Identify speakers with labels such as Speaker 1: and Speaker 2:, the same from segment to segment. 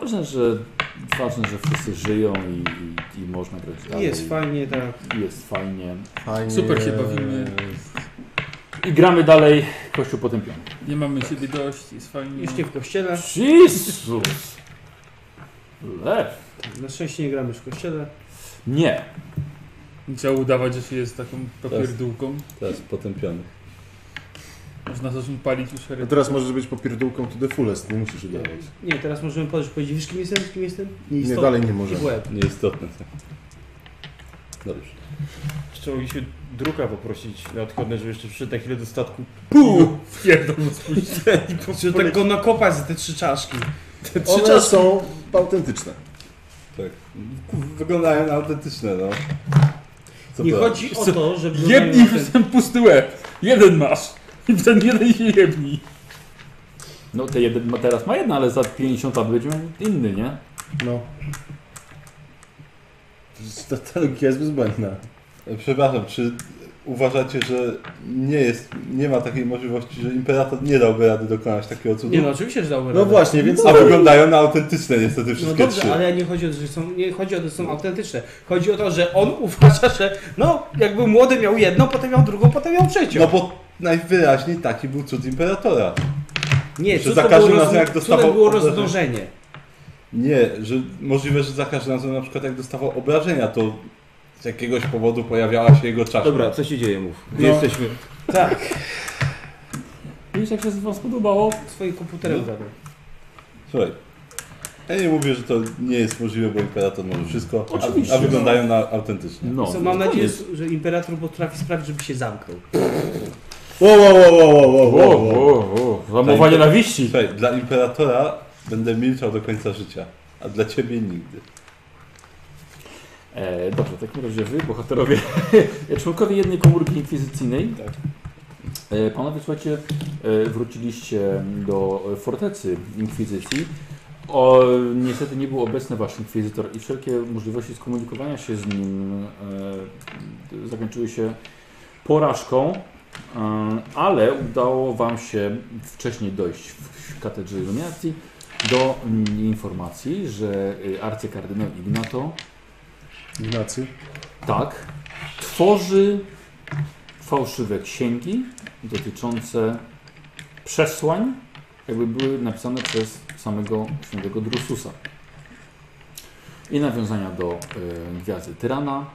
Speaker 1: ważne, że ważne, że wszyscy żyją i, i, i można grać dalej.
Speaker 2: Jest fajnie, tak.
Speaker 1: Jest fajnie.
Speaker 3: Fajnie.
Speaker 4: Super się bawimy.
Speaker 1: I gramy dalej Kościół Potępiony.
Speaker 4: Nie mamy siebie dość, jest fajnie.
Speaker 2: Już nie w kościele.
Speaker 1: Jezus! Lew.
Speaker 2: Na szczęście nie gramy już w kościele.
Speaker 1: Nie.
Speaker 4: Nie Trzeba udawać, że się jest taką
Speaker 5: Tak.
Speaker 4: papierdółką.
Speaker 6: Teraz potępiony.
Speaker 4: Można zacząć palić
Speaker 5: No
Speaker 4: już
Speaker 3: A
Speaker 4: heretę.
Speaker 3: teraz możesz być popierdółką to the fullest, nie musisz udawać.
Speaker 2: Nie, teraz możemy podejść powiedzieć, wiesz kim jestem, kim jestem?
Speaker 3: Nie,
Speaker 2: istotne.
Speaker 3: dalej nie
Speaker 2: I w
Speaker 3: możemy.
Speaker 2: łeb.
Speaker 6: Nieistotne. tak. Dobrze.
Speaker 7: Jeszcze mogliście druka poprosić na odchodne, żeby jeszcze przyszedł na chwilę do statku.
Speaker 4: Pół! Wpierdol mu spuścić.
Speaker 2: Czy tak go nakopać za te trzy czaszki?
Speaker 3: Te trzy czasy są autentyczne.
Speaker 6: Tak. Wyglądają na autentyczne, no. Co
Speaker 2: nie
Speaker 6: prawda.
Speaker 2: chodzi o to, żeby...
Speaker 4: Jedni w ten pusty łeb. Jeden masz. I w ten jeden się jebni.
Speaker 1: No te jeden, ma- teraz ma jedna, ale za 50 lat będzie miał inny, nie?
Speaker 3: No.
Speaker 6: Ta, ta logika jest bezbłędna. Przepraszam, czy uważacie, że nie jest, nie ma takiej możliwości, że imperator nie dałby rady dokonać takiego cudu?
Speaker 2: Nie no, oczywiście, że dałbym
Speaker 3: No
Speaker 2: radę.
Speaker 3: właśnie, więc
Speaker 6: A wyglądają na autentyczne niestety
Speaker 2: No
Speaker 6: wszystkie
Speaker 2: dobrze,
Speaker 6: trzy.
Speaker 2: ale nie chodzi o to, że są, nie chodzi o to, że są autentyczne. Chodzi o to, że on uważa, że no, jakby młody miał jedną, potem miał drugą, potem miał trzecią.
Speaker 6: No bo najwyraźniej taki był cud imperatora.
Speaker 2: nie,
Speaker 6: że
Speaker 2: cud
Speaker 6: za
Speaker 2: to
Speaker 6: każdym
Speaker 2: było
Speaker 6: razem,
Speaker 2: roz-
Speaker 6: jak dostawał
Speaker 2: cudem było
Speaker 6: obrażenia.
Speaker 2: rozmnożenie.
Speaker 6: Nie, że możliwe, że za każdym razem na przykład jak dostawał obrażenia, to z jakiegoś powodu pojawiała się jego czaszka.
Speaker 7: Dobra, co się dzieje, mów. Gdzie jesteśmy?
Speaker 2: Tak,
Speaker 1: Widzisz, jak się wam spodobało?
Speaker 2: Swoim
Speaker 6: No.
Speaker 2: komputerem zabrał.
Speaker 6: Słuchaj, ja nie mówię, że to nie jest możliwe, bo imperator może wszystko, a,
Speaker 1: Oczywiście,
Speaker 6: a wyglądają na autentycznie.
Speaker 1: No.
Speaker 2: Co, mam nadzieję,
Speaker 1: koniec.
Speaker 2: że imperator potrafi sprawić, żeby się zamknął.
Speaker 3: Wow, wow, wow, wow, wow,
Speaker 1: O,
Speaker 3: wow, wow.
Speaker 1: o, o, zamowa nienawiści.
Speaker 6: Słuchaj, dla imperatora będę milczał do końca życia, a dla ciebie nigdy.
Speaker 1: E, dobrze, w takim razie wy, bohaterowie, członkowie jednej komórki inkwizycyjnej. E, panowie, słuchajcie, e, wróciliście do e, fortecy inkwizycji. O, niestety nie był obecny wasz inkwizytor i wszelkie możliwości skomunikowania się z nim e, zakończyły się porażką, e, ale udało wam się wcześniej dojść w katedrze iluminacji do mm, informacji, że e, arcykardynał Ignato
Speaker 3: Ignacy.
Speaker 1: tak. Tworzy fałszywe księgi dotyczące przesłań, jakby były napisane przez samego świętego Drususa. I nawiązania do y, gwiazdy Tyrana,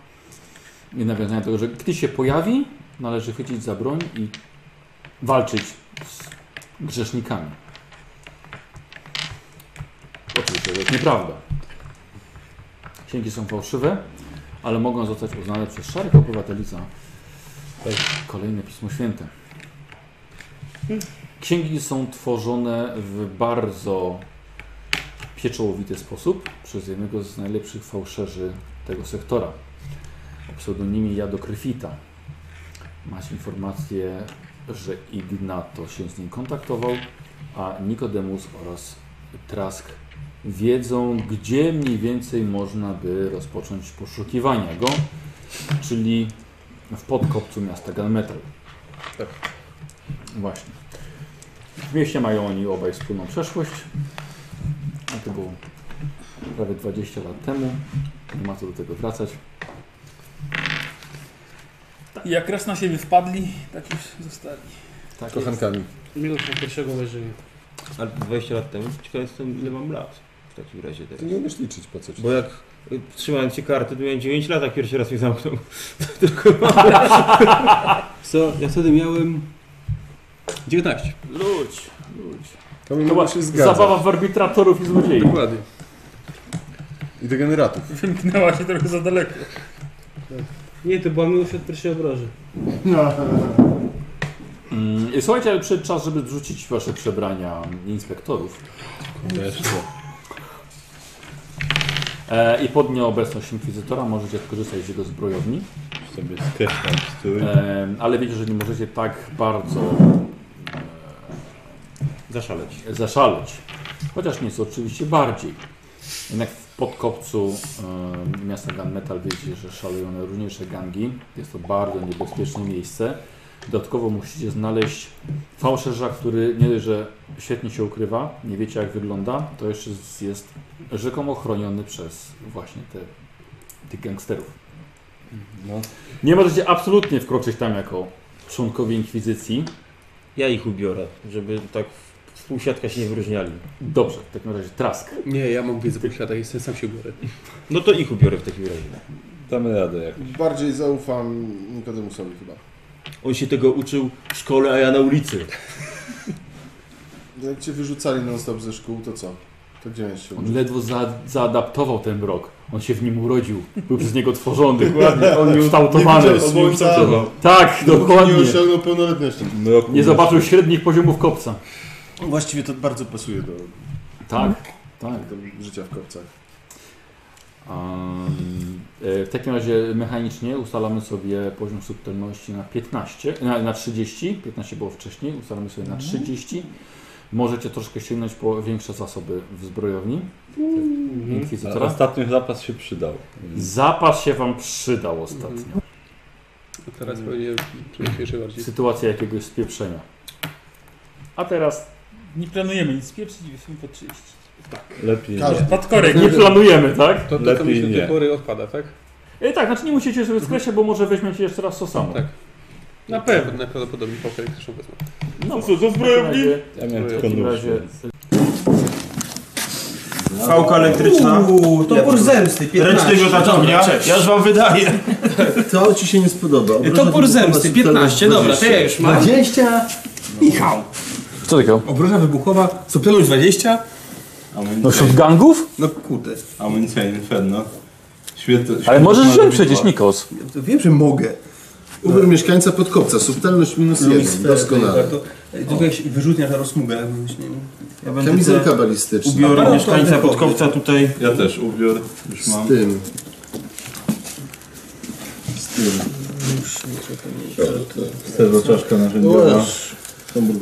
Speaker 1: i nawiązania do tego, że gdy się pojawi, należy chwycić za broń i walczyć z grzesznikami. Oczywiście to jest nieprawda. Księgi są fałszywe ale mogą zostać uznane przez szarych obywateli za kolejne Pismo Święte. Księgi są tworzone w bardzo pieczołowity sposób przez jednego z najlepszych fałszerzy tego sektora. O pseudonimie Jadokryfita. Masz informację, że Ignato się z nim kontaktował, a Nikodemus oraz Trask wiedzą, gdzie mniej więcej można by rozpocząć poszukiwania go, czyli w podkopcu miasta Galmetal.
Speaker 6: Tak.
Speaker 1: Właśnie. W mieście mają oni obaj wspólną przeszłość. A to było prawie 20 lat temu. Nie ma co do tego wracać.
Speaker 4: I Tak, jak raz na siebie wpadli, tak już zostali.
Speaker 1: Tak
Speaker 3: Kochankami.
Speaker 2: Minut po pierwszego łyżwy.
Speaker 7: Ale 20 lat temu, ciekaw jestem ile mam lat w takim razie teraz.
Speaker 3: Ty nie umiesz liczyć po co ci.
Speaker 7: Bo jak y, trzymałem ci kartę, to miałem 9 lat, jak pierwszy raz mnie zamknął. To tylko mam...
Speaker 8: Co? Ja wtedy miałem 19.
Speaker 1: Ludź, ludź.
Speaker 3: To
Speaker 9: No,
Speaker 3: mi
Speaker 1: To była
Speaker 3: mogło się zgadzać.
Speaker 1: zabawa w arbitratorów i złodziei.
Speaker 8: Dokładnie.
Speaker 3: I degeneratów.
Speaker 4: Wymknęła się trochę za daleko.
Speaker 2: Nie, to była miłość od pierwszej obroży.
Speaker 1: Mm, i Słuchajcie, ale przyszedł czas, żeby zrzucić wasze przebrania inspektorów.
Speaker 6: No
Speaker 1: E, I pod nieobecność inkwizytora możecie skorzystać z jego zbrojowni.
Speaker 6: Sobie skreślam strój.
Speaker 1: E, ale wiecie, że nie możecie tak bardzo
Speaker 7: Zaszaleć.
Speaker 1: e, zaszaleć. Chociaż nieco oczywiście bardziej. Jednak w podkopcu e, miasta Gunmetal wiecie, że szaleją najróżniejsze gangi. Jest to bardzo niebezpieczne miejsce. Dodatkowo musicie znaleźć fałszerza, który nie dość, że świetnie się ukrywa, nie wiecie jak wygląda, to jeszcze z- jest rzekomo chroniony przez właśnie te, tych gangsterów.
Speaker 6: No,
Speaker 1: Nie możecie absolutnie wkroczyć tam jako członkowie Inkwizycji.
Speaker 5: Ja ich ubiorę, żeby tak współsiatka się nie wyróżniali.
Speaker 1: Dobrze, w takim razie trask.
Speaker 8: Nie, ja mam wiedzę po świata, jestem sam się biorę.
Speaker 5: No to ich ubiorę w takim razie.
Speaker 6: damy radę jak.
Speaker 9: Bardziej zaufam Nikodemusowi chyba.
Speaker 5: On się tego uczył w szkole, a ja na ulicy.
Speaker 9: No Jak cię wyrzucali non-stop ze szkół, to co? To gdzie miałeś się
Speaker 1: On
Speaker 9: uczyć?
Speaker 1: ledwo za, zaadaptował ten mrok. On się w nim urodził. Był przez niego tworzony. Dokładnie. On był kształtowany.
Speaker 9: widział słońca.
Speaker 1: Tak, dokładnie.
Speaker 9: Nie osiągnął pełnoletności.
Speaker 6: Mrok
Speaker 1: Nie zobaczył średnich poziomów kopca.
Speaker 9: Właściwie to bardzo pasuje do,
Speaker 1: Tak, tak.
Speaker 9: do życia w kopcach.
Speaker 1: Um, e, w takim razie mechanicznie ustalamy sobie poziom subtelności na 15, na, na 30, 15 było wcześniej, ustalamy sobie na 30. Możecie troszkę sięgnąć po większe zasoby w zbrojowni
Speaker 2: Mhm.
Speaker 6: A
Speaker 1: Inkwizytora.
Speaker 6: Ostatnio zapas się przydał.
Speaker 1: Zapas Mhm. się Wam przydał ostatnio.
Speaker 8: A teraz
Speaker 2: Mhm.
Speaker 8: pewnie czuję się jeszcze bardziej.
Speaker 1: Sytuacja jakiegoś spieprzenia. A teraz
Speaker 4: Nie planujemy nic pieprzyć, jesteśmy po 30.
Speaker 6: Lepiej
Speaker 9: Każdy.
Speaker 6: nie.
Speaker 4: Podkorek.
Speaker 1: nie planujemy, tak?
Speaker 8: To, to, to
Speaker 6: Lepiej
Speaker 8: mi się do tej
Speaker 6: nie.
Speaker 8: pory odpada, tak?
Speaker 1: E, tak, znaczy nie musicie sobie skreślać, bo może weźmiecie jeszcze raz to samo.
Speaker 8: Tak. Na pewno, na prawdopodobnie po kolei też wezmę.
Speaker 1: No,
Speaker 4: co, do
Speaker 1: w takim
Speaker 4: zbrojowni?
Speaker 1: razie-
Speaker 6: Ja miałem
Speaker 1: w
Speaker 6: tylko
Speaker 1: takim
Speaker 6: nóż.
Speaker 1: razie
Speaker 10: Fałka elektryczna.
Speaker 2: Uuu, topór zemsty, 15.
Speaker 10: Ręcznego taczownia. Ja już wam wydaję.
Speaker 11: To ci się nie spodoba.
Speaker 2: Topór zemsty, 15, dobra, to ja już mam.
Speaker 10: 20. Michał.
Speaker 1: Co takiego?
Speaker 10: Obrona wybuchowa, subtelność 20.
Speaker 1: No wśród gangów?
Speaker 10: No kurde.
Speaker 6: Amunicja Inferno. Świetne,
Speaker 1: Ale możesz wziąć przecież Nikos.
Speaker 10: To wiem, że mogę.
Speaker 9: Uber mieszkańca podkopca, subtelność minus jeden. Doskonale.
Speaker 10: To, to jakaś wyrzutnia ta rozsmuga. właśnie.
Speaker 11: Ja będę te
Speaker 9: Kamizelka balistyczna.
Speaker 10: Aparat
Speaker 11: ubiory mieszkańca
Speaker 10: toaletowy.
Speaker 11: Podkowca tutaj.
Speaker 6: Ja też ubiór już mam.
Speaker 9: Z tym.
Speaker 6: Serwo czaszka narzędziowa.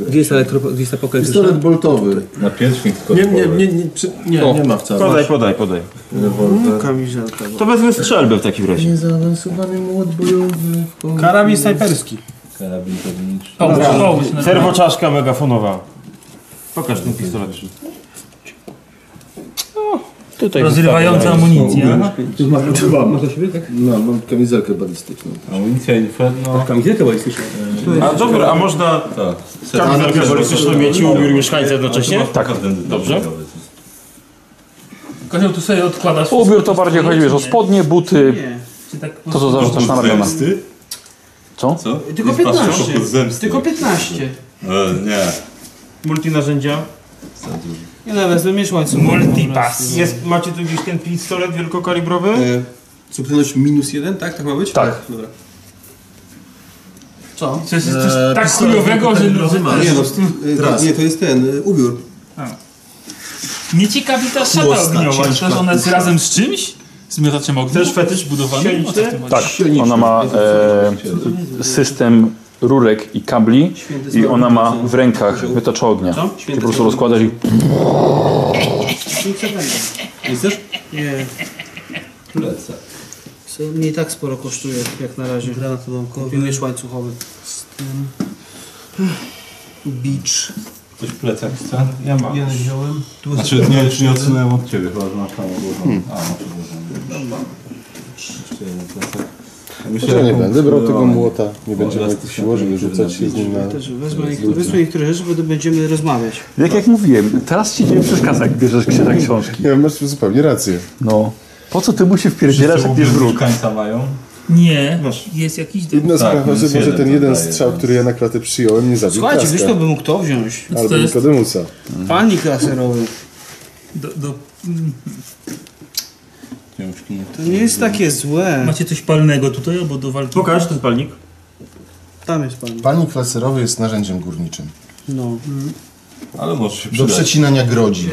Speaker 10: Gdzie jest, elektro, gdzie jest ta pałka elektryczna?
Speaker 9: Pistolet boltowy.
Speaker 6: Na pierśnik skoro.
Speaker 9: Nie, nie, nie, nie, przy, nie, nie ma wcale.
Speaker 11: Podaj, podaj, podaj.
Speaker 9: Kamizelka.
Speaker 1: no.
Speaker 11: To wezmę strzelbę w takim razie.
Speaker 9: Niezaawansowany młot bojowy.
Speaker 10: Karabin snajperski.
Speaker 6: Karabin podniczy.
Speaker 11: Serwoczaszka megafonowa. Pokaż ten pistolet.
Speaker 5: Tutaj
Speaker 10: Rozrywająca amunicja.
Speaker 9: Tu mam, tu mam.
Speaker 10: Można siebie, tak?
Speaker 9: No, mam kamizelkę balistyczną.
Speaker 6: Amunicja Inferno.
Speaker 10: Kamizelkę balistyczną.
Speaker 11: A dobra, a można
Speaker 6: Tak.
Speaker 11: kamizelkę balistyczną mieć i ubiór mieszkańca jednocześnie?
Speaker 6: Tak. Dobrze.
Speaker 4: Kozioł, tu sobie odkładasz.
Speaker 1: Ubiór to bardziej chodzi wiesz, o spodnie, buty,
Speaker 10: Nie.
Speaker 4: Czy tak
Speaker 1: to co zarzucasz na ramiona. Co?
Speaker 6: Co?
Speaker 2: Tylko
Speaker 6: Jest pas
Speaker 2: 15.
Speaker 6: szoku z zemsty.
Speaker 2: Tylko 15.
Speaker 6: E, nie.
Speaker 11: Multinarzędzia.
Speaker 2: Nie no, wezmę mieszłańcu.
Speaker 10: Multipass.
Speaker 11: Jest, macie tu gdzieś ten pistolet wielkokalibrowy?
Speaker 10: E, Subtelność minus jeden, tak? Tak ma być?
Speaker 1: Tak.
Speaker 10: Dobra.
Speaker 2: Co?
Speaker 4: Coś jest coś tak chujowego, że, że
Speaker 10: Nie no, e,
Speaker 9: Teraz.
Speaker 10: nie, to jest ten, e, ubiór.
Speaker 4: nie ciekawi ta szata
Speaker 10: Mocna,
Speaker 4: ogniowa. Czy
Speaker 10: ciężka
Speaker 4: też ona jest razem z czymś? Z miotaczem ognia? Też fetysz budowany? O co w tym chodzi?
Speaker 1: Tak, ona ma e, system rurek i kabli i ona ma w rękach wytacz ognia. Ty po prostu rozkładasz i
Speaker 10: Nie chcesz?
Speaker 2: Nie.
Speaker 6: Lecę.
Speaker 2: Co mnie i tak sporo kosztuje, jak na razie. Kupił miecz łańcuchowy. Beach.
Speaker 6: Coś w plecach chce? Ja mam.
Speaker 2: Ja wziąłem. Tu
Speaker 6: Znaczy nie, wiem, czy nie odsunąłem od ciebie, chyba że masz tam ogólną. A, masz ogólną. Jeszcze jeden plecak.
Speaker 9: Ja nie będę brał tego młota. Nie
Speaker 6: Może
Speaker 9: będziemy
Speaker 6: raz
Speaker 9: siłą, żeby rzucać się z nim na...
Speaker 2: Też wezmę, niektóre, wezmę niektóre rzeczy, bo będziemy rozmawiać.
Speaker 12: No
Speaker 1: Tak jak, jak mówiłem, teraz ci nie przeszkadza, jak bierzesz księdza książki.
Speaker 9: Nie, masz zupełnie rację.
Speaker 1: No. Po co ty mu się wpierdzielasz, jak
Speaker 6: Ubiór
Speaker 1: bierzesz wróg?
Speaker 6: mieszkańca mają?
Speaker 4: Nie, jest jakiś... Do...
Speaker 9: Inna
Speaker 6: Tak,
Speaker 9: sprawa,
Speaker 6: minus
Speaker 9: że może
Speaker 6: jeden
Speaker 9: ten jeden
Speaker 6: dodaję,
Speaker 9: strzał,
Speaker 6: więc-
Speaker 9: który ja na klatę przyjąłem, nie zabił
Speaker 2: Słuchajcie,
Speaker 12: tak,
Speaker 2: wiesz, to
Speaker 9: Kraska.
Speaker 2: by mógł to wziąć.
Speaker 4: to
Speaker 9: Albo
Speaker 4: jest-
Speaker 9: Nikodemusa.
Speaker 12: Mhm.
Speaker 2: Panik laserowy.
Speaker 4: do, do... mm.
Speaker 6: Książki nie.
Speaker 2: To nie jest takie złe.
Speaker 4: Macie coś palnego tutaj albo do walki?
Speaker 11: Pokaż ten palnik.
Speaker 2: Tam jest panik.
Speaker 9: Panik laserowy jest narzędziem górniczym.
Speaker 2: No.
Speaker 6: Ale może się przydać.
Speaker 9: przecinania grodzi.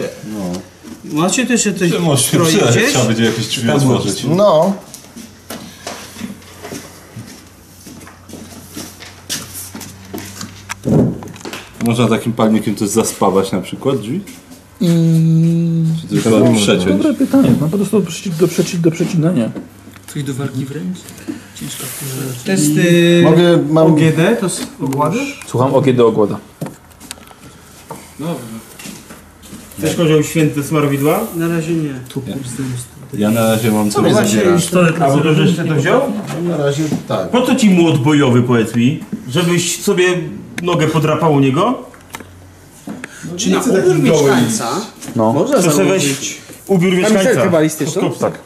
Speaker 2: Macie też jeszcze coś
Speaker 6: Czy Może się
Speaker 2: stroje
Speaker 6: przydać,
Speaker 2: gdzieś?
Speaker 6: trzeba będzie jakieś drzwi otworzyć.
Speaker 9: No.
Speaker 6: Można takim palnikiem też zaspawać na przykład drzwi? Czy to trzeba przeciąć?
Speaker 1: Dobre pytanie, no po prostu do, przeci- do, przeci- do przecinania.
Speaker 10: Coś do walki wręcz? Ciężka
Speaker 2: Testy
Speaker 9: Mogę, mam...
Speaker 12: OGD to z ogłady?
Speaker 1: Słucham, ogień do ogłoda.
Speaker 12: Chcesz kozioł święty smarowidła?
Speaker 2: na razie nie.
Speaker 6: Ja na razie mam
Speaker 2: No
Speaker 6: coś
Speaker 2: właśnie,
Speaker 6: zabiera.
Speaker 12: A bo to żeś ty to wziął?
Speaker 9: Na razie tak.
Speaker 12: Po co ci młot bojowy, powiedz mi? Żebyś sobie nogę podrapał u niego?
Speaker 9: Czy na ubiór mieszkańca?
Speaker 1: No.
Speaker 2: można
Speaker 12: To sobie
Speaker 2: założyć.
Speaker 12: weź ubiór
Speaker 2: Kamizelkę
Speaker 12: mieszkańca.
Speaker 2: balistyczną?
Speaker 12: Tak.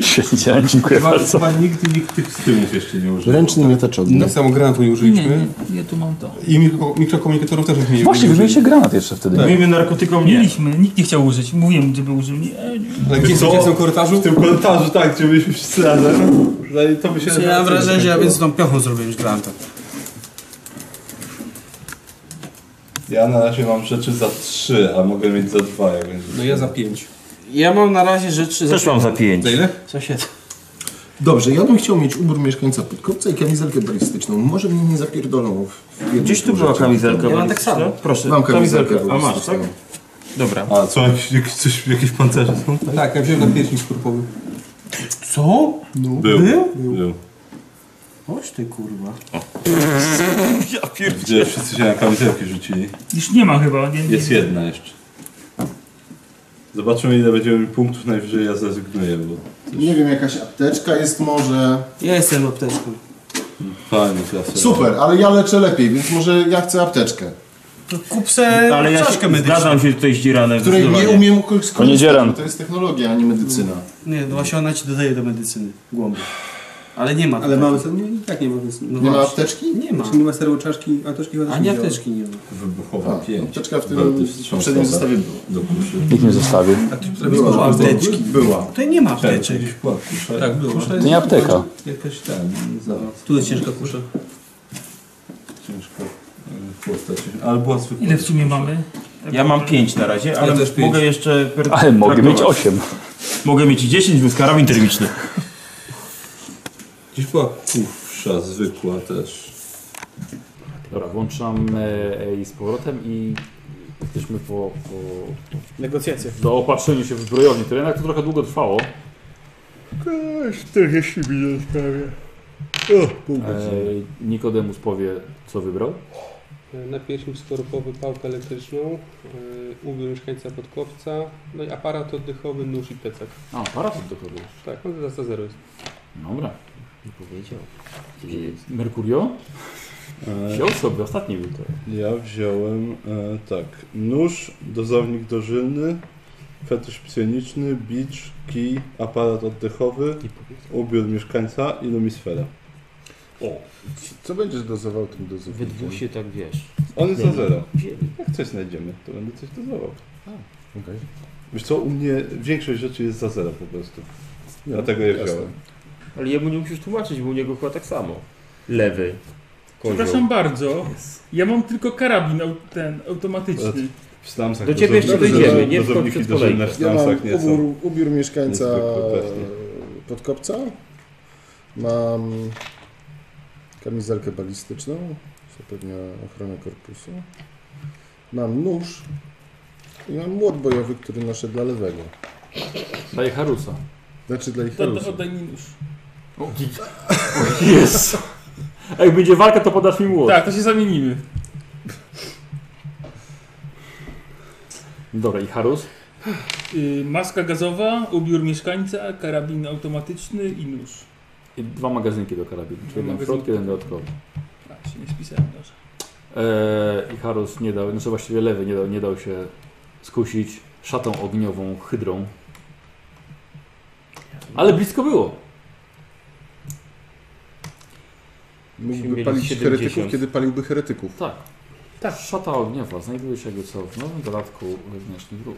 Speaker 1: Świetnie, dziękuję bardzo.
Speaker 6: Chyba nigdy nikt tych stymów jeszcze nie użył.
Speaker 9: Ręczny miotacz od
Speaker 10: Tak samo granatu nie
Speaker 4: Nie,
Speaker 10: użyliśmy.
Speaker 4: nie, ja tu mam to.
Speaker 10: I mikro, mikrokomunikatorów też nie
Speaker 1: Właśnie,
Speaker 10: nie
Speaker 1: wymieniliście granat jeszcze wtedy.
Speaker 12: Miejmy narkotyką nie.
Speaker 4: Mieliśmy, nikt nie chciał użyć. Mówiłem, żeby użył. Nie, nie.
Speaker 10: Ale gdzieś
Speaker 6: Co?
Speaker 10: gdzieś w tym korytarzu?
Speaker 6: W tym korytarzu, tak, gdzie byliśmy wszyscy razem. No i To by się
Speaker 2: Ja
Speaker 6: nawet
Speaker 2: w
Speaker 6: nie
Speaker 2: razie, ja
Speaker 6: skończyło.
Speaker 2: więc tą piochą zrobiłem już granta.
Speaker 6: Ja na razie mam rzeczy za trzy, a mogę mieć za dwa, jak będzie.
Speaker 10: No ja za pięć.
Speaker 2: Ja mam na razie rzeczy
Speaker 12: Też mam za pięć.
Speaker 10: Za ile?
Speaker 2: sąsiedztwa.
Speaker 9: Dobrze, ja bym chciał mieć ubór mieszkańca podkopca i kamizelkę balistyczną. Może mnie nie zapierdolą. w jednym
Speaker 12: Gdzieś tu
Speaker 9: tym
Speaker 12: była
Speaker 9: rzeczy.
Speaker 12: kamizelka.
Speaker 2: Ja mam tak
Speaker 12: balistyczna?
Speaker 2: samo.
Speaker 12: Proszę,
Speaker 9: Mam kamizelkę.
Speaker 12: A masz, tak?
Speaker 9: balistyczną.
Speaker 12: Dobra.
Speaker 6: A co, jakieś, jakieś, coś, jakieś pancerze są? Tak?
Speaker 10: Tak, ja wziąłem na pierśnik skorpowy.
Speaker 12: Co?
Speaker 6: No. Był. Był.
Speaker 2: Oś ty kurwa.
Speaker 6: Gdzie wszyscy się na kamizelki rzucili.
Speaker 4: Już nie ma chyba. Nie, nie.
Speaker 6: Jest jedna jeszcze. Zobaczymy ile będziemy mieli punktów, najwyżej ja zrezygnuję, bo
Speaker 9: Nie wiem, jakaś apteczka jest może.
Speaker 2: Ja jestem apteczką.
Speaker 6: fajnie zawsze.
Speaker 9: Super, ale ja leczę lepiej, więc może ja chcę apteczkę,
Speaker 2: Kup se
Speaker 12: No, Ale ja
Speaker 2: czaszkę
Speaker 12: się,
Speaker 2: medyczną.
Speaker 12: zgadzam się tutaj z Dziranem.
Speaker 9: której nie
Speaker 12: zdecydowanie.
Speaker 9: umiem skorzystać.
Speaker 1: Panie Dzieran.
Speaker 9: To jest technologia, a nie medycyna.
Speaker 2: Nie, no właśnie ona ci dodaje do medycyny głąbie. Ale nie ma.
Speaker 10: Ale mamy co? Nie, i tak nie ma więc.
Speaker 2: No
Speaker 9: Nie ma
Speaker 2: właśnie.
Speaker 9: apteczki?
Speaker 2: Nie ma.
Speaker 10: Znaczy nie ma seru czaszki, a czaszki chyba też
Speaker 2: Ani
Speaker 10: nie działa.
Speaker 2: apteczki nie ma.
Speaker 6: Wybuchowa
Speaker 9: A,
Speaker 6: 5.
Speaker 9: apteczka w tym
Speaker 6: Belty wstrząsowe.
Speaker 9: poprzednim zestawie była.
Speaker 6: Do kuszy.
Speaker 1: Nikt nie zostawił.
Speaker 9: Była,
Speaker 2: apteczki.
Speaker 9: była.
Speaker 2: Tutaj nie ma apteczek.
Speaker 6: Jakieś płatki,
Speaker 10: Tak, było.
Speaker 1: To nie apteka.
Speaker 6: Jakaś tam, za
Speaker 10: Tu jest ciężka kusza.
Speaker 6: ciężko y, postać. Ale była zwykła.
Speaker 4: Ile w sumie mamy?
Speaker 12: Ja mam pięć na razie, ale
Speaker 10: też pięć.
Speaker 12: mogę jeszcze... per-
Speaker 1: Ale mogę mieć
Speaker 12: traktować.
Speaker 1: 8.
Speaker 12: Mogę mieć i 10, bo jest karabin termiczny.
Speaker 6: Gdzieś była kufsza zwykła też.
Speaker 1: Dobra, włączam e, e, z powrotem i jesteśmy po, po
Speaker 2: Negocjacje.
Speaker 1: do opatrzeniu się w zbrojowni. To jednak to trochę długo trwało.
Speaker 8: 40 minut prawie. O, pół
Speaker 1: E, Nikodemus powie, co wybrał.
Speaker 8: Na pierśnik skorupowy, pałkę elektryczną, yy, ubiór mieszkańca podkopca, no i aparat oddechowy, nóż i plecak.
Speaker 1: A, aparat do kogoś.
Speaker 8: Tak, no to za zero jest.
Speaker 1: Dobra. Nie powiedział. Merkurio?
Speaker 6: E.
Speaker 1: Wziął sobie, ostatni był to.
Speaker 6: Ja wziąłem e, tak. Nóż, dozownik dożylny, fetysz psioniczny, bicz, kij, aparat oddechowy, ubiór mieszkańca i lumisfera.
Speaker 9: Co będziesz dozował tym dozownikiem?
Speaker 13: się tak wiesz.
Speaker 6: On jest za zero. Jak coś znajdziemy, to będę coś dozował. Wiesz co, u mnie większość rzeczy jest za zero po prostu. Dlatego je
Speaker 9: jasne.
Speaker 6: wziąłem.
Speaker 13: Ale jemu nie musisz tłumaczyć, bo u niego chyba tak samo. Lewy. kozioł.
Speaker 4: Przepraszam bardzo. Ja mam tylko karabin au- ten automatyczny.
Speaker 6: W slamsach
Speaker 13: Do ciebie jeszcze
Speaker 6: dozownik-
Speaker 13: dojdziemy, nie w
Speaker 6: dozowniki
Speaker 13: końcu
Speaker 6: dożylne w
Speaker 13: kolejki.
Speaker 9: Ja mam
Speaker 6: slamsach nie są.
Speaker 9: ubór, ubiór mieszkańca
Speaker 6: niezwykły pewnie.
Speaker 9: podkopca. Mam kamizelkę balistyczną, zapewnia ochronę korpusu. Mam nóż i mam młot bojowy, który noszę dla lewego.
Speaker 1: Daj Harusa.
Speaker 9: Znaczy dla ich
Speaker 4: Odda-
Speaker 9: Harusa.
Speaker 4: Oddaj mi nóż.
Speaker 1: Jest! A jak będzie walka, to podasz mi młot.
Speaker 4: Tak, to się zamienimy.
Speaker 1: Dobra, i Harus?
Speaker 4: Y, maska gazowa, ubiór mieszkańca, karabin automatyczny i nóż.
Speaker 1: I dwa magazynki do karabinu. Czyli jeden w
Speaker 4: magazynki.
Speaker 1: środku, jeden dodatkowy.
Speaker 4: A, Tak, się nie spisałem dobrze.
Speaker 1: Eee, I Harus nie dał, znaczy właściwie lewy nie dał, nie dał się skusić szatą ogniową, hydrą. Ale blisko było.
Speaker 13: Musimy
Speaker 9: Mógłby
Speaker 13: mieć
Speaker 9: palić
Speaker 13: 70.
Speaker 9: heretyków, kiedy paliłby heretyków.
Speaker 1: Tak. Tak. Szata ogniowa znajduje się jakby co w nowym dodatku wewnętrznych dróg.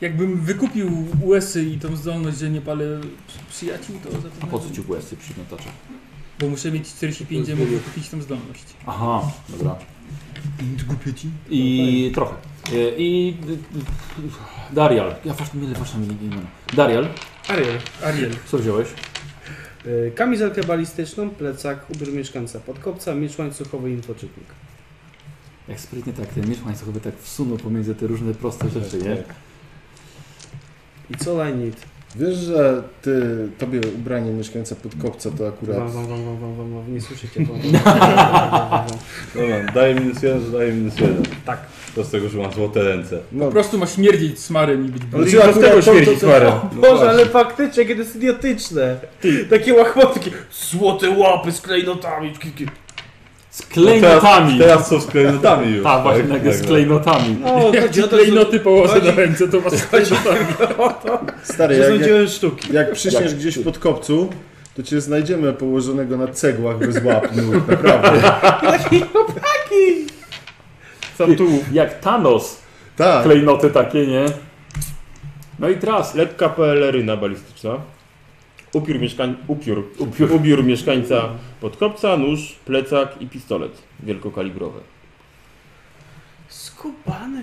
Speaker 4: Jakbym wykupił USy i tą zdolność, że nie palę przy- przyjaciół, to za to.
Speaker 1: A po co ci błędy przy miotaczach?
Speaker 4: Bo muszę mieć 45, żeby mogę kupić tą zdolność.
Speaker 1: Aha, dobra. I trochę. E, I y, y, Darial. Ja właśnie mylę wasze imiona. Darial,
Speaker 2: Ariel.
Speaker 4: Ariel.
Speaker 1: co wziąłeś?
Speaker 2: Y, Kamizelkę balistyczną, plecak, ubiór mieszkańca podkopca, miecz łańcuchowy i infoczytnik.
Speaker 1: Jak sprytnie tak ten miecz łańcuchowy tak wsunął pomiędzy te różne proste rzeczy, nie?
Speaker 2: I co I need?
Speaker 6: Wiesz, że ty, tobie ubranie mieszkańca podkopca to akurat...
Speaker 2: Wam, wam, wam, wam, wam, wam, wam, nie słyszycie. Wam, wam,
Speaker 6: Dobra, daję minus jeden, że daję minus jeden.
Speaker 2: Tak.
Speaker 6: To z tego, że mam złote ręce.
Speaker 4: Po
Speaker 6: No,
Speaker 4: prostu masz śmierdzić smarem i być
Speaker 6: ale ja z tego śmierdzi smarem.
Speaker 2: Boże, ale faktycznie, kiedy jest idiotyczne. Takie łachmotki. Złote łapy z klejnotami.
Speaker 1: Z klejnotami!
Speaker 6: No Teraz są z klejnotami już.
Speaker 1: Tak, właśnie nagle
Speaker 6: no.
Speaker 1: z klejnotami.
Speaker 2: O,
Speaker 4: Jak ci klejnoty położę na ręce, to masz
Speaker 6: Stary, jak, jak,
Speaker 7: Przesądziłem sztuki.
Speaker 6: jak przyśniesz gdzieś pod kopcu, to cię znajdziemy położonego na cegłach bez łap nóg, naprawdę.
Speaker 1: Sam tu. Jak Thanos,
Speaker 6: Tak.
Speaker 1: klejnoty takie, nie? No i teraz.
Speaker 7: Lekka peleryna balistyczna. Upiór, mieszkań... Upiór.
Speaker 1: Upiór.
Speaker 7: Upiór. mieszkańca podkopca, nóż, plecak i pistolet wielkokalibrowy.
Speaker 2: Skubany.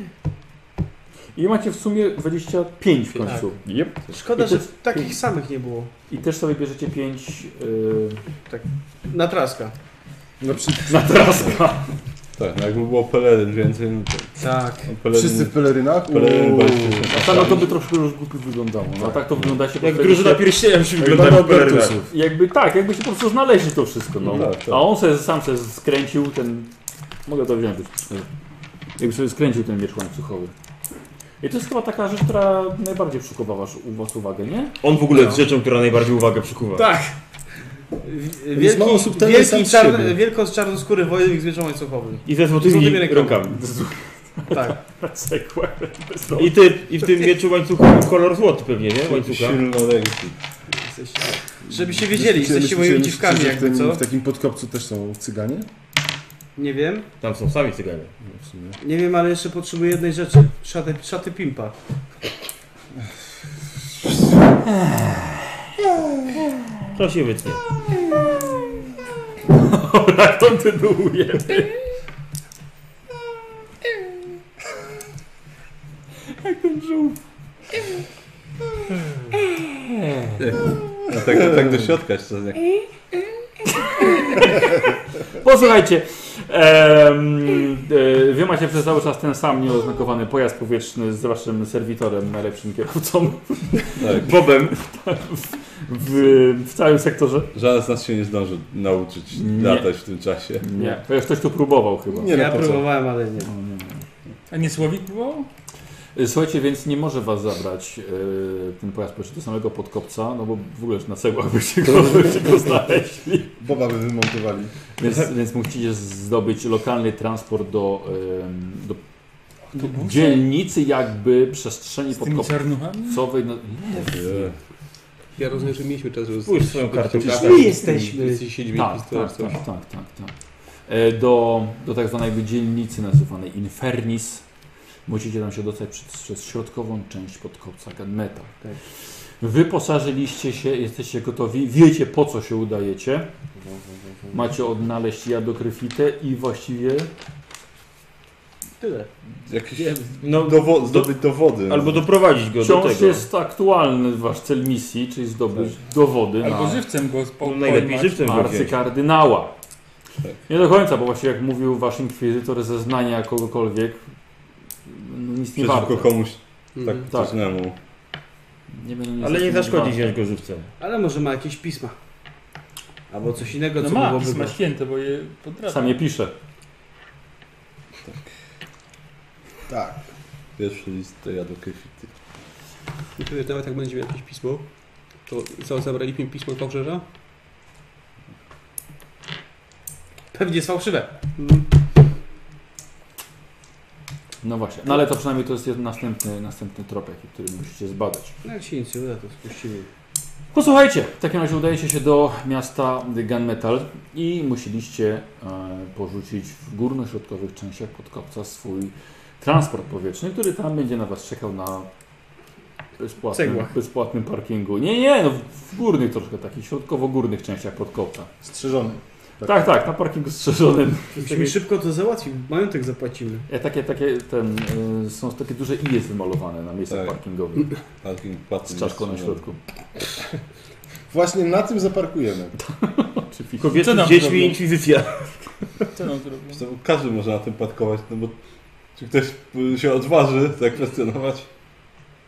Speaker 1: I macie w sumie 25 w końcu.
Speaker 6: Tak.
Speaker 7: Yep.
Speaker 2: Szkoda, że takich samych nie było.
Speaker 1: I też sobie bierzecie 5 yy,
Speaker 2: Na traska.
Speaker 6: No, przy,
Speaker 1: na traska.
Speaker 6: tak, no jakby było peleryn więcej, no to...
Speaker 2: Tak.
Speaker 6: Peleryn,
Speaker 3: Wszyscy w pelerynach?
Speaker 6: peleryn bardziej się
Speaker 1: A samo No to by troszkę już głupio wyglądało. No a tak to wygląda się po
Speaker 7: Jak
Speaker 1: prostu-
Speaker 7: drużyna pierścienia musi wyglądać
Speaker 6: Wygląda
Speaker 7: w pelerynach.
Speaker 6: Bertusów.
Speaker 1: Jakby tak, jakby się po prostu znaleźli to wszystko. No.
Speaker 6: No tak, tak.
Speaker 1: A on sobie sam sobie skręcił ten. Mogę to wziąć. Jakby sobie skręcił ten miecz łańcuchowy. I to jest chyba taka rzecz, która najbardziej przykuwa was, u was uwagę, nie?
Speaker 7: On w ogóle jest rzeczą, która najbardziej uwagę przykuwa.
Speaker 2: Tak. Wielki,
Speaker 3: mało subtelny sam
Speaker 2: wielki
Speaker 3: w
Speaker 2: czarny,
Speaker 3: siebie.
Speaker 2: wielko z czarnoskóry wojownik z mieczem łańcuchowym.
Speaker 7: I ze
Speaker 2: Złotymi
Speaker 7: złotymi
Speaker 2: rękoma.
Speaker 7: rękami.
Speaker 2: Tak.
Speaker 1: Cegłę.
Speaker 7: I, ty, I w tym mieczu łańcuchowym kolor złoty pewnie, nie? Łańcucha.
Speaker 6: Silno lęki.
Speaker 2: Jesteście. Żebyście wiedzieli, jesteście
Speaker 6: Myślicie-
Speaker 2: moimi
Speaker 6: myślicie,
Speaker 2: dziwkami
Speaker 6: że w
Speaker 2: jakby,
Speaker 6: tym-
Speaker 2: co?
Speaker 6: W takim podkopcu też są cyganie?
Speaker 2: Nie wiem.
Speaker 7: Tam są sami cyganie.
Speaker 6: No, w sumie.
Speaker 2: Nie wiem, ale jeszcze potrzebuję jednej rzeczy. Szaty, szaty pimpa.
Speaker 7: To się wytnie.
Speaker 1: Dobra, kontynuuję.
Speaker 6: A tak, tak do środka jeszcze. Jak...
Speaker 1: Posłuchajcie, em, e, wy macie przez cały czas ten sam nieoznakowany pojazd powietrzny z waszym serwitorem, najlepszym kierowcą
Speaker 6: Tak.
Speaker 7: Bobem.
Speaker 1: w, w całym sektorze.
Speaker 6: Żaden z nas się nie zdąży nauczyć
Speaker 1: Nie.
Speaker 6: latać w tym czasie.
Speaker 1: Nie. To już ktoś tu próbował chyba.
Speaker 6: Nie
Speaker 2: ja
Speaker 6: no, po co?
Speaker 2: próbowałem, ale nie.
Speaker 4: A nie Słowik było?
Speaker 1: Y, Słuchajcie, więc nie może was zabrać y, ten pojazd powietrzny do samego podkopca, no bo w ogóle na cegłach byście go, byście go znaleźli.
Speaker 6: Boba by wymontowali.
Speaker 1: Więc, więc musicie zdobyć lokalny transport do, em, do dzielnicy jakby przestrzeni
Speaker 4: Z tymi
Speaker 1: podkopcowej.
Speaker 4: czarnuchami?
Speaker 1: No,
Speaker 8: Ja rozumiem, że mieliśmy czas, żeby...
Speaker 7: Spójrz swoją kartę.
Speaker 2: My jesteśmy.
Speaker 8: Jesteś siedźmi
Speaker 1: tak,
Speaker 8: pistolet,
Speaker 1: tak, tak, tak, tak, tak. E, Do, do tak zwanej dzielnicy nazywanej Infernis. Musicie tam się dostać przez, przez środkową część podkopca Ganmeta.
Speaker 2: Tak.
Speaker 1: Wyposażyliście się, jesteście gotowi, wiecie po co się udajecie. Macie odnaleźć jadokryfitę i właściwie
Speaker 2: Tyle.
Speaker 6: Jakieś
Speaker 7: No,
Speaker 6: dowo- zdobyć dowody.
Speaker 7: albo doprowadzić go do
Speaker 1: wciąż
Speaker 7: tego. Tak.
Speaker 1: jest aktualny wasz cel misji, czyli zdobyć dowody
Speaker 4: Albo
Speaker 1: na
Speaker 4: żywcem go po,
Speaker 7: No, najlepiej
Speaker 4: pojmać.
Speaker 7: żywcem go wziąć.
Speaker 1: arcykardynała. Nie do końca, bo właśnie jak mówił wasz inkwizytor, zeznania kogokolwiek no, nic nie
Speaker 6: Przeciwko
Speaker 1: warto.
Speaker 6: komuś tak
Speaker 8: Mhm.
Speaker 1: Tak.
Speaker 6: ważnemu.
Speaker 1: Nie będą niestety
Speaker 7: Ale nie zaszkodzi
Speaker 1: warte.
Speaker 7: wziąć go żywcem.
Speaker 2: Ale może ma jakieś pisma. Albo coś innego,
Speaker 4: No
Speaker 2: co
Speaker 4: ma,
Speaker 2: mogłoby
Speaker 4: pisma
Speaker 2: być.
Speaker 4: święte, bo je potrafi.
Speaker 1: Sam je pisze.
Speaker 6: Tak. Pierwszy list to ja do Kefity.
Speaker 8: Myślę, że nawet jak będzie miał jakieś pismo, to co, zabraliśmy pismo z Wałbrzeża?
Speaker 2: Pewnie jest fałszywe.
Speaker 1: No właśnie. No ale to przynajmniej to jest jeden następny, następny trop, jaki, który musicie zbadać.
Speaker 2: No jak się nic nie uda, to spuścimy.
Speaker 1: Posłuchajcie, w takim razie udajecie się do miasta Gunmetal i musieliście e, porzucić w górno-środkowych częściach podkopca swój transport powietrzny, który tam będzie na was czekał na bezpłatnym,
Speaker 2: Cegłach.
Speaker 1: bezpłatnym parkingu. Nie, nie, no w górnych troszkę, takich środkowo-górnych częściach podkopca.
Speaker 6: Strzeżony.
Speaker 1: Tak, tak, na parkingu strzeżonym.
Speaker 2: Musimy szybko to załatwić, majątek zapłacimy.
Speaker 1: E, Takie, takie, ten, y, są takie duże i jest wymalowane na miejscach
Speaker 6: Tak.
Speaker 1: parkingowych
Speaker 6: Parking płatny
Speaker 1: z czaszką na
Speaker 6: jest no.
Speaker 1: środku.
Speaker 6: Właśnie na tym zaparkujemy.
Speaker 1: Oczywiście.
Speaker 7: Kobiety
Speaker 4: Co
Speaker 7: z
Speaker 4: nam
Speaker 7: dziećmi
Speaker 4: zrobią?
Speaker 7: inkwizycja.
Speaker 4: Co nam zrobił?
Speaker 6: Zresztą każdy może na tym patkować, no bo czy ktoś y, się odważy zakwestionować?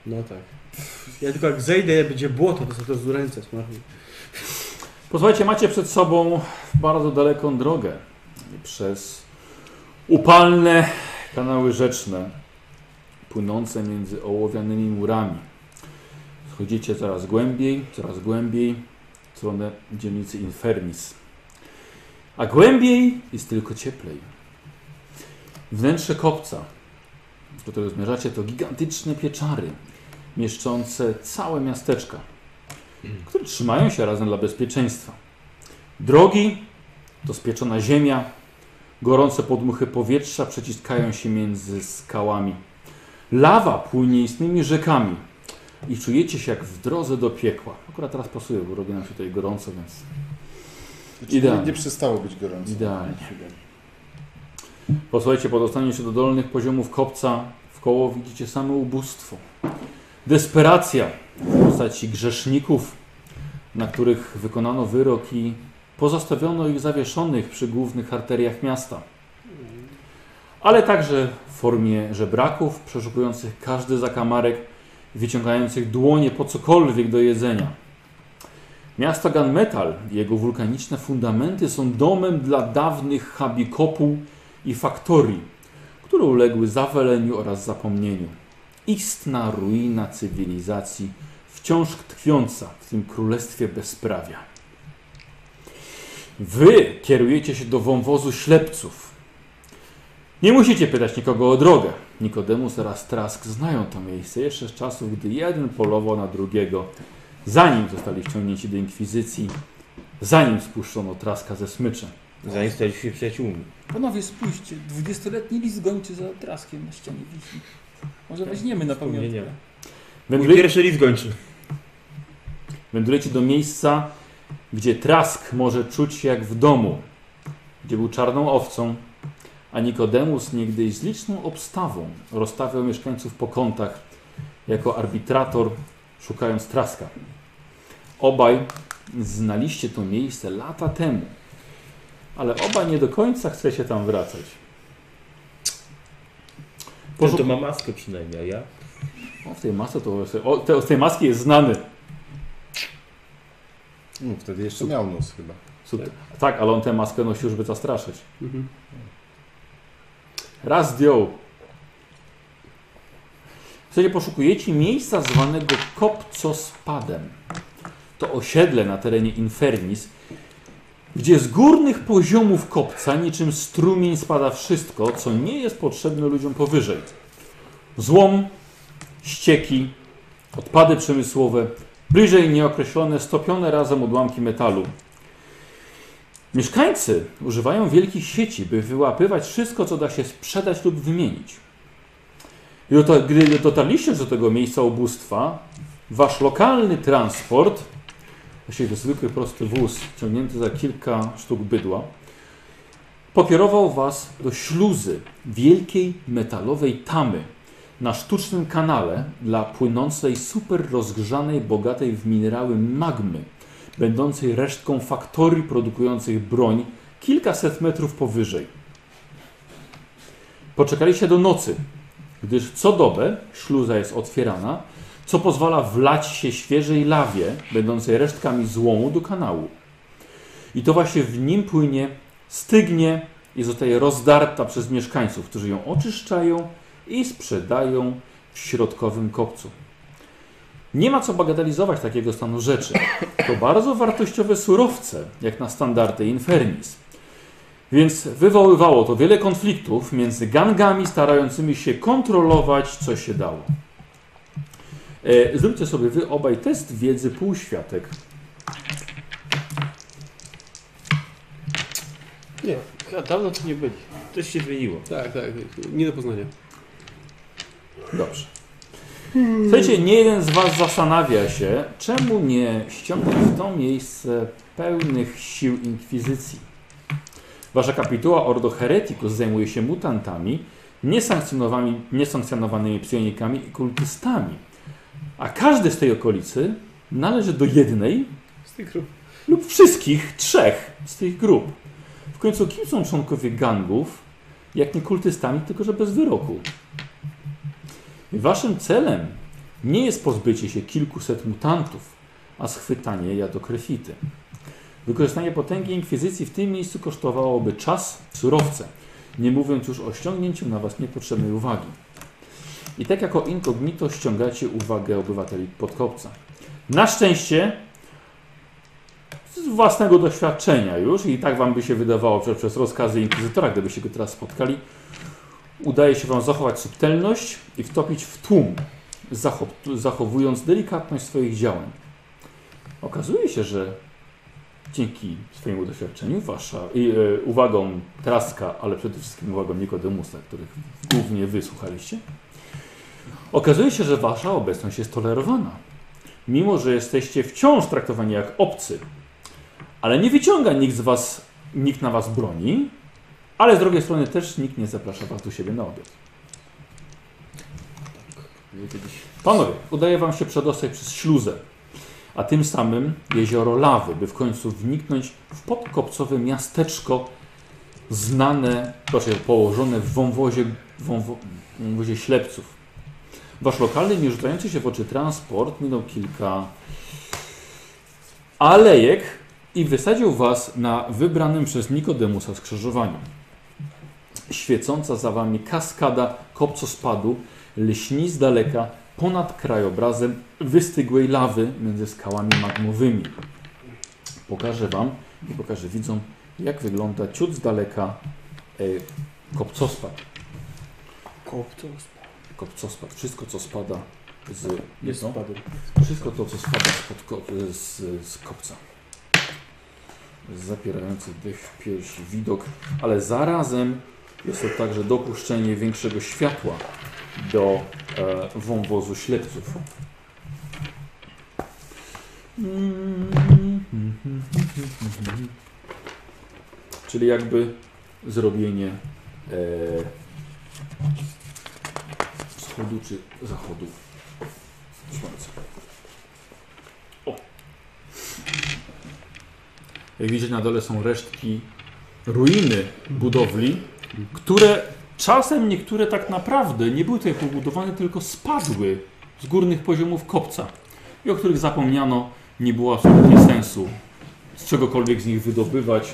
Speaker 2: No tak.
Speaker 7: Ja tylko jak zejdę, jak będzie błoto, to sobie to z ręce smażę.
Speaker 1: Posłuchajcie, macie przed sobą bardzo daleką drogę przez upalne kanały rzeczne płynące między ołowianymi murami. Schodzicie coraz głębiej, coraz głębiej w stronę dzielnicy Infernis. A głębiej jest tylko cieplej. Wnętrze kopca, do którego zmierzacie, to gigantyczne pieczary mieszczące całe miasteczka które trzymają się razem dla bezpieczeństwa. Drogi to spieczona ziemia, gorące podmuchy powietrza przeciskają się między skałami. Lawa płynie istnymi rzekami i czujecie się jak w drodze do piekła. Akurat teraz pasuje, bo robi nam się tutaj gorąco, więc
Speaker 9: Znaczy,
Speaker 1: Idealnie.
Speaker 9: Nie przestało być gorąco.
Speaker 1: Idealnie. Posłuchajcie, po dostaniu się do dolnych poziomów kopca, w koło widzicie same ubóstwo. Desperacja w postaci grzeszników, na których wykonano wyrok i pozostawiono ich zawieszonych przy głównych arteriach miasta. Ale także w formie żebraków, przeszukujących każdy zakamarek, wyciągających dłonie po cokolwiek do jedzenia. Miasto Gunmetal i jego wulkaniczne fundamenty są domem dla dawnych habi kopuł i faktorii, które uległy zawaleniu oraz zapomnieniu. Istna ruina cywilizacji, wciąż tkwiąca w tym królestwie bezprawia. Wy kierujecie się do wąwozu ślepców. Nie musicie pytać nikogo o drogę. Nikodemus oraz Trask znają to miejsce jeszcze z czasów, gdy jeden polował na drugiego zanim zostali wciągnięci do inkwizycji, zanim spuszczono traska ze smyczy.
Speaker 7: Zanim staliście się przyjaciółmi.
Speaker 4: Panowie, spójrzcie, 20-letni list gończy za traskiem na ścianie wisi. Może weźmiemy na pamiątkę.
Speaker 7: Wspomnienia. Mój
Speaker 1: Wędrujecie,
Speaker 7: pierwszy list gończy.
Speaker 1: wędrujecie do miejsca, gdzie trask może czuć się jak w domu, gdzie był czarną owcą, a Nikodemus niegdyś z liczną obstawą rozstawiał mieszkańców po kątach jako arbitrator, szukając traska. Obaj znaliście to miejsce lata temu, ale obaj nie do końca chcecie tam wracać.
Speaker 7: Ten
Speaker 1: Poszu-
Speaker 7: to ma maskę przynajmniej, a ja?
Speaker 1: O, w tej masce to... O, te, z tej maski jest znany.
Speaker 9: No, wtedy jeszcze miał nos chyba.
Speaker 1: Sut- tak. ale on tę maskę nosi już, by zastraszyć.
Speaker 8: Mhm.
Speaker 1: Raz zdjął. W zasadzie poszukujecie miejsca zwanego Kopcospadem. To osiedle na terenie Infernis, gdzie z górnych poziomów kopca niczym strumień spada wszystko, co nie jest potrzebne ludziom powyżej. Złom, ścieki, odpady przemysłowe, bliżej nieokreślone, stopione razem odłamki metalu. Mieszkańcy używają wielkich sieci, by wyłapywać wszystko, co da się sprzedać lub wymienić. I oto, gdy dotarliście już do tego miejsca ubóstwa, wasz lokalny transport, właściwie to zwykły prosty wóz ciągnięty za kilka sztuk bydła, pokierował was do śluzy wielkiej metalowej tamy na sztucznym kanale dla płynącej super rozgrzanej, bogatej w minerały magmy będącej resztką faktorii produkujących broń kilkaset metrów powyżej. Poczekaliście do nocy, gdyż co dobę śluza jest otwierana, co pozwala wlać się świeżej lawie, będącej resztkami złomu do kanału. I to właśnie w nim płynie, stygnie i zostaje rozdarta przez mieszkańców, którzy ją oczyszczają i sprzedają w środkowym kopcu. Nie ma co bagatelizować takiego stanu rzeczy to bardzo wartościowe surowce, jak na standardy Infernis. Więc wywoływało to wiele konfliktów między gangami starającymi się kontrolować, co się dało. E, zróbcie sobie wy obaj test wiedzy półświatek.
Speaker 8: Ja dawno tu nie byli.
Speaker 7: Coś się zmieniło.
Speaker 8: Tak, tak. Nie do poznania.
Speaker 1: Dobrze. Słuchajcie, nie jeden z Was zastanawia się, czemu nie ściągnąć w to miejsce pełnych sił inkwizycji. Wasza kapituła Ordo Hereticus zajmuje się mutantami, niesankcjonowanymi, niesankcjonowanymi psionikami i kultystami. A każdy z tej okolicy należy do jednej
Speaker 8: Z tych grup.
Speaker 1: lub wszystkich trzech z tych grup, w W końcu kim są członkowie gangów, jak nie kultystami, tylko że bez wyroku? Waszym celem nie jest pozbycie się kilkuset mutantów, a schwytanie jadokrefity. Wykorzystanie potęgi inkwizycji w tym miejscu kosztowałoby czas, surowce, nie mówiąc już o ściągnięciu na was niepotrzebnej uwagi. I tak jako inkognito ściągacie uwagę obywateli podkopca. Na szczęście z własnego doświadczenia już i tak wam by się wydawało że przez rozkazy inkwizytora, gdybyście go teraz spotkali, udaje się wam zachować subtelność i wtopić w tłum, zacho- zachowując delikatność swoich działań. Okazuje się, że dzięki swojemu doświadczeniu, wasza i e, uwagą Traska, ale przede wszystkim uwagą Nikodemusa, których głównie wysłuchaliście, okazuje się, że wasza obecność jest tolerowana. Mimo, że jesteście wciąż traktowani jak obcy, ale nie wyciąga nikt z was, nikt na was broni, ale z drugiej strony też nikt nie zaprasza was do siebie na obiad. Panowie, udaje wam się przedostać przez śluzę, a tym samym jezioro lawy, by w końcu wniknąć w podkopcowe miasteczko znane, proszę, położone w wąwozie, wąwo, wąwozie ślepców. Wasz lokalny, nie rzucający się w oczy transport minął kilka alejek i wysadził was na wybranym przez Nikodemusa skrzyżowaniu. Świecąca za wami kaskada kopcospadu lśni z daleka ponad krajobrazem wystygłej lawy między skałami magmowymi. Pokażę wam i pokażę widzom, jak wygląda ciut z daleka e, kopcospad.
Speaker 2: Kopcospad.
Speaker 1: Kopcospad, wszystko co spada z...
Speaker 2: Jest
Speaker 1: no,
Speaker 2: spadł.
Speaker 1: wszystko to, co spada spod ko- z, z kopca. Zapierający dech w piersi widok, ale zarazem jest to także dopuszczenie większego światła do e, wąwozu ślepców.
Speaker 4: Mm,
Speaker 1: Czyli jakby zrobienie e, wschodu czy zachodu słońca. Jak widzicie, na dole są resztki ruiny budowli, które czasem niektóre tak naprawdę nie były tutaj pobudowane, tylko spadły z górnych poziomów kopca i o których zapomniano, nie było absolutnie sensu z czegokolwiek z nich wydobywać.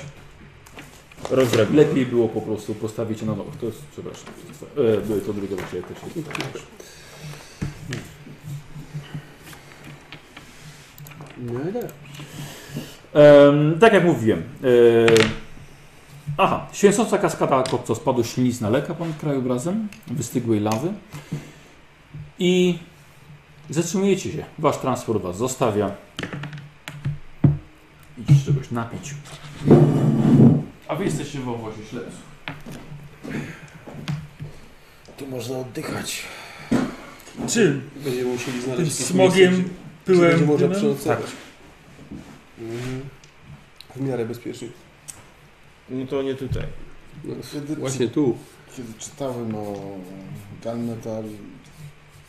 Speaker 7: Rozdrabił.
Speaker 1: Lepiej było po prostu postawić je na nowo. To jest, przepraszam, to, e, to drugie właśnie też jest. tak, też.
Speaker 8: No i tak.
Speaker 1: Em, tak jak mówiłem. e, aha, święcąca kaskada kopcospadu ślizna leka pan krajobrazem wystygłej lawy. I zatrzymujecie się. Wasz transport was zostawia. Idziecie czegoś napić. A wy jesteście w obozie śledztw.
Speaker 9: Tu można oddychać.
Speaker 4: Czym?
Speaker 8: Będziemy musieli
Speaker 4: Tym
Speaker 8: znaleźć jakieś
Speaker 4: smogiem,
Speaker 8: miejsce, gdzie- gdzie będzie
Speaker 4: pyłem,
Speaker 8: można
Speaker 4: dymem?
Speaker 7: Tak.
Speaker 8: przenocować. Mhm. W miarę bezpiecznie.
Speaker 7: No to nie tutaj.
Speaker 8: No,
Speaker 9: Kiedy,
Speaker 8: właśnie tu.
Speaker 9: kiedy czytałem o Gunmetal,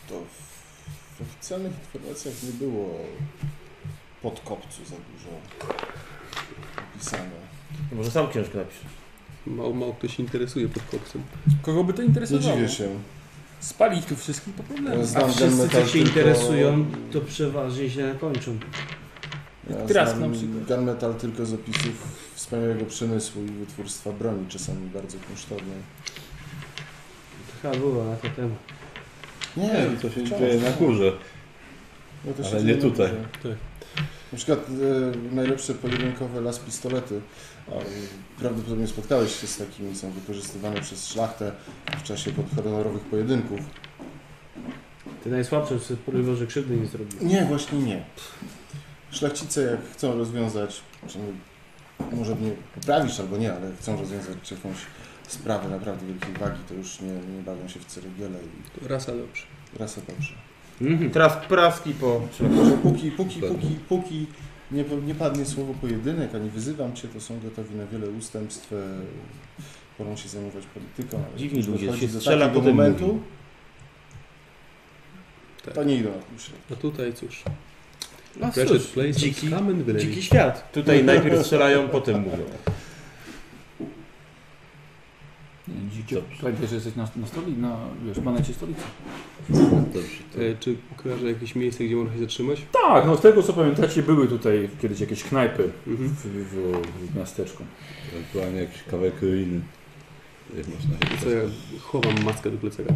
Speaker 9: to w oficjalnych informacjach nie było podkopcu za dużo pisane.
Speaker 7: Może sam książkę napiszesz.
Speaker 8: Mało, mało kto się interesuje pod kopcem.
Speaker 4: Kogo by to
Speaker 9: Nie
Speaker 4: interesowało?
Speaker 9: dziwię się.
Speaker 4: Spalić tu wszystkich po problemu.
Speaker 9: Znam
Speaker 7: A wszyscy, co
Speaker 9: Gunmetal
Speaker 7: się
Speaker 9: tylko-
Speaker 7: interesują, to przeważnie się kończą.
Speaker 9: Ja
Speaker 4: Trask
Speaker 9: znam
Speaker 4: na przykład.
Speaker 9: Gunmetal tylko z opisów wspaniałego przemysłu i wytwórstwa broni, czasami bardzo kosztownej.
Speaker 7: Chyba była lata temu.
Speaker 9: Nie,
Speaker 6: Nie wiem, co się
Speaker 9: wciąż.
Speaker 6: dzieje na górze.
Speaker 9: No to się
Speaker 6: Ale
Speaker 9: dzieje
Speaker 6: nie
Speaker 9: na
Speaker 6: tutaj.
Speaker 9: górze.
Speaker 8: Tak.
Speaker 9: Na przykład e, najlepsze pojedynkowe las pistolety. A, e, Prawdopodobnie spotkałeś się z takimi, są wykorzystywane przez szlachtę w czasie podhonorowych pojedynków.
Speaker 7: Ty najsłabszy, sobie próbował, że krzywdy nie zrobił.
Speaker 9: Nie, właśnie nie. Szlachcice jak chcą rozwiązać, przynajmniej może mnie poprawisz albo nie, ale chcą rozwiązać jakąś sprawę naprawdę wielkiej wagi, to już nie, nie bawią się w ceregiele i
Speaker 8: Rasa dobrze.
Speaker 9: rasa dobrze.
Speaker 7: Mhm, teraz praski po...
Speaker 9: Że póki, póki, póki, póki nie, nie padnie słowo pojedynek, ani wyzywam cię, to są gotowi na wiele ustępstw. e, Wolą się zajmować polityką. ale
Speaker 7: Dziwni
Speaker 9: jak już
Speaker 7: ludzie,
Speaker 9: dochodzi
Speaker 7: się
Speaker 9: do
Speaker 7: strzela,
Speaker 9: takiego
Speaker 7: potem
Speaker 9: momentu,
Speaker 7: mówi.
Speaker 8: Tak.
Speaker 9: to nie idą na tym środku.
Speaker 8: A tutaj cóż.
Speaker 7: No
Speaker 8: Precious
Speaker 6: Znaczy,
Speaker 8: place
Speaker 7: dziki,
Speaker 8: Kamen Valley.
Speaker 7: dziki świat. Tutaj najpierw strzelają, potem mówią.
Speaker 1: Gdzie? Pamiętaj, że jesteś na, na stolicy, na wiesz, planecie stolicy.
Speaker 8: E, Czy kojarzę jakieś miejsce, gdzie można się zatrzymać?
Speaker 1: Tak, no z tego co pamiętacie, były tutaj kiedyś jakieś knajpy
Speaker 8: Mhm.
Speaker 1: w, w, w miasteczku.
Speaker 6: Ewentualnie jakiś kawałek ruiny. Jak można się
Speaker 8: Co ja
Speaker 6: dostać.
Speaker 8: chowam maskę do plecaka.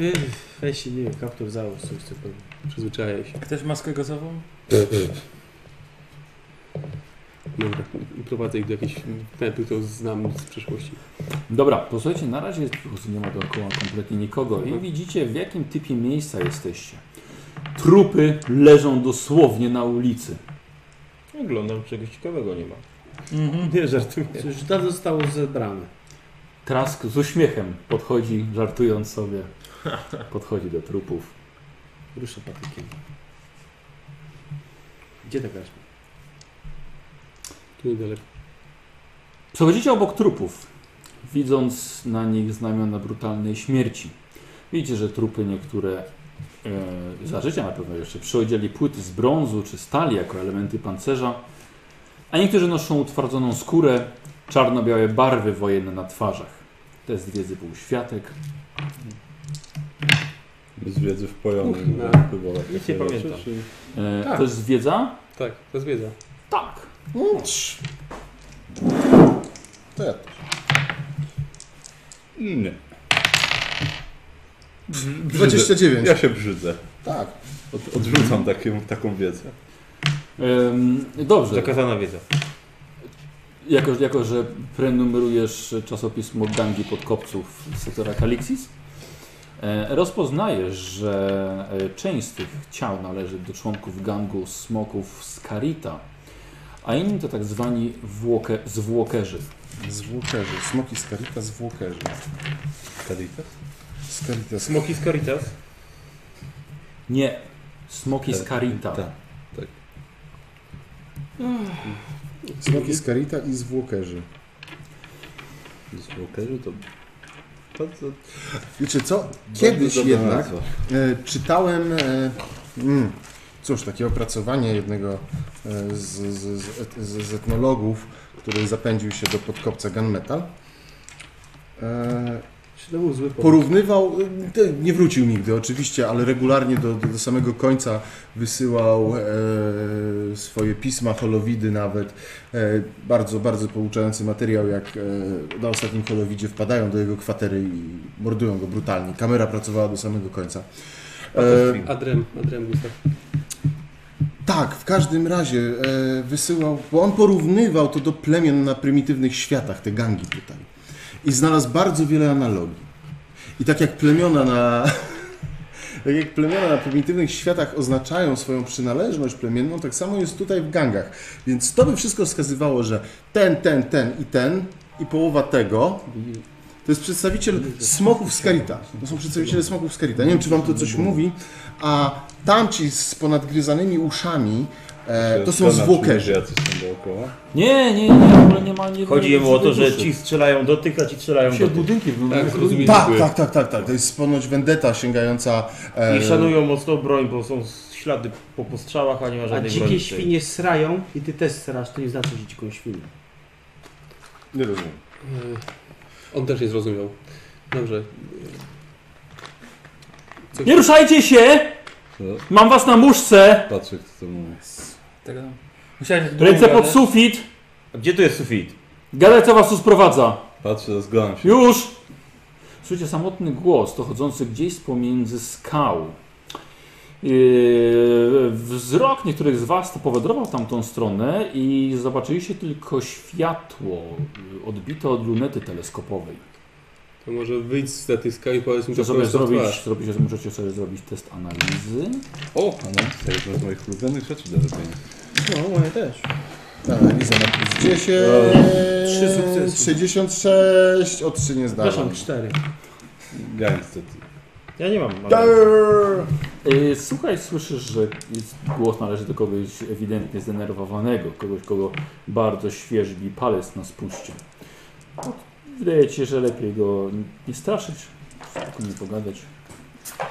Speaker 2: Yy, Weź się, nie wiem, kaptur załóż coś cokolwiek.
Speaker 8: Przyzwyczaję się.
Speaker 4: Chcesz maskę gazową?
Speaker 8: Dobra, prowadzę ich do jakiejś knajpy, którą znam z przeszłości.
Speaker 1: Dobra, posłuchajcie, na razie jest, po prostu nie ma dookoła kompletnie nikogo i
Speaker 8: Mhm.
Speaker 1: widzicie w jakim typie miejsca jesteście. Trupy leżą dosłownie na ulicy.
Speaker 7: Oglądam, czegoś ciekawego nie ma.
Speaker 4: Mhm.
Speaker 7: Nie, żartuję.
Speaker 2: Coś dawno zostało zebrane.
Speaker 1: Trask z uśmiechem podchodzi, żartując sobie. Podchodzi do trupów.
Speaker 2: Ruszę patykiem. Gdzie ta karczma?
Speaker 8: Tu niedaleko.
Speaker 1: Przechodzicie obok trupów, widząc na nich znamiona brutalnej śmierci. Widzicie, że trupy niektóre e, za życia na pewno jeszcze przyodzieli płyty z brązu czy stali jako elementy pancerza, a niektórzy noszą utwardzoną skórę, czarno-białe barwy wojenne na twarzach. Test wiedzy był światek.
Speaker 6: Z wiedzy wpojonej.
Speaker 8: Kurna.
Speaker 6: żeby próbować
Speaker 7: Nic
Speaker 6: takie
Speaker 7: nie
Speaker 6: rzeczy,
Speaker 7: pamiętam.
Speaker 6: czy-
Speaker 1: E,
Speaker 8: Tak.
Speaker 1: To jest wiedza?
Speaker 8: Tak, to jest wiedza.
Speaker 1: Tak.
Speaker 9: To ja też.
Speaker 6: Nie.
Speaker 9: 29.
Speaker 6: Ja się brzydzę.
Speaker 9: Tak.
Speaker 6: Od, odrzucam taką, taką wiedzę.
Speaker 1: Em, dobrze.
Speaker 7: Zakazana wiedza.
Speaker 1: Jako, jako, że prenumerujesz czasopismo Gangi Podkopców z sektora Kalixis, e, rozpoznajesz, że e, część z tych ciał należy do członków gangu smoków z Karita, a inni to tak zwani włoke, zwłokerzy.
Speaker 9: Zwłokerzy. Smoki z Karita, zwłokerzy.
Speaker 6: Caritas?
Speaker 9: Z Karita.
Speaker 7: Smoki z Caritas.
Speaker 1: Nie, smoki z Karita.
Speaker 6: Tak.
Speaker 9: Smoki z Karita i zwłokerzy.
Speaker 6: Z Walkerzy to... Bardzo,
Speaker 9: Wiecie co? Kiedyś
Speaker 6: bardzo dobra
Speaker 9: jednak
Speaker 6: nazwa.
Speaker 9: e, czytałem e, mm, cóż, takie opracowanie jednego e, z, z, z, et, z, z etnologów, który zapędził się do podkopca gunmetal. E,
Speaker 2: Czy to był zły pomysł?
Speaker 9: Porównywał, to nie wrócił nigdy oczywiście, ale regularnie do, do, do samego końca wysyłał e, swoje pisma, holowidy nawet. E, bardzo, bardzo pouczający materiał, jak e, na ostatnim holowidzie wpadają do jego kwatery i mordują go brutalnie. Kamera pracowała do samego końca. E,
Speaker 8: Adrem, Adrem Gustaw.
Speaker 9: tak, w każdym razie e, wysyłał, bo on porównywał to do plemion na prymitywnych światach, te gangi tutaj. I znalazł bardzo wiele analogii. I tak jak plemiona na. Tak jak plemiona na prymitywnych światach oznaczają swoją przynależność plemienną, tak samo jest tutaj w gangach. Więc to by wszystko wskazywało, że ten, ten, ten i ten i połowa tego to jest przedstawiciel smoków z Karita. To są przedstawiciele smoków z Karita. Nie wiem, czy wam to coś mówi, a tamci z ponadgryzanymi uszami e, to są
Speaker 6: Zgadza, czy
Speaker 9: zwłokerzy.
Speaker 6: Jacy są dookoła.
Speaker 1: Nie, nie, nie, w ogóle nie ma... Nie
Speaker 7: Chodzi
Speaker 1: nie
Speaker 7: jemu o to, że
Speaker 1: duszy.
Speaker 7: ci strzelają do tych, a ci strzelają do
Speaker 1: Się
Speaker 7: tych.
Speaker 1: budynki w
Speaker 8: Tak, rozumiem.
Speaker 9: Tak, tak, tak, tak, tak. To jest ponoć vendetta sięgająca. e,
Speaker 7: I szanują mocno broń, bo są ślady po postrzałach, a nie ma
Speaker 2: A
Speaker 7: żadnej broni.
Speaker 2: dzikie świnie srają i ty też srasz, to nie znaczy, że dziką świnię.
Speaker 9: Nie rozumiem.
Speaker 8: E, On też nie zrozumiał. Dobrze. Coś...
Speaker 1: Nie ruszajcie się!
Speaker 6: Co?
Speaker 1: Mam was na muszce!
Speaker 6: Patrzę, kto to mówi.
Speaker 4: Tak, no. Musiałeś tak długo
Speaker 1: Ręce pod
Speaker 4: gadać.
Speaker 1: sufit!
Speaker 7: A gdzie tu jest sufit?
Speaker 1: Gadaj, co was tu sprowadza!
Speaker 6: Patrzę, rozglądam się.
Speaker 1: Już! Słyszycie samotny głos dochodzący gdzieś z pomiędzy skał. Yy, wzrok niektórych z Was powędrował w tamtą stronę i zobaczyliście tylko światło yy, odbite od lunety teleskopowej.
Speaker 8: To może wyjdź z statyska i powiedz mi,
Speaker 1: Muszę
Speaker 8: że
Speaker 1: sobie
Speaker 8: prosto w
Speaker 1: zrobić,
Speaker 8: twarz.
Speaker 1: zrobić, możecie sobie zrobić test analizy.
Speaker 6: O! A no, to jest jedna z moich ulubionych rzeczy do robienia.
Speaker 2: No, moje też.
Speaker 9: Analiza na plus 10.
Speaker 2: Trzy sukcesy.
Speaker 9: 66. O 3 nie
Speaker 2: Przepraszam,
Speaker 9: zdałem.
Speaker 2: cztery.
Speaker 6: Ja niestety.
Speaker 7: Ja nie mam.
Speaker 9: Dar!
Speaker 7: ale-
Speaker 1: Yy, Słuchaj, słyszysz, że jest- głos należy do kogoś ewidentnie zdenerwowanego, kogoś, kogo bardzo świeżbi palec na spuście. No, Wydaje ci się, że lepiej go n- nie straszyć, tylko nie pogadać.
Speaker 2: Tak,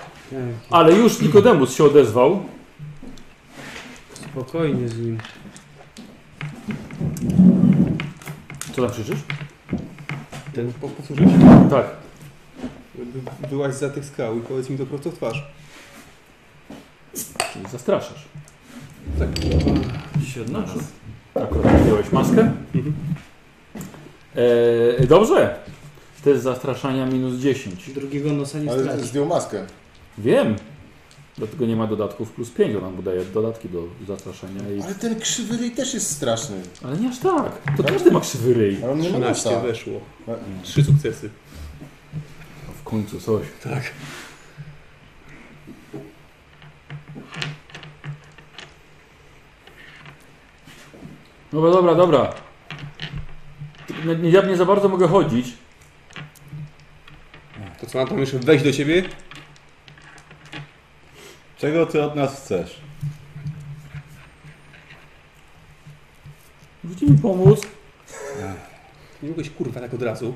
Speaker 1: Ale już Nikodemus się odezwał.
Speaker 2: spokojnie z nim.
Speaker 1: Co tam krzyczysz?
Speaker 8: Ten po- powtórzę się.
Speaker 1: Tak.
Speaker 8: Wy- Wyłaź za tych skał i powiedz mi to prosto w twarz.
Speaker 1: Czyli zastraszasz.
Speaker 8: Tak.
Speaker 14: Się od nas.
Speaker 1: Akurat zdjąłeś maskę. E, dobrze. Test zastraszania minus 10.
Speaker 2: Drugiego nosa nie
Speaker 9: Ale
Speaker 2: stracisz.
Speaker 9: zdjął maskę.
Speaker 1: Wiem. Dlatego nie ma dodatków plus 5, on nam podaje dodatki do zastraszenia. I...
Speaker 9: Ale ten krzywy ryj też jest straszny.
Speaker 1: Ale nie aż tak. To każdy ma krzywy ryj.
Speaker 9: Ale on nie ma
Speaker 8: 13
Speaker 9: nosa.
Speaker 8: weszło.
Speaker 1: No.
Speaker 9: Ma-
Speaker 8: Trzy sukcesy.
Speaker 1: W końcu coś.
Speaker 8: Tak.
Speaker 1: Dobra, dobra, dobra. No, nie- Ja nie za bardzo mogę chodzić.
Speaker 8: To co mam tam jeszcze wejść do ciebie?
Speaker 6: Czego ty od nas chcesz?
Speaker 1: Możecie mi pomóc?
Speaker 8: Nie mogłeś kurwa tak od razu.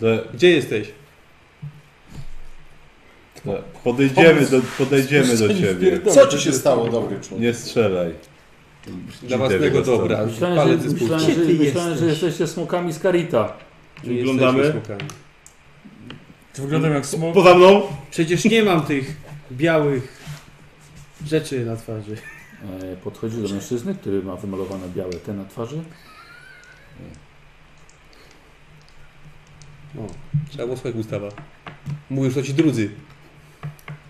Speaker 6: De,
Speaker 8: Gdzie jesteś?
Speaker 6: de, podejdziemy do, podejdziemy do ciebie.
Speaker 9: Co ci się stało, dobry człowiek?
Speaker 6: Nie strzelaj.
Speaker 8: Dla własnego
Speaker 6: Cheatery
Speaker 8: dobra.
Speaker 1: Myślałem,
Speaker 8: Palec
Speaker 1: że,
Speaker 8: z
Speaker 1: myślałem,
Speaker 8: buzi.
Speaker 1: że,
Speaker 2: Gdzie ty
Speaker 1: myślałem że
Speaker 2: jesteś?
Speaker 1: jesteście smokami z Karita.
Speaker 8: Nie
Speaker 14: Oglądamy.
Speaker 8: jesteśmy smokami.
Speaker 4: Czy wyglądam jak smok?
Speaker 6: Poza mną!
Speaker 2: Przecież nie mam tych białych rzeczy na twarzy.
Speaker 1: E, Podchodzi do mężczyzny, który ma wymalowane białe te na twarzy.
Speaker 8: Trzeba było słuchać Gustawa. Mówisz, to ci drudzy.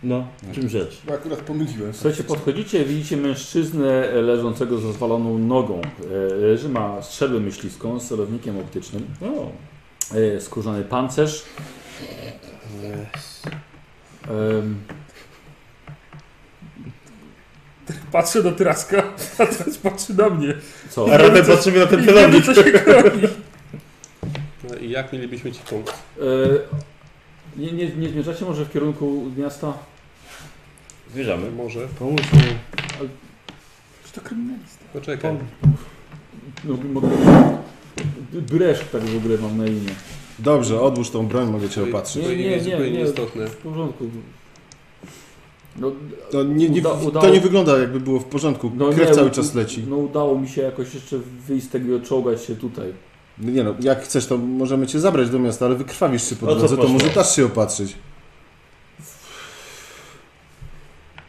Speaker 14: No, w czym rzecz?
Speaker 9: Bo akurat pomyliłem.
Speaker 1: Słuchajcie, podchodzicie, widzicie mężczyznę e, leżącego z rozwaloną nogą. E, Leży, ma strzelbę myśliwską z celownikiem optycznym.
Speaker 14: O,
Speaker 1: E, Skórzany pancerz. Em,
Speaker 4: Patrzę na Tyraska, a teraz patrzy na mnie.
Speaker 1: Co? E,
Speaker 6: A radę patrzymy na ten
Speaker 4: I wiemy,
Speaker 6: celownik.
Speaker 4: co się robi.
Speaker 8: No i jak mielibyśmy ci pomóc?
Speaker 1: E, Nie, nie, nie zmierzacie może w kierunku miasta?
Speaker 14: zwierzamy.
Speaker 8: Może.
Speaker 7: Pomóż mi.
Speaker 4: Czy to kryminalista?
Speaker 8: Poczekaj.
Speaker 1: No, mogę... Breszk tak w ogóle mam na imię.
Speaker 9: Dobrze, odłóż tą broń, mogę cię opatrzyć.
Speaker 8: To
Speaker 1: Nie, nie,
Speaker 8: imię jest
Speaker 1: nie,
Speaker 8: zupełnie
Speaker 1: nie.
Speaker 8: nieistotne.
Speaker 1: W porządku. No,
Speaker 9: To nie, nie,
Speaker 1: Uda-
Speaker 9: to
Speaker 1: udało-
Speaker 9: nie wygląda jakby było w porządku.
Speaker 1: no
Speaker 9: Krew
Speaker 1: nie,
Speaker 9: cały
Speaker 1: u-
Speaker 9: czas leci.
Speaker 1: No udało mi się jakoś jeszcze wyjść z tego i odczołgać się tutaj.
Speaker 9: No Nie no, jak chcesz, to możemy cię zabrać do miasta, ale wykrwawisz się po
Speaker 14: O co
Speaker 9: drodze, to
Speaker 14: poszło?
Speaker 9: może dasz się opatrzyć.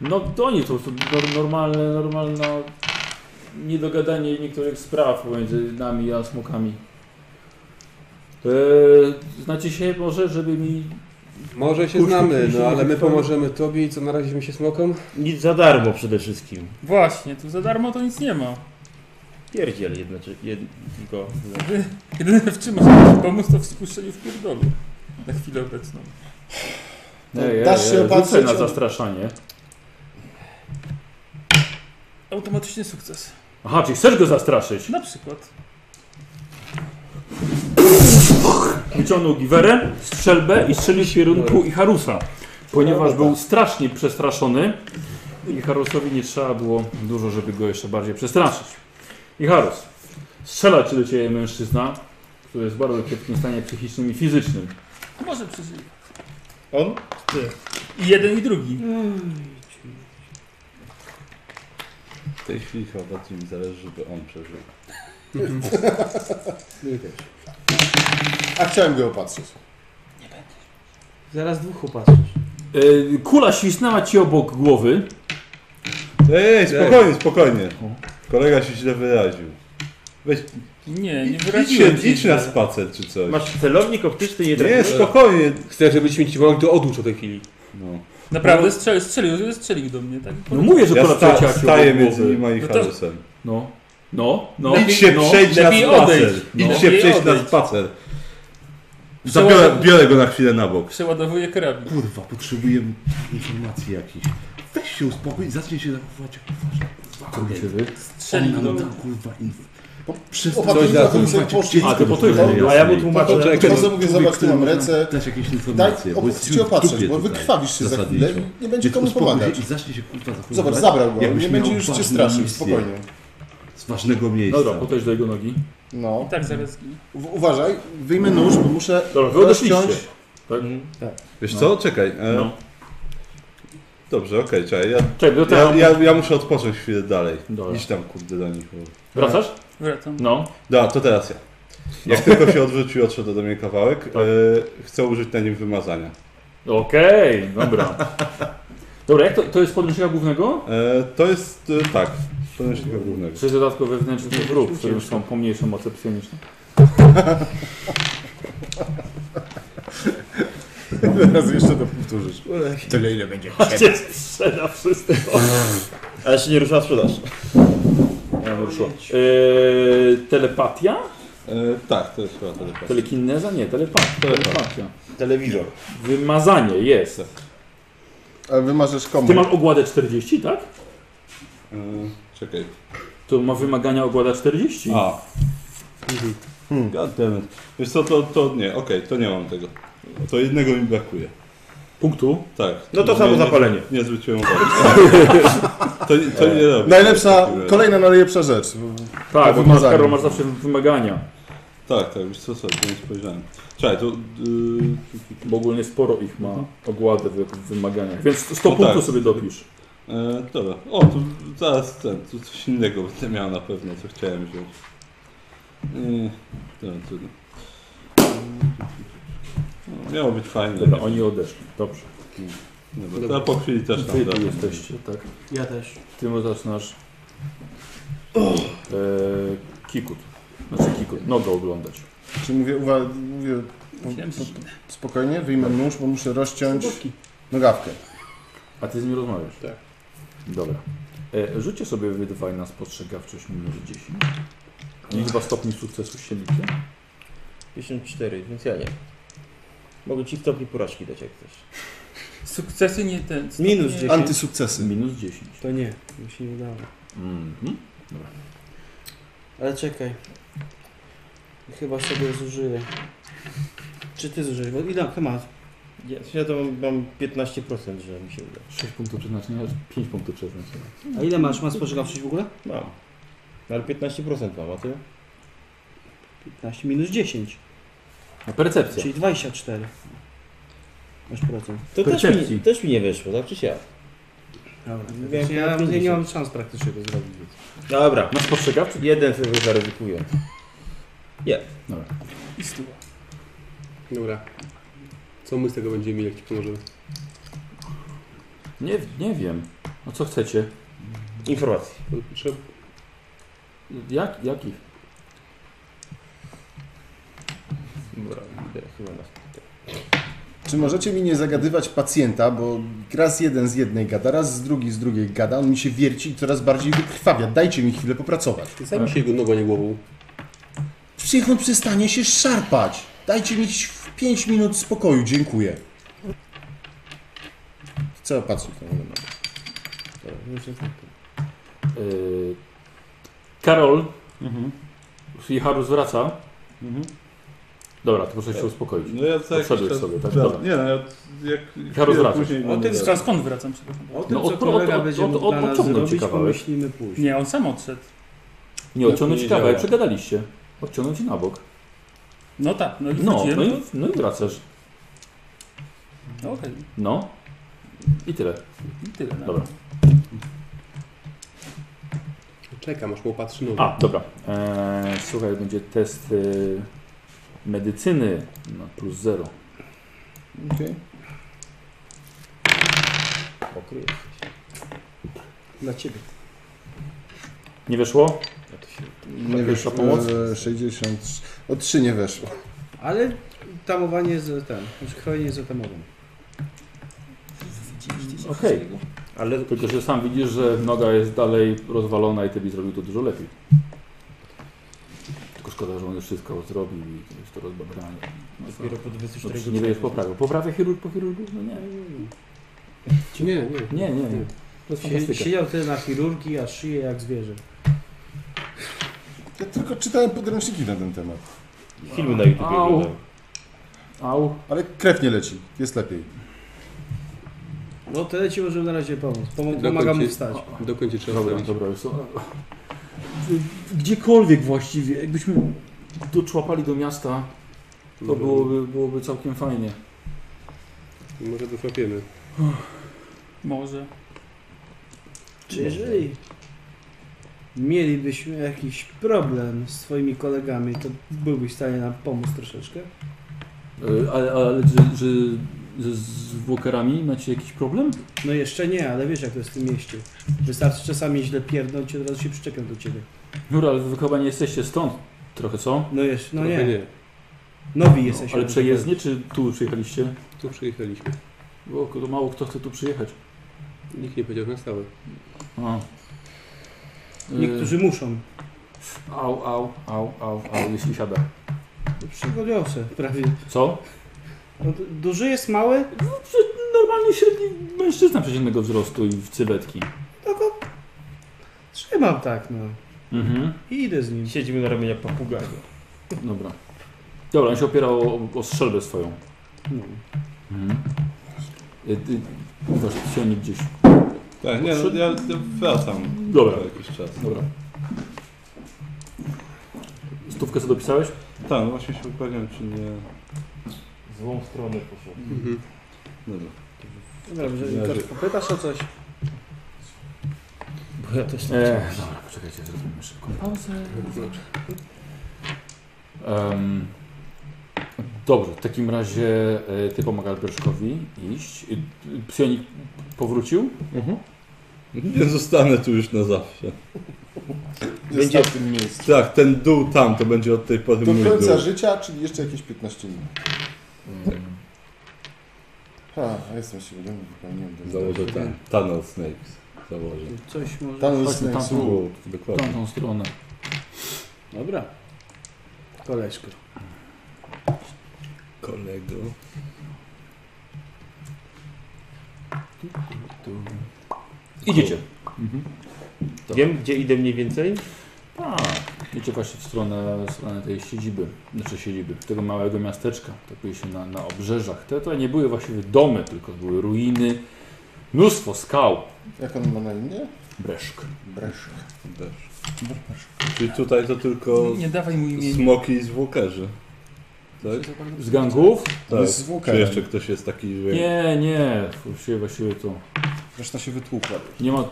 Speaker 1: No to oni to, to nor- normalne, normalna niedogadanie niektórych spraw pomiędzy nami a smokami. Eee, znacie się może, żeby mi...
Speaker 8: Może się
Speaker 1: Kurczę,
Speaker 8: znamy,
Speaker 1: kurczę,
Speaker 8: no ale my
Speaker 1: kurczę.
Speaker 8: pomożemy tobie i co naraziliśmy się smokom?
Speaker 14: Nic za darmo przede wszystkim.
Speaker 4: Właśnie, tu za darmo to nic nie ma.
Speaker 14: Pierdziel jednoczy, jednego.
Speaker 4: Jedyne w czym możemy pomóc to w spuszczeniu w pierdolu. Na chwilę obecną.
Speaker 9: No, dasz się
Speaker 1: rzucę
Speaker 9: opatrzyć,
Speaker 1: na
Speaker 9: on-
Speaker 1: zastraszanie.
Speaker 4: Automatyczny sukces.
Speaker 1: Aha, czyli chcesz go zastraszyć?
Speaker 4: Na przykład.
Speaker 1: Wyciągnął giwerę, strzelbę i strzelił w kierunku Icharusa. Ponieważ był strasznie przestraszony, Icharusowi nie trzeba było dużo, żeby go jeszcze bardziej przestraszyć. Icharus, strzela ci do ciebie mężczyzna, który jest w bardzo kiepskim stanie psychicznym i fizycznym.
Speaker 4: Może przeżyję.
Speaker 6: On?
Speaker 4: I jeden i drugi.
Speaker 6: W tej chwili chyba bardziej mi zależy, żeby on przeżył.
Speaker 9: A chciałem go opatrzyć.
Speaker 2: Zaraz dwóch opatrzysz.
Speaker 1: Yy, Kula świsnęła ci obok głowy.
Speaker 6: Ej, spokojnie, spokojnie. Kolega się źle wyraził. Weź,
Speaker 4: Nie, nie
Speaker 6: idź,
Speaker 4: wyraziłem
Speaker 6: się- idź
Speaker 4: się
Speaker 6: na
Speaker 4: źle.
Speaker 6: spacer czy coś.
Speaker 14: Masz celownik optyczny i
Speaker 6: Nie, spokojnie.
Speaker 8: Chcesz, żebyśmy ci mogli to odłóż od tej chwili.
Speaker 6: No.
Speaker 4: Naprawdę strzelił, strzelił, strzelił do mnie, tak?
Speaker 1: No mówię, że
Speaker 6: Ja
Speaker 1: kula
Speaker 6: sta,
Speaker 1: przeleciała ci obok
Speaker 6: staję między
Speaker 1: głowy.
Speaker 6: nim a
Speaker 4: No to-
Speaker 6: Icharusem.
Speaker 1: No, no, no.
Speaker 6: Idź się
Speaker 1: no.
Speaker 6: przejść na
Speaker 4: lepiej
Speaker 6: spacer.
Speaker 4: odejść. No.
Speaker 6: Idź się
Speaker 4: Lepiej
Speaker 6: przejść na
Speaker 4: odejść.
Speaker 6: spacer. Zabiorę, biorę go na chwilę na bok.
Speaker 4: Przeładowuję karabin.
Speaker 6: Kurwa, potrzebuję informacji jakiejś. Weź się uspokój i zacznij się zachowywać jak uważnie.
Speaker 1: Co robicie wy?
Speaker 4: Strzelił do mnie.
Speaker 6: kurwa info.
Speaker 9: Opatrzyć na policję
Speaker 6: Zobaczcie,
Speaker 9: poszli.
Speaker 1: A, ty po to
Speaker 9: Jasne.
Speaker 14: A ja mu tłumaczę.
Speaker 9: To
Speaker 8: Czekaj,
Speaker 9: po co mówię, zobacz, tu mam ręce.
Speaker 6: Dać jakieś
Speaker 9: Daj,
Speaker 6: informacje, bo
Speaker 9: op-
Speaker 6: jest
Speaker 9: cię opatrzyć, bo
Speaker 6: tutaj
Speaker 9: wykrwawisz się za chwilę
Speaker 6: zasadniczo.
Speaker 9: i nie będzie komu
Speaker 6: uspokój się
Speaker 9: pomagać.
Speaker 6: I zacznij się kurwa zachowywać.
Speaker 9: Zobacz, zabrał go,
Speaker 6: jakbyś
Speaker 9: nie będzie
Speaker 6: miał
Speaker 9: już cię
Speaker 6: ważną
Speaker 9: straszył,
Speaker 6: misję
Speaker 9: spokojnie.
Speaker 6: Z ważnego miejsca.
Speaker 1: Dobra, podejdź do jego nogi.
Speaker 9: No.
Speaker 4: Tak, zaraz zginę.
Speaker 9: U- Uważaj, wyjmę
Speaker 6: Mm.
Speaker 9: nóż, bo muszę
Speaker 1: Dobra, wy odeszliście.
Speaker 9: rozciąć.
Speaker 6: Wiesz co, czekaj. E,
Speaker 1: No.
Speaker 6: Dobrze, okej, czekaj. Ja,
Speaker 1: Czekaj, do
Speaker 6: ja,
Speaker 1: tego.
Speaker 6: ja, ja muszę odpocząć chwilę dalej.
Speaker 1: Dobra.
Speaker 6: Idź tam kurde do nich. bo-
Speaker 1: Wracasz?
Speaker 4: Wracam.
Speaker 1: No.
Speaker 6: Dobra, to teraz ja. Jak tylko się odwrócił, odszedł do mnie kawałek. E, chcę użyć na nim wymazania.
Speaker 1: Okej, dobra. Dobra, jak to, to jest z podręcznika głównego?
Speaker 6: E, to jest e, tak, podręcznika głównego.
Speaker 1: Czy jest dodatkowy wewnętrzny wróg, w którym są pomniejsze moce psioniczne?
Speaker 9: Teraz jeszcze to powtórzysz. Tyle ile będzie.
Speaker 1: Cię sprzeda wszystko.
Speaker 7: Ale się nie rusza sprzedaż.
Speaker 1: Ja ruszyła. Eee, E, telepatia?
Speaker 6: E, tak, to jest chyba telepatia.
Speaker 1: Telekineza? Nie, telepatia.
Speaker 6: Telepatia.
Speaker 1: telepatia.
Speaker 6: Telewizor. Tak.
Speaker 1: Wymazanie, jest.
Speaker 9: Ale wymarzysz komu?
Speaker 1: Ty masz ogładę 40, tak?
Speaker 6: E, czekaj.
Speaker 1: To ma wymagania ogłada 40.
Speaker 6: A. Hmm. Goddammit. Wiesz co, to, to nie, okej, to nie mam tego. To jednego mi brakuje.
Speaker 1: Punktu.
Speaker 6: Tak.
Speaker 7: No to samo
Speaker 6: nie-
Speaker 7: zapalenie.
Speaker 6: Nie, nie zwróciłem uwagi. to, to nie robię.
Speaker 9: Najlepsza, kolejna najlepsza rzecz.
Speaker 1: Tak, bo masz,
Speaker 9: wymazanie.
Speaker 1: Karol, masz zawsze wymagania.
Speaker 6: Tak, tak, wiesz co, co, to nie spojrzałem. Czekaj, to... y,
Speaker 1: Bo ogólnie sporo ich ma ogładę w w wymaganiach. Więc 100
Speaker 6: Mhm. No tak.
Speaker 1: punktów sobie dopisz.
Speaker 6: Yy, e, dobra. O, tu zaraz ten, tu coś innego będę miał na pewno, co chciałem wziąć. Nie, dobra, trudno. No, miało być fajne.
Speaker 1: Dobra, oni odeszli. Dobrze.
Speaker 6: Dobra, to po chwili też tam
Speaker 1: Wy tu
Speaker 6: wracam.
Speaker 1: jesteście, tak?
Speaker 2: Ja też.
Speaker 1: Ty zaczynasz e, kikut. Znaczy kikut, nogę oglądać.
Speaker 9: Czy mówię, uwa mówię po- po- spokojnie, wyjmę nóż, bo muszę rozciąć nogawkę.
Speaker 1: A ty z nim rozmawiasz?
Speaker 8: Tak.
Speaker 1: Dobra. E, rzućcie sobie wy dwaj na spostrzegawczość minus 10. Liczba stopni sukcesu się liczy.
Speaker 7: 54, więc ja nie. Mogę ci w topli porażki dać jak chcesz.
Speaker 4: Sukcesy nie ten.
Speaker 8: Minus
Speaker 4: nie-
Speaker 8: 10.
Speaker 9: Antysukcesy.
Speaker 1: Minus 10.
Speaker 8: To nie, mi się nie udało.
Speaker 1: Mhm.
Speaker 8: Ale czekaj. Chyba sobie zużyję.
Speaker 2: Czy ty zużyjesz? Bo idę, chyba.
Speaker 7: Ja, ja to mam, mam 15%, że mi się uda.
Speaker 1: 6 punktów przeznaczenia, 5 punktów przeznaczenia.
Speaker 2: A ile masz? Masz spostrzegawczość w ogóle?
Speaker 7: Mam. No ale 15% mam, a ty?
Speaker 2: 15 minus 10,
Speaker 1: No, percepcja.
Speaker 2: czyli 24. Masz procent.
Speaker 7: To też
Speaker 1: Percepcji.
Speaker 7: mi, też mi nie wyszło, tak czy siak?
Speaker 2: Dobra,
Speaker 7: Miałem
Speaker 2: ja,
Speaker 7: ponad
Speaker 2: ja
Speaker 7: 50.
Speaker 2: nie mam szans praktycznie to zrobić. Więc.
Speaker 7: Dobra.
Speaker 1: Na spostrzegawczość?
Speaker 7: Jeden sobie zaryzykuję.
Speaker 1: Dobra.
Speaker 8: Dobra. Co my z tego będziemy mieli, jak ci pomożemy?
Speaker 1: Nie, nie wiem. No co chcecie?
Speaker 7: Informacji.
Speaker 8: Trzeba...
Speaker 1: Jak, jakich?
Speaker 7: Dobra, idę chyba na
Speaker 9: Czy możecie mi nie zagadywać pacjenta, bo raz jeden z jednej gada, raz z drugi z drugiej gada, on mi się wierci i coraz bardziej wykrwawia. Dajcie mi chwilę popracować.
Speaker 8: Zajmij się jego nogą, nie głową.
Speaker 9: Przecież on przestanie się szarpać. Dajcie mi 5 minut spokoju, dziękuję. Chcę opatrzyć na niego.
Speaker 1: Yy, Karol. Mhm. Haru zwraca.
Speaker 6: mhm.
Speaker 1: Dobra, to proszę się uspokoić.
Speaker 6: No ja tak...
Speaker 1: Poszedłeś sobie, tak? Dobra.
Speaker 6: Nie no, ja jak...
Speaker 1: Karol,
Speaker 6: chwilę
Speaker 1: wracasz.
Speaker 6: później
Speaker 4: O
Speaker 6: mam
Speaker 4: tym
Speaker 6: dodatek.
Speaker 4: skąd, skąd wracam się do tego?
Speaker 2: O tym,
Speaker 1: No,
Speaker 2: co
Speaker 1: od-
Speaker 2: kolega
Speaker 1: od-
Speaker 2: będzie
Speaker 1: od-
Speaker 2: mógł
Speaker 1: od-
Speaker 2: dla nas
Speaker 1: odciągnął
Speaker 2: zrobić,
Speaker 1: ciekawe.
Speaker 2: pomyślimy później.
Speaker 4: Nie, on sam odszedł.
Speaker 1: Nie, odciągnąć
Speaker 8: Nie
Speaker 1: ciekawe,
Speaker 8: działa.
Speaker 1: przegadaliście. Odciągnąć na bok.
Speaker 4: No tak, no i
Speaker 1: No,
Speaker 4: wróciłem.
Speaker 1: no i, no i wracasz.
Speaker 4: No okej,
Speaker 1: No. I tyle.
Speaker 4: i tyle. No.
Speaker 1: Dobra.
Speaker 8: Czekam, aż mu patrzy nogą.
Speaker 1: A, dobra. Eee, słuchaj, będzie test y, medycyny na plus 0.
Speaker 9: Okej.
Speaker 7: pokryj.
Speaker 2: Dla ciebie.
Speaker 1: Nie wyszło?
Speaker 7: No to się...
Speaker 9: Nie
Speaker 1: Pierwsza
Speaker 9: wyszło.
Speaker 1: pomoc?
Speaker 9: E, 60. O 3 nie weszło.
Speaker 2: Ale tamowanie jest za ten, znaczy chronienie jest za tamowaniem.
Speaker 1: Okej.
Speaker 7: Ale
Speaker 1: Tylko, że sam widzisz, że noga jest dalej rozwalona i ty byś zrobił to dużo lepiej. Tylko szkoda, że on już wszystko zrobił i to jest to rozbabranie. No, co?
Speaker 7: dopiero po
Speaker 1: No,
Speaker 7: 24
Speaker 1: przecież nie będziesz poprawiał. Poprawia chirurg po chirurgu? No nie.
Speaker 8: Nie, nie.
Speaker 1: Nie, nie, nie. To jest
Speaker 2: Sie,
Speaker 1: fantastyka.
Speaker 2: siedział ty na chirurgii, a szyję jak zwierzę.
Speaker 9: Ja tylko czytałem podręczniki na ten temat.
Speaker 7: Filmy na YouTube
Speaker 1: Au.
Speaker 7: oglądałem.
Speaker 1: Au.
Speaker 9: Ale krew nie leci, jest lepiej.
Speaker 2: No tyle ci możemy na razie pomóc. Pom-
Speaker 8: Dokąd
Speaker 2: pomagam mu
Speaker 8: się-
Speaker 2: wstać.
Speaker 8: Dokąd cię trzeba
Speaker 1: Dobra,
Speaker 8: zrobić?
Speaker 1: dobra. Już są. Gdziekolwiek właściwie, jakbyśmy doczłapali do miasta, to byłoby, byłoby całkiem fajnie.
Speaker 8: Może doszłapiemy.
Speaker 4: Może.
Speaker 2: Czy jeżeli mielibyśmy jakiś problem z twoimi kolegami, to byłbyś w stanie nam pomóc troszeczkę?
Speaker 1: E, Ale, ale że, że ze zwłokerami macie jakiś problem?
Speaker 2: No jeszcze nie, ale wiesz jak to jest w tym mieście. Wystarczy czasami źle pierdnąć i od razu się przyczepią do ciebie.
Speaker 1: Jura, ale wy chyba nie jesteście stąd. Trochę co?
Speaker 2: No jeszcze, no
Speaker 8: Trochę
Speaker 2: nie. Nowi jesteśmy.
Speaker 1: Ale przejezdnie, czy tu przyjechaliście?
Speaker 8: Tu przyjechaliśmy.
Speaker 1: Bo to mało kto chce tu przyjechać.
Speaker 8: Nikt nie powiedział na stałe.
Speaker 1: A. E,
Speaker 2: Niektórzy muszą.
Speaker 1: Y, Au, au, au, au, au, jeśli siada.
Speaker 2: Przygodiosę prawie.
Speaker 1: Co?
Speaker 2: No, d- duży jest mały,
Speaker 1: Normalnie średni mężczyzna przeciętnego wzrostu i w cywetki.
Speaker 2: trzymam tak no.
Speaker 1: Mhm.
Speaker 2: I idę z nim.
Speaker 7: Siedzimy na ramieniach papuga.
Speaker 1: Dobra. Dobra, on się opiera o, o- o strzelbę swoją.
Speaker 2: No.
Speaker 1: Mhm. E, ty- Uważ, się oni gdzieś.
Speaker 6: Tak, nie, no, ja ja wracam
Speaker 1: Dobra.
Speaker 6: po jakiś czas.
Speaker 1: Dobra. Stówkę co dopisałeś?
Speaker 6: Tak, no właśnie się upewniam, czy nie...
Speaker 7: Złą stronę poszedł.
Speaker 8: Mhm.
Speaker 6: Dobra.
Speaker 2: Dobrze,
Speaker 6: Ja
Speaker 2: Wiktor,
Speaker 6: że-
Speaker 1: Znaczy-
Speaker 2: popytasz o coś?
Speaker 7: Bo ja też nie
Speaker 1: E, dobra, poczekajcie, zrobimy szybką pauzę. Em, dobrze, w takim razie e, ty pomagasz Berszkowi iść. E, Psionik powrócił?
Speaker 6: Nie zostanę tu już na zawsze.
Speaker 9: Będzie w tym miejscu.
Speaker 6: Tak, ten dół tam to będzie od tej pory mój
Speaker 9: Do końca
Speaker 6: dół.
Speaker 9: życia, czyli jeszcze jakieś 15 minut.
Speaker 1: Tak.
Speaker 9: Ha, a jestem świadomy, wypełniłem ten
Speaker 6: Założę ten. Tunnel Snakes. Założę.
Speaker 2: Coś może.
Speaker 9: Tunnel
Speaker 1: Chodźmy
Speaker 9: Snakes.
Speaker 1: tam.
Speaker 6: Tu,
Speaker 1: W
Speaker 6: dokładnie.
Speaker 1: tamtą stronę.
Speaker 2: Dobra. Koleżko.
Speaker 6: Kolego.
Speaker 1: Idziecie.
Speaker 7: Wiem, gdzie idę mniej więcej.
Speaker 1: A, Tak. idziecie właśnie w stronę, w stronę tej siedziby, znaczy siedziby, tego małego miasteczka. To były się na, na obrzeżach. Te to nie były właściwie domy, tylko były ruiny. Mnóstwo skał.
Speaker 9: Jak on ma na
Speaker 6: Tak.
Speaker 9: imię?
Speaker 1: Breszk.
Speaker 9: Breszk.
Speaker 6: Też. Czyli tutaj to tylko
Speaker 4: Nie dawaj mu imienia.
Speaker 6: smoki i zwłokerzy. Tak?
Speaker 1: Z gangów?
Speaker 6: Tak.
Speaker 9: Bez zwłoka.
Speaker 6: Czy jeszcze ktoś jest taki, że...
Speaker 1: No, Nie, nie. Właściwie, właściwie to
Speaker 9: Reszta się wytłukła.
Speaker 1: nie ma...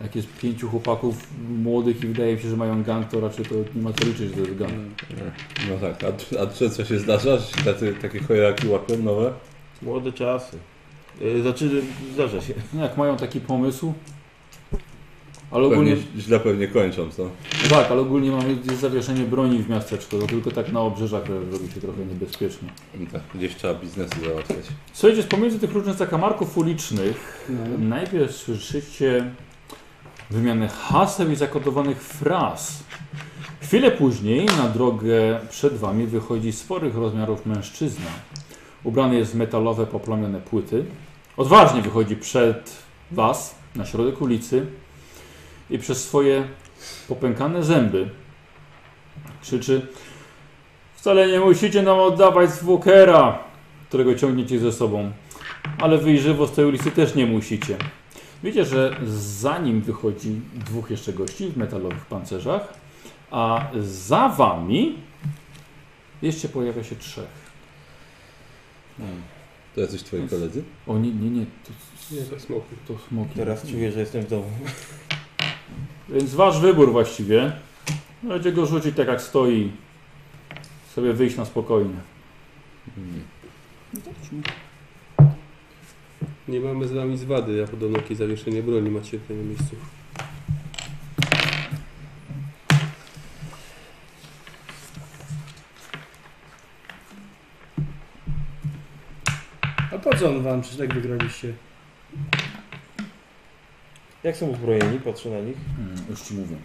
Speaker 1: Jak jest pięciu chłopaków młodych i wydaje mi się, że mają gang, to raczej to nie ma co liczyć, że to jest gang.
Speaker 6: No tak, a, a czy coś się zdarza? Czy tacy, takie chojaki łapią nowe?
Speaker 7: Młode czasy. E, Znaczy, zdarza się.
Speaker 1: No, jak mają taki pomysł... Ale ogólnie...
Speaker 6: Pewnie, źle pewnie kończą, co?
Speaker 1: No Tak, ale ogólnie mamy jest zawieszenie broni w miasteczku, to tylko tak na obrzeżach robi się trochę niebezpiecznie.
Speaker 6: No Tak, gdzieś trzeba biznesy załatwiać.
Speaker 1: Słuchajcie, z pomiędzy tych różnych zakamarków ulicznych
Speaker 2: No.
Speaker 1: najpierw słyszycie wymianę haseł i zakodowanych fraz. Chwilę później na drogę przed wami wychodzi sporych rozmiarów mężczyzna. Ubrany jest w metalowe poplamione płyty. Odważnie wychodzi przed was na środek ulicy i przez swoje popękane zęby krzyczy Wcale nie musicie nam oddawać zwłokera, którego ciągniecie ze sobą. Ale wy i żywo z tej ulicy też nie musicie. Wiecie, że za nim wychodzi dwóch jeszcze gości w metalowych pancerzach, a za wami jeszcze pojawia się trzech.
Speaker 6: To jacyś twoi koledzy?
Speaker 1: O nie, nie, nie, to,
Speaker 8: Nie, to smoki.
Speaker 1: to smoki.
Speaker 7: Teraz czuję, że jestem w domu.
Speaker 1: Więc wasz wybór właściwie. Możecie go rzucić tak jak stoi. Sobie wyjść na spokojnie.
Speaker 6: Mm.
Speaker 8: Nie mamy z wami zwady, ja podobno jakieś zawieszenie broni macie w tym miejscu.
Speaker 2: A po co on wam? Przecież tak wygraliście.
Speaker 7: Jak są uzbrojeni? Patrzę na nich.
Speaker 1: Mm, już ci mówię.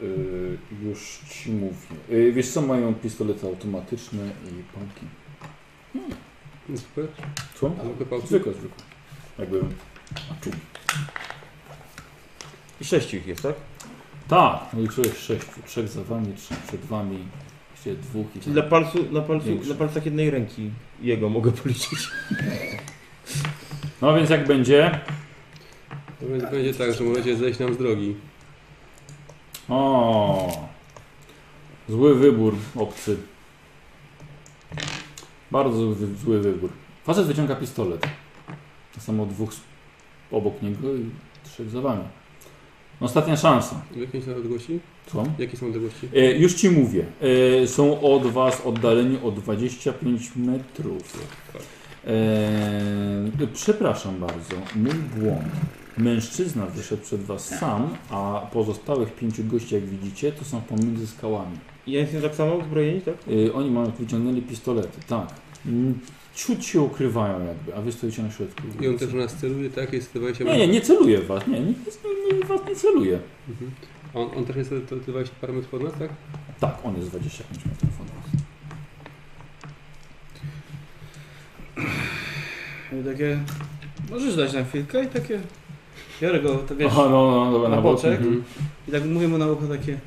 Speaker 1: Yy, już ci mówię. Yy, wiesz co, mają pistolety automatyczne i pałki.
Speaker 8: Super.
Speaker 1: Co?
Speaker 8: A mogę pałki?
Speaker 1: Tak, Zwykłe, zwykłe. Jakby... A, czuł.
Speaker 7: I sześciu ich jest, tak?
Speaker 1: Tak, liczyłeś sześciu. Trzech za wami, trzech przed wami. Właściwie dwóch i
Speaker 7: Czyli na,
Speaker 1: tak.
Speaker 7: palcu, na, palcu,
Speaker 1: Większe.
Speaker 7: na palcach jednej ręki jego mogę policzyć.
Speaker 1: No więc jak będzie...
Speaker 8: To będzie, będzie tak, że możecie zejść nam z drogi.
Speaker 1: O, zły wybór obcy. Bardzo zły, zły wybór. Facet wyciąga pistolet. To samo dwóch z obok niego i trzech za wami. Ostatnia szansa.
Speaker 8: Jakie są odległości?
Speaker 1: Co?
Speaker 8: Jakie są odległości?
Speaker 1: E, już ci mówię. E, są od was oddaleni o 25 metrów. E, przepraszam bardzo, mój błąd. Mężczyzna wyszedł przed was sam, a pozostałych pięciu gości, jak widzicie, to są pomiędzy skałami.
Speaker 7: Ja jestem tak samo uzbrojeni, tak?
Speaker 1: Y, oni mają, wyciągnęli pistolety, tak. Mm, Ciut się ukrywają jakby, a wy stoicie na środku.
Speaker 8: I on też na nas celuje, tak? Jest 20
Speaker 1: Nie, nie, nie celuje w was, nie, nie, nie, nie was nie celuje.
Speaker 8: Mhm. A On, on też jest te 20 parę metrów od nas, tak?
Speaker 1: Tak, on jest 25 metrów od was.
Speaker 2: I takie, możesz dać na chwilkę i takie, biorę go, to wiesz,
Speaker 1: Aha, no, no, dobra,
Speaker 2: na
Speaker 1: na bok.
Speaker 2: boczek.
Speaker 1: Mhm.
Speaker 2: i tak mówię mu na ucho takie,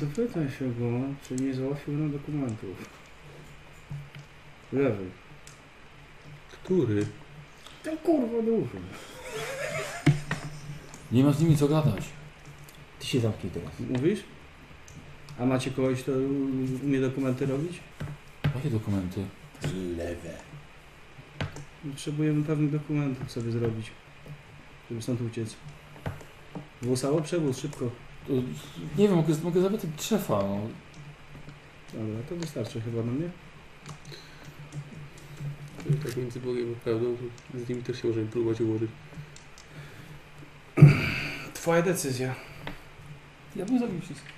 Speaker 2: zapytaj się go, czy nie załatwił nam dokumentów. Lewy.
Speaker 8: Który?
Speaker 2: To kurwa duży.
Speaker 1: Nie ma z nimi co gadać.
Speaker 7: Ty się zamknij teraz.
Speaker 2: Mówisz? A macie kogoś, kto umie dokumenty robić?
Speaker 1: Jakie dokumenty?
Speaker 9: Lewe.
Speaker 2: Potrzebujemy pewnych dokumentów sobie zrobić, żeby stąd uciec. Włosało przewóz, szybko.
Speaker 1: To, nie wiem, mogę, mogę zapytać szefa, no.
Speaker 2: Dobra, to wystarczy chyba no na mnie.
Speaker 8: Tak między Bogiem a prawdą, to z nim też się możemy próbować ułożyć.
Speaker 2: Twoja decyzja.
Speaker 4: Ja bym zabił wszystkich.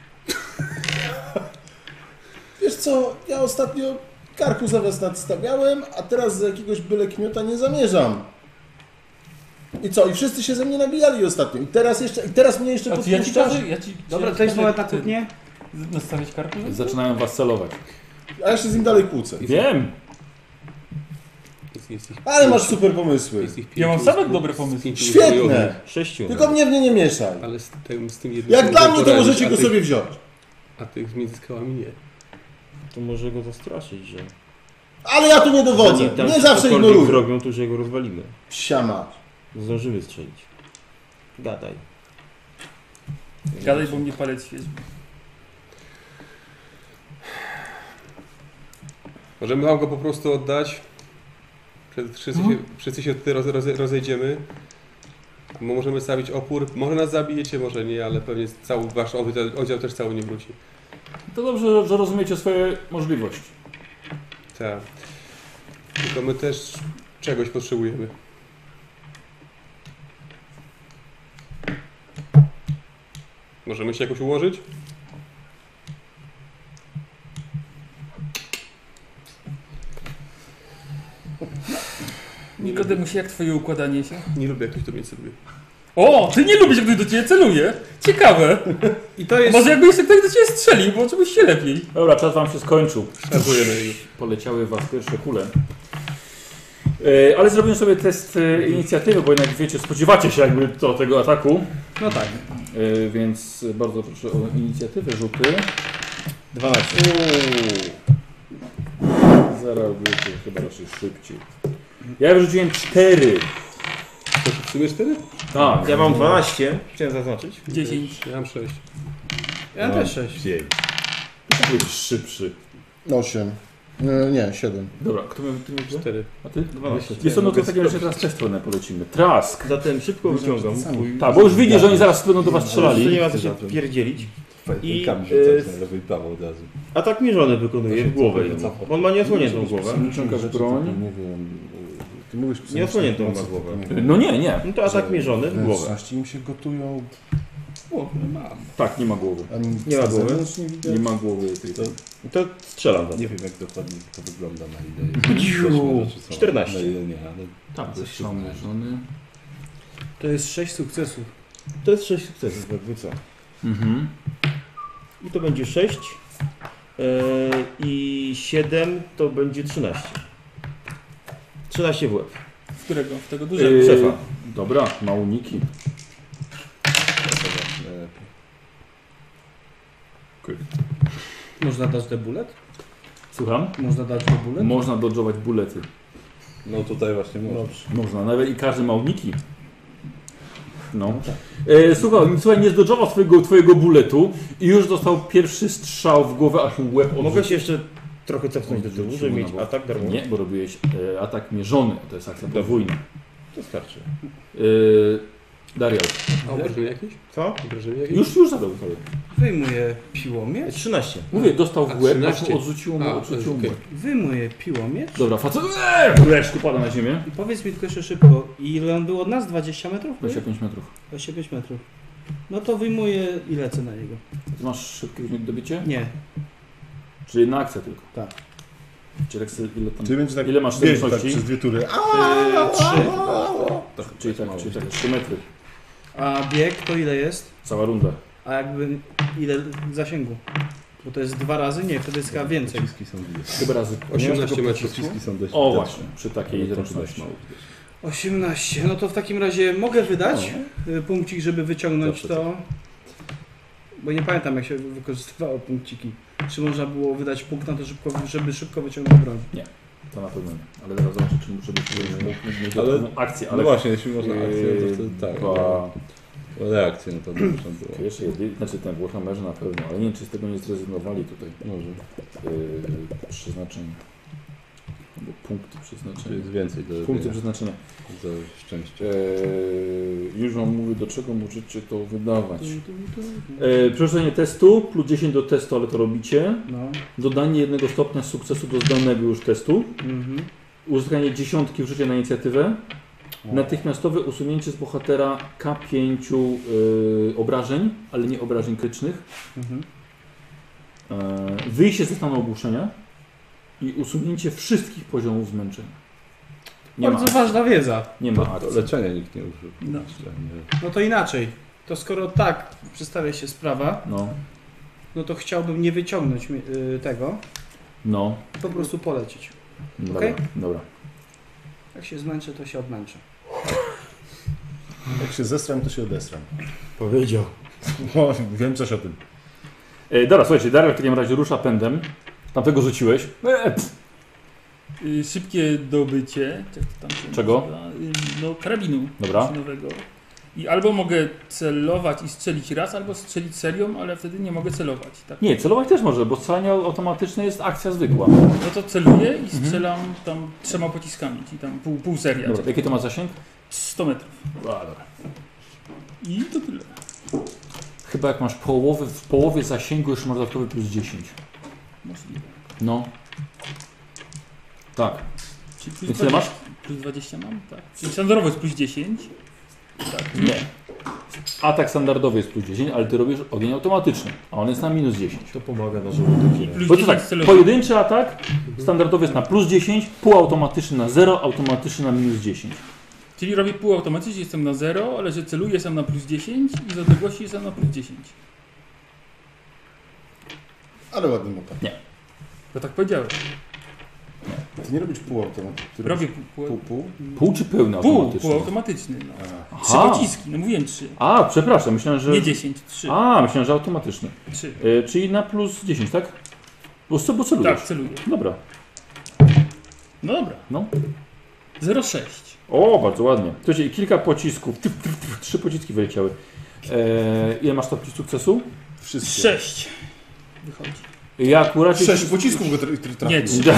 Speaker 9: Wiesz co, ja ostatnio karku za was nadstawiałem, a teraz za jakiegoś byle kmiota nie zamierzam. I co? I wszyscy się ze mnie nabijali ostatnio. I teraz jeszcze, i teraz mnie jeszcze
Speaker 4: A ty, Znaczy, ja ci
Speaker 9: podpuszczasz?
Speaker 4: każę, ja ci...
Speaker 2: Dobra,
Speaker 4: ja
Speaker 2: to jest
Speaker 4: każę
Speaker 2: moment na
Speaker 4: ten-
Speaker 2: kłótnię?
Speaker 4: z- Nastawić kartę?
Speaker 1: Zaczynają was celować.
Speaker 9: A ja się z nim dalej kłócę.
Speaker 1: Wiem!
Speaker 8: Jest, jest ich,
Speaker 9: Ale masz super pomysły.
Speaker 8: jest ich pięciu.
Speaker 4: Ja mam same dobre
Speaker 8: Z
Speaker 4: pomysły.
Speaker 8: pięciu
Speaker 9: Świetne!
Speaker 8: uzbrojonych.
Speaker 7: Sześciu.
Speaker 9: Tylko mnie w nie nie mieszaj.
Speaker 8: Ale z tym, z tym jednym...
Speaker 9: Jak
Speaker 8: sobie
Speaker 9: dla mnie to
Speaker 8: poradzić,
Speaker 9: możecie
Speaker 8: a
Speaker 9: go
Speaker 8: tych-
Speaker 9: sobie wziąć.
Speaker 8: A tych między skałami nie.
Speaker 7: To może go zastraszyć, że...
Speaker 9: Ale ja tu nie dowodzę.
Speaker 7: Zanim tam
Speaker 9: Nie zawsze
Speaker 7: cokolwiek
Speaker 9: ignoruję.
Speaker 7: zrobią, to że go rozwalimy.
Speaker 9: Siama.
Speaker 7: Zdążymy strzelić. Gadaj.
Speaker 4: Gadaj, bo mnie palec świeci.
Speaker 8: Możemy wam go po prostu oddać. Przed- Wszyscy się, wszyscy się tutaj roz, roz, rozejdziemy. Mo- Możemy stawić opór. Może nas zabijecie, może nie, ale pewnie cały wasz oddział, oddział też cały nie wróci.
Speaker 1: To dobrze, że rozumiecie swoje możliwości.
Speaker 8: Tak. Tylko my też czegoś potrzebujemy. Możemy się jakoś ułożyć?
Speaker 4: Nikodemusie, jak twoje układanie się?
Speaker 8: Nie lubię, jak ktoś do mnie celuje.
Speaker 4: O, ty nie lubisz, jak ktoś do ciebie celuje. Ciekawe.
Speaker 2: I to jest...
Speaker 4: Może jakby jeszcze ktoś do ciebie strzelił, bo oczywiście lepiej.
Speaker 1: Dobra, czas wam się skończył.
Speaker 8: Szarpujemy ich.
Speaker 1: Poleciały was pierwsze kule. E, Ale zrobimy sobie test e, inicjatywy, bo jednak wiecie, spodziewacie się jakby to, tego ataku.
Speaker 2: No tak.
Speaker 1: E, Więc bardzo proszę o inicjatywę rzuty.
Speaker 6: 12.
Speaker 1: Zarobicie chyba raczej szybciej. Ja wyrzuciłem 4.
Speaker 8: To w sumie cztery?
Speaker 1: Tak.
Speaker 7: Ja mam 12, chciałem zaznaczyć.
Speaker 4: 10.
Speaker 8: Ja mam sześć.
Speaker 2: Ja też sześć.
Speaker 6: 5.
Speaker 1: Byłeś szybszy.
Speaker 9: 8. E, Nie, 7.
Speaker 1: Dobra, kto miał ty miał
Speaker 8: Cztery.
Speaker 1: A ty?
Speaker 7: 12.
Speaker 1: Jest ono to w takim razie teraz też stronę polecimy. Trask.
Speaker 7: Zatem szybko wyciągam.
Speaker 1: Tak, bo już widzisz, że oni zaraz będą do was
Speaker 7: Jeszcze nie
Speaker 1: strzelali.
Speaker 7: ma co się pierdzielić. I,
Speaker 6: Kam
Speaker 1: y,
Speaker 7: e,
Speaker 6: rzucać na lewo i prawo od razu.
Speaker 7: Atak mierzony wykonuje w głowę. jemu. Bo On ma nieosłoniętą głowę.
Speaker 1: Wyciągasz
Speaker 9: Rzeczy
Speaker 1: broń.
Speaker 9: typu, Nie wiem. y, Ty mówisz,
Speaker 7: Nie osłoniętą ma głowę.
Speaker 9: Yy,
Speaker 1: No nie, nie.
Speaker 7: No to atak mierzony w głowę.
Speaker 9: Wnętrzności im się gotują,
Speaker 1: Tak, nie ma głowy.
Speaker 9: ani nic
Speaker 7: Nie ma
Speaker 9: na
Speaker 7: głowy?
Speaker 9: zewnątrz nie widać.
Speaker 1: Nie ma głowy tej.
Speaker 7: To strzelam.
Speaker 6: Nie wiem jak dokładnie to wygląda na ile jest.
Speaker 7: 14.
Speaker 6: Na
Speaker 9: No,
Speaker 6: ile nie, ale
Speaker 1: Tak,
Speaker 6: Coś
Speaker 1: zresztą
Speaker 6: się
Speaker 1: żony.
Speaker 2: To jest sześć sukcesów.
Speaker 7: To jest 6 sukcesów, jakby co.
Speaker 1: Mhm.
Speaker 7: I to będzie 6. I 7 to będzie 13. 13 w łeb.
Speaker 4: W którego? W tego dużego.
Speaker 1: Yy,
Speaker 7: szefa.
Speaker 1: Dobra, ma uniki.
Speaker 6: e,
Speaker 2: Można dać te bullet?
Speaker 1: Słucham?
Speaker 2: Można dać te bullet?
Speaker 1: Można dodżować bulety.
Speaker 6: No tutaj właśnie można.
Speaker 1: Można, nawet i każdy ma uniki. No. E, słuchaj, słuchaj, nie zdodżował twojego, twojego buletu i już dostał pierwszy strzał w głowę, aż mu łeb odrzucił.
Speaker 7: Mogę się jeszcze trochę cofnąć do tyłu, żeby
Speaker 1: Odrzuciło
Speaker 7: mieć
Speaker 1: na bok.
Speaker 7: atak darmowy?
Speaker 1: Nie, bo robiłeś e, atak mierzony, to jest akcja podwójna.
Speaker 6: To starczy.
Speaker 1: Yy, Dario.
Speaker 8: A obrażenie jakieś?
Speaker 7: Co?
Speaker 8: Obrażenie jakieś?
Speaker 1: Już, już zadał sobie.
Speaker 2: Wyjmuję piłomierz.
Speaker 7: 13.
Speaker 1: Mówię, dostał
Speaker 8: A,
Speaker 1: w łeb, aż
Speaker 8: 13.
Speaker 1: mu odrzuciło mu,
Speaker 8: A,
Speaker 1: odrzuciło mu.
Speaker 8: okej.
Speaker 1: łeb.
Speaker 2: Wyjmuję piłomierz.
Speaker 1: Dobra, facet. Eee! Leszku pada na ziemię.
Speaker 2: I powiedz mi tylko jeszcze szybko, ile on był od nas? 20 metrów? nie?
Speaker 1: 25 metrów.
Speaker 2: 25 metrów. No to wyjmuję i lecę na niego.
Speaker 1: Ty masz szybkie dobicie?
Speaker 2: Nie,
Speaker 1: Czy jedna akcja tylko?
Speaker 2: Tak.
Speaker 1: Czy tak sobie- ile tam...
Speaker 6: Czyli będzie tak
Speaker 1: Ile masz
Speaker 6: biegł tak
Speaker 1: zręczności?
Speaker 6: przez dwie
Speaker 9: Yy,
Speaker 6: tury. A,
Speaker 1: Eee, Trzy.
Speaker 6: tak,
Speaker 1: Czyli tak, czyli tak, 3 metry.
Speaker 2: A bieg to ile jest?
Speaker 1: Cała runda.
Speaker 2: A jakby ile zasięgu? Bo to jest dwa razy? Nie, wtedy jest chyba więcej.
Speaker 6: Przyciski są dwie.
Speaker 1: Chyba razy. nie?
Speaker 8: 18 metrów.
Speaker 6: Przyciski są dość
Speaker 1: No. O
Speaker 6: widoczne.
Speaker 1: właśnie, przy
Speaker 6: Ale
Speaker 1: takiej
Speaker 6: to dość
Speaker 1: zręczności.
Speaker 6: mało.
Speaker 2: 18. No to w takim razie mogę wydać y, punkcik, żeby wyciągnąć
Speaker 6: Zawsze
Speaker 2: to. Bo nie pamiętam jak się wykorzystywało punkciki. Czy można było wydać punkt na to, szybko, żeby szybko wyciągnąć broń?
Speaker 1: To na pewno nie. Ale zaraz zobaczę, czy muszę być mieć
Speaker 6: Ale-
Speaker 1: ale... akcję,
Speaker 6: No
Speaker 1: ale...
Speaker 6: właśnie, jeśli można akcję, to
Speaker 1: Yy,
Speaker 6: wtedy tak.
Speaker 1: dwa-
Speaker 6: ale Reakcję no to można było.
Speaker 1: Wiesz, jedy... znaczy ten Warhammerze na pewno, ale nie wiem, czy z tego nie zrezygnowali tutaj.
Speaker 6: Może.
Speaker 1: Yy, przeznaczenie. Albo punkty
Speaker 6: Czyli
Speaker 1: przeznaczenia.
Speaker 6: jest więcej do
Speaker 1: Punkty
Speaker 6: robienia.
Speaker 1: przeznaczenia.
Speaker 6: za szczęście.
Speaker 1: Eee, już Wam mówię, do czego możecie to wydawać. Eee, przerzucenie testu, plus 10 do testu, ale to robicie.
Speaker 2: No.
Speaker 1: Dodanie jednego stopnia sukcesu do zdanego już testu.
Speaker 2: Mhm.
Speaker 1: Uzyskanie dziesiątki w życie na inicjatywę. No.
Speaker 2: No,
Speaker 1: Natychmiastowe usunięcie z bohatera K5 yy, obrażeń, ale nie obrażeń krytycznych.
Speaker 2: Mhm.
Speaker 1: Eee, wyjście ze stanu ogłuszenia i usunięcie wszystkich poziomów zmęczenia. Nie ma,
Speaker 2: Bardzo ważna wiedza.
Speaker 1: nie ma
Speaker 6: To
Speaker 1: akcji.
Speaker 6: leczenia No, nikt nie użył.
Speaker 2: No.
Speaker 6: Jeszcze nie.
Speaker 2: No to inaczej. To skoro tak przedstawia się sprawa,
Speaker 1: No,
Speaker 2: no to chciałbym nie wyciągnąć y, tego,
Speaker 1: no,
Speaker 2: po prostu polecić.
Speaker 1: dobra,
Speaker 2: Okej.
Speaker 1: dobra.
Speaker 2: Jak się zmęczę, to się odmęczę.
Speaker 9: Jak się zesram, to się odesram.
Speaker 7: Powiedział.
Speaker 9: O, wiem coś o tym.
Speaker 1: E, dobra, słuchajcie, Daryl w takim razie rusza pędem. Tamtego rzuciłeś. E, pff,
Speaker 4: Y, Szybkie dobycie. Jak to tam się
Speaker 1: Czego?
Speaker 4: nazywa? Y, No, karabinu
Speaker 1: Dobra.
Speaker 4: maszynowego. I albo mogę celować i strzelić raz, albo strzelić serią, ale wtedy nie mogę celować. Tak?
Speaker 1: nie, celować też może, bo strzelanie automatyczne jest akcja zwykła.
Speaker 4: No to celuję i strzelam tam trzema pociskami, czyli tam pół, pół seria.
Speaker 1: Mhm. Dobra, jaki to ma zasięg?
Speaker 4: 100 metrów.
Speaker 1: A, dobra.
Speaker 4: I to tyle.
Speaker 1: Chyba jak masz połowę, w połowie zasięgu jeszcze masz dodatkowy plus 10.
Speaker 4: Możliwe.
Speaker 1: No. Tak.
Speaker 4: Czyli
Speaker 1: I
Speaker 4: plus
Speaker 1: tyle
Speaker 4: 20,
Speaker 1: masz?
Speaker 4: plus 20 mam, tak. Czyli standardowo jest plus 10.
Speaker 1: Nie. Atak standardowy jest plus 10, ale ty robisz ogień automatyczny, a on jest na minus 10.
Speaker 7: To pomaga na żołądek.
Speaker 4: Plus
Speaker 1: Bo to
Speaker 4: 10
Speaker 1: tak,
Speaker 4: celowy.
Speaker 1: pojedynczy atak standardowy jest na plus 10, półautomatyczny na 0, automatyczny na minus 10.
Speaker 4: Czyli robię półautomatycznie, jestem na 0, ale że celuję jestem na plus 10 i z odległości jestem na plus 10.
Speaker 9: Ale ładnie mu tak.
Speaker 4: To tak powiedziałem.
Speaker 9: Ty nie robisz półautomatu. Ty
Speaker 4: Robię
Speaker 9: robisz
Speaker 4: pół, pół,
Speaker 9: pół-pół?
Speaker 1: Pół czy pełny
Speaker 4: pół,
Speaker 1: automatyczny?
Speaker 4: półautomatyczny. No.
Speaker 9: A,
Speaker 4: Trzy pociski, no mówiłem trzy.
Speaker 1: A, przepraszam, myślałem, że...
Speaker 4: Nie 10, trzy.
Speaker 1: A, myślałem, że automatyczny.
Speaker 4: trzy.
Speaker 1: E, czyli na plus 10, tak? Bo, co- bo celujesz.
Speaker 4: Tak, celuję.
Speaker 1: Dobra.
Speaker 4: No dobra.
Speaker 1: No.
Speaker 4: 0,6.
Speaker 1: O, bardzo ładnie. Słuchajcie, kilka pocisków. Tyf, tyf, tyf, trzy pociski wyleciały. E, ile masz stopni sukcesu?
Speaker 9: Wszystkie.
Speaker 4: 6. Wychodzi.
Speaker 1: Ja akurat...
Speaker 9: Sześć pocisków go tra- tra- trafiło.
Speaker 4: Nie, trzy.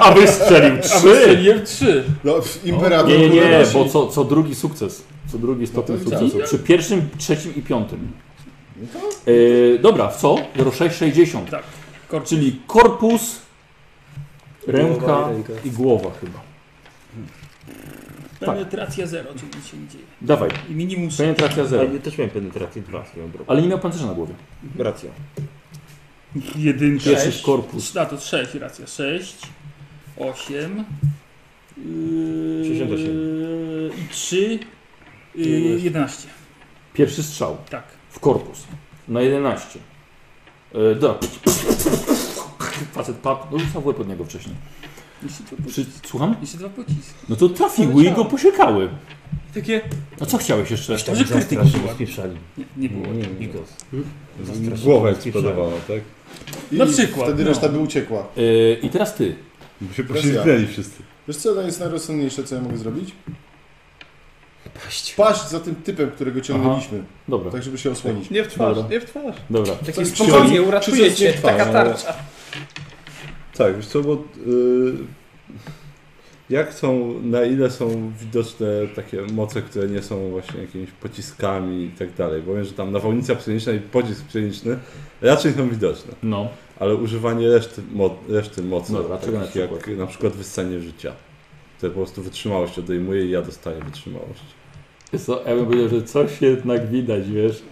Speaker 1: Aby strzelił
Speaker 4: A
Speaker 1: trzy!
Speaker 4: wystrzeliłem 3.
Speaker 9: No, pff, imperator.
Speaker 1: Nie, nie, nie,
Speaker 9: kurwa,
Speaker 1: bo co, co drugi sukces. Co drugi stopień
Speaker 9: No to
Speaker 1: sukcesu.
Speaker 4: widzisz.
Speaker 1: Przy pierwszym, trzecim i piątym.
Speaker 9: No to-
Speaker 1: E, dobra, w co? 0660.
Speaker 4: Tak. Korczy.
Speaker 1: Czyli korpus, ręka
Speaker 10: Głowa i ręka.
Speaker 1: i głowa chyba. Tak.
Speaker 4: Penetracja 0, czyli nic się nie dzieje.
Speaker 1: Dawaj,
Speaker 4: I minimum 6.
Speaker 1: penetracja 0.
Speaker 7: Ja też miałem penetrację 2, swoją drogą.
Speaker 1: Ale nie miał pancerza na głowie.
Speaker 7: Racja.
Speaker 4: Jedynka.
Speaker 1: Pierwszy
Speaker 4: Sześć.
Speaker 1: korpus.
Speaker 4: Na to 6, racja. 6, 8,
Speaker 7: 68.
Speaker 4: yy, i 3, yy, 11.
Speaker 1: Pierwszy strzał
Speaker 4: Tak.
Speaker 1: w korpus. Na 11. E, da. Facet padł. No rzucał w łeb od niego wcześniej.
Speaker 4: Jeszcze dwa, po...
Speaker 1: Przy, słucham?
Speaker 4: Jeszcze dwa pociski.
Speaker 1: No to trafiły i go posiekały.
Speaker 4: Takie.
Speaker 1: A co chciałeś jeszcze?
Speaker 4: Może krytyki była.
Speaker 7: Spieprzali.
Speaker 4: Nie, nie było.
Speaker 7: Nie, Bigos.
Speaker 6: Głowa eksplodowała, tak?
Speaker 9: I
Speaker 4: Na przykład,
Speaker 9: Wtedy
Speaker 4: no.
Speaker 9: reszta by uciekła.
Speaker 1: E, I teraz ty.
Speaker 6: Bo się poślizgnęli wszyscy.
Speaker 9: Wiesz co, to jest najrozsądniejsze, co ja mogę zrobić? Paść. Paść za tym typem, którego ciągnęliśmy.
Speaker 1: Dobra,
Speaker 9: Tak, żeby się osłonić.
Speaker 7: Nie w
Speaker 1: twarz,
Speaker 7: nie w twarz.
Speaker 1: dobra.
Speaker 2: Taki
Speaker 9: Coś
Speaker 2: spokojnie,
Speaker 9: ksiądz-
Speaker 2: uratuję
Speaker 9: ksiądz nie
Speaker 2: cię.
Speaker 4: no,
Speaker 9: trwa,
Speaker 2: Taka
Speaker 6: ale-
Speaker 2: tarcza.
Speaker 6: Tak, wiesz co, bo... y, Jak są, na ile są widoczne takie moce, które nie są właśnie jakimiś pociskami i tak dalej? Bo wiem, że tam nawałnica psioniczna i pocisk psioniczny raczej są widoczne.
Speaker 1: No.
Speaker 6: Ale używanie reszty, mo reszty mocy,
Speaker 1: Dobra, czego No, na
Speaker 6: jak
Speaker 1: przykład?
Speaker 6: na przykład wyssanie życia, które po prostu wytrzymałość odejmuje i ja dostaję wytrzymałość.
Speaker 1: Wiesz co, ja bym powiedział, że coś jednak widać, wiesz.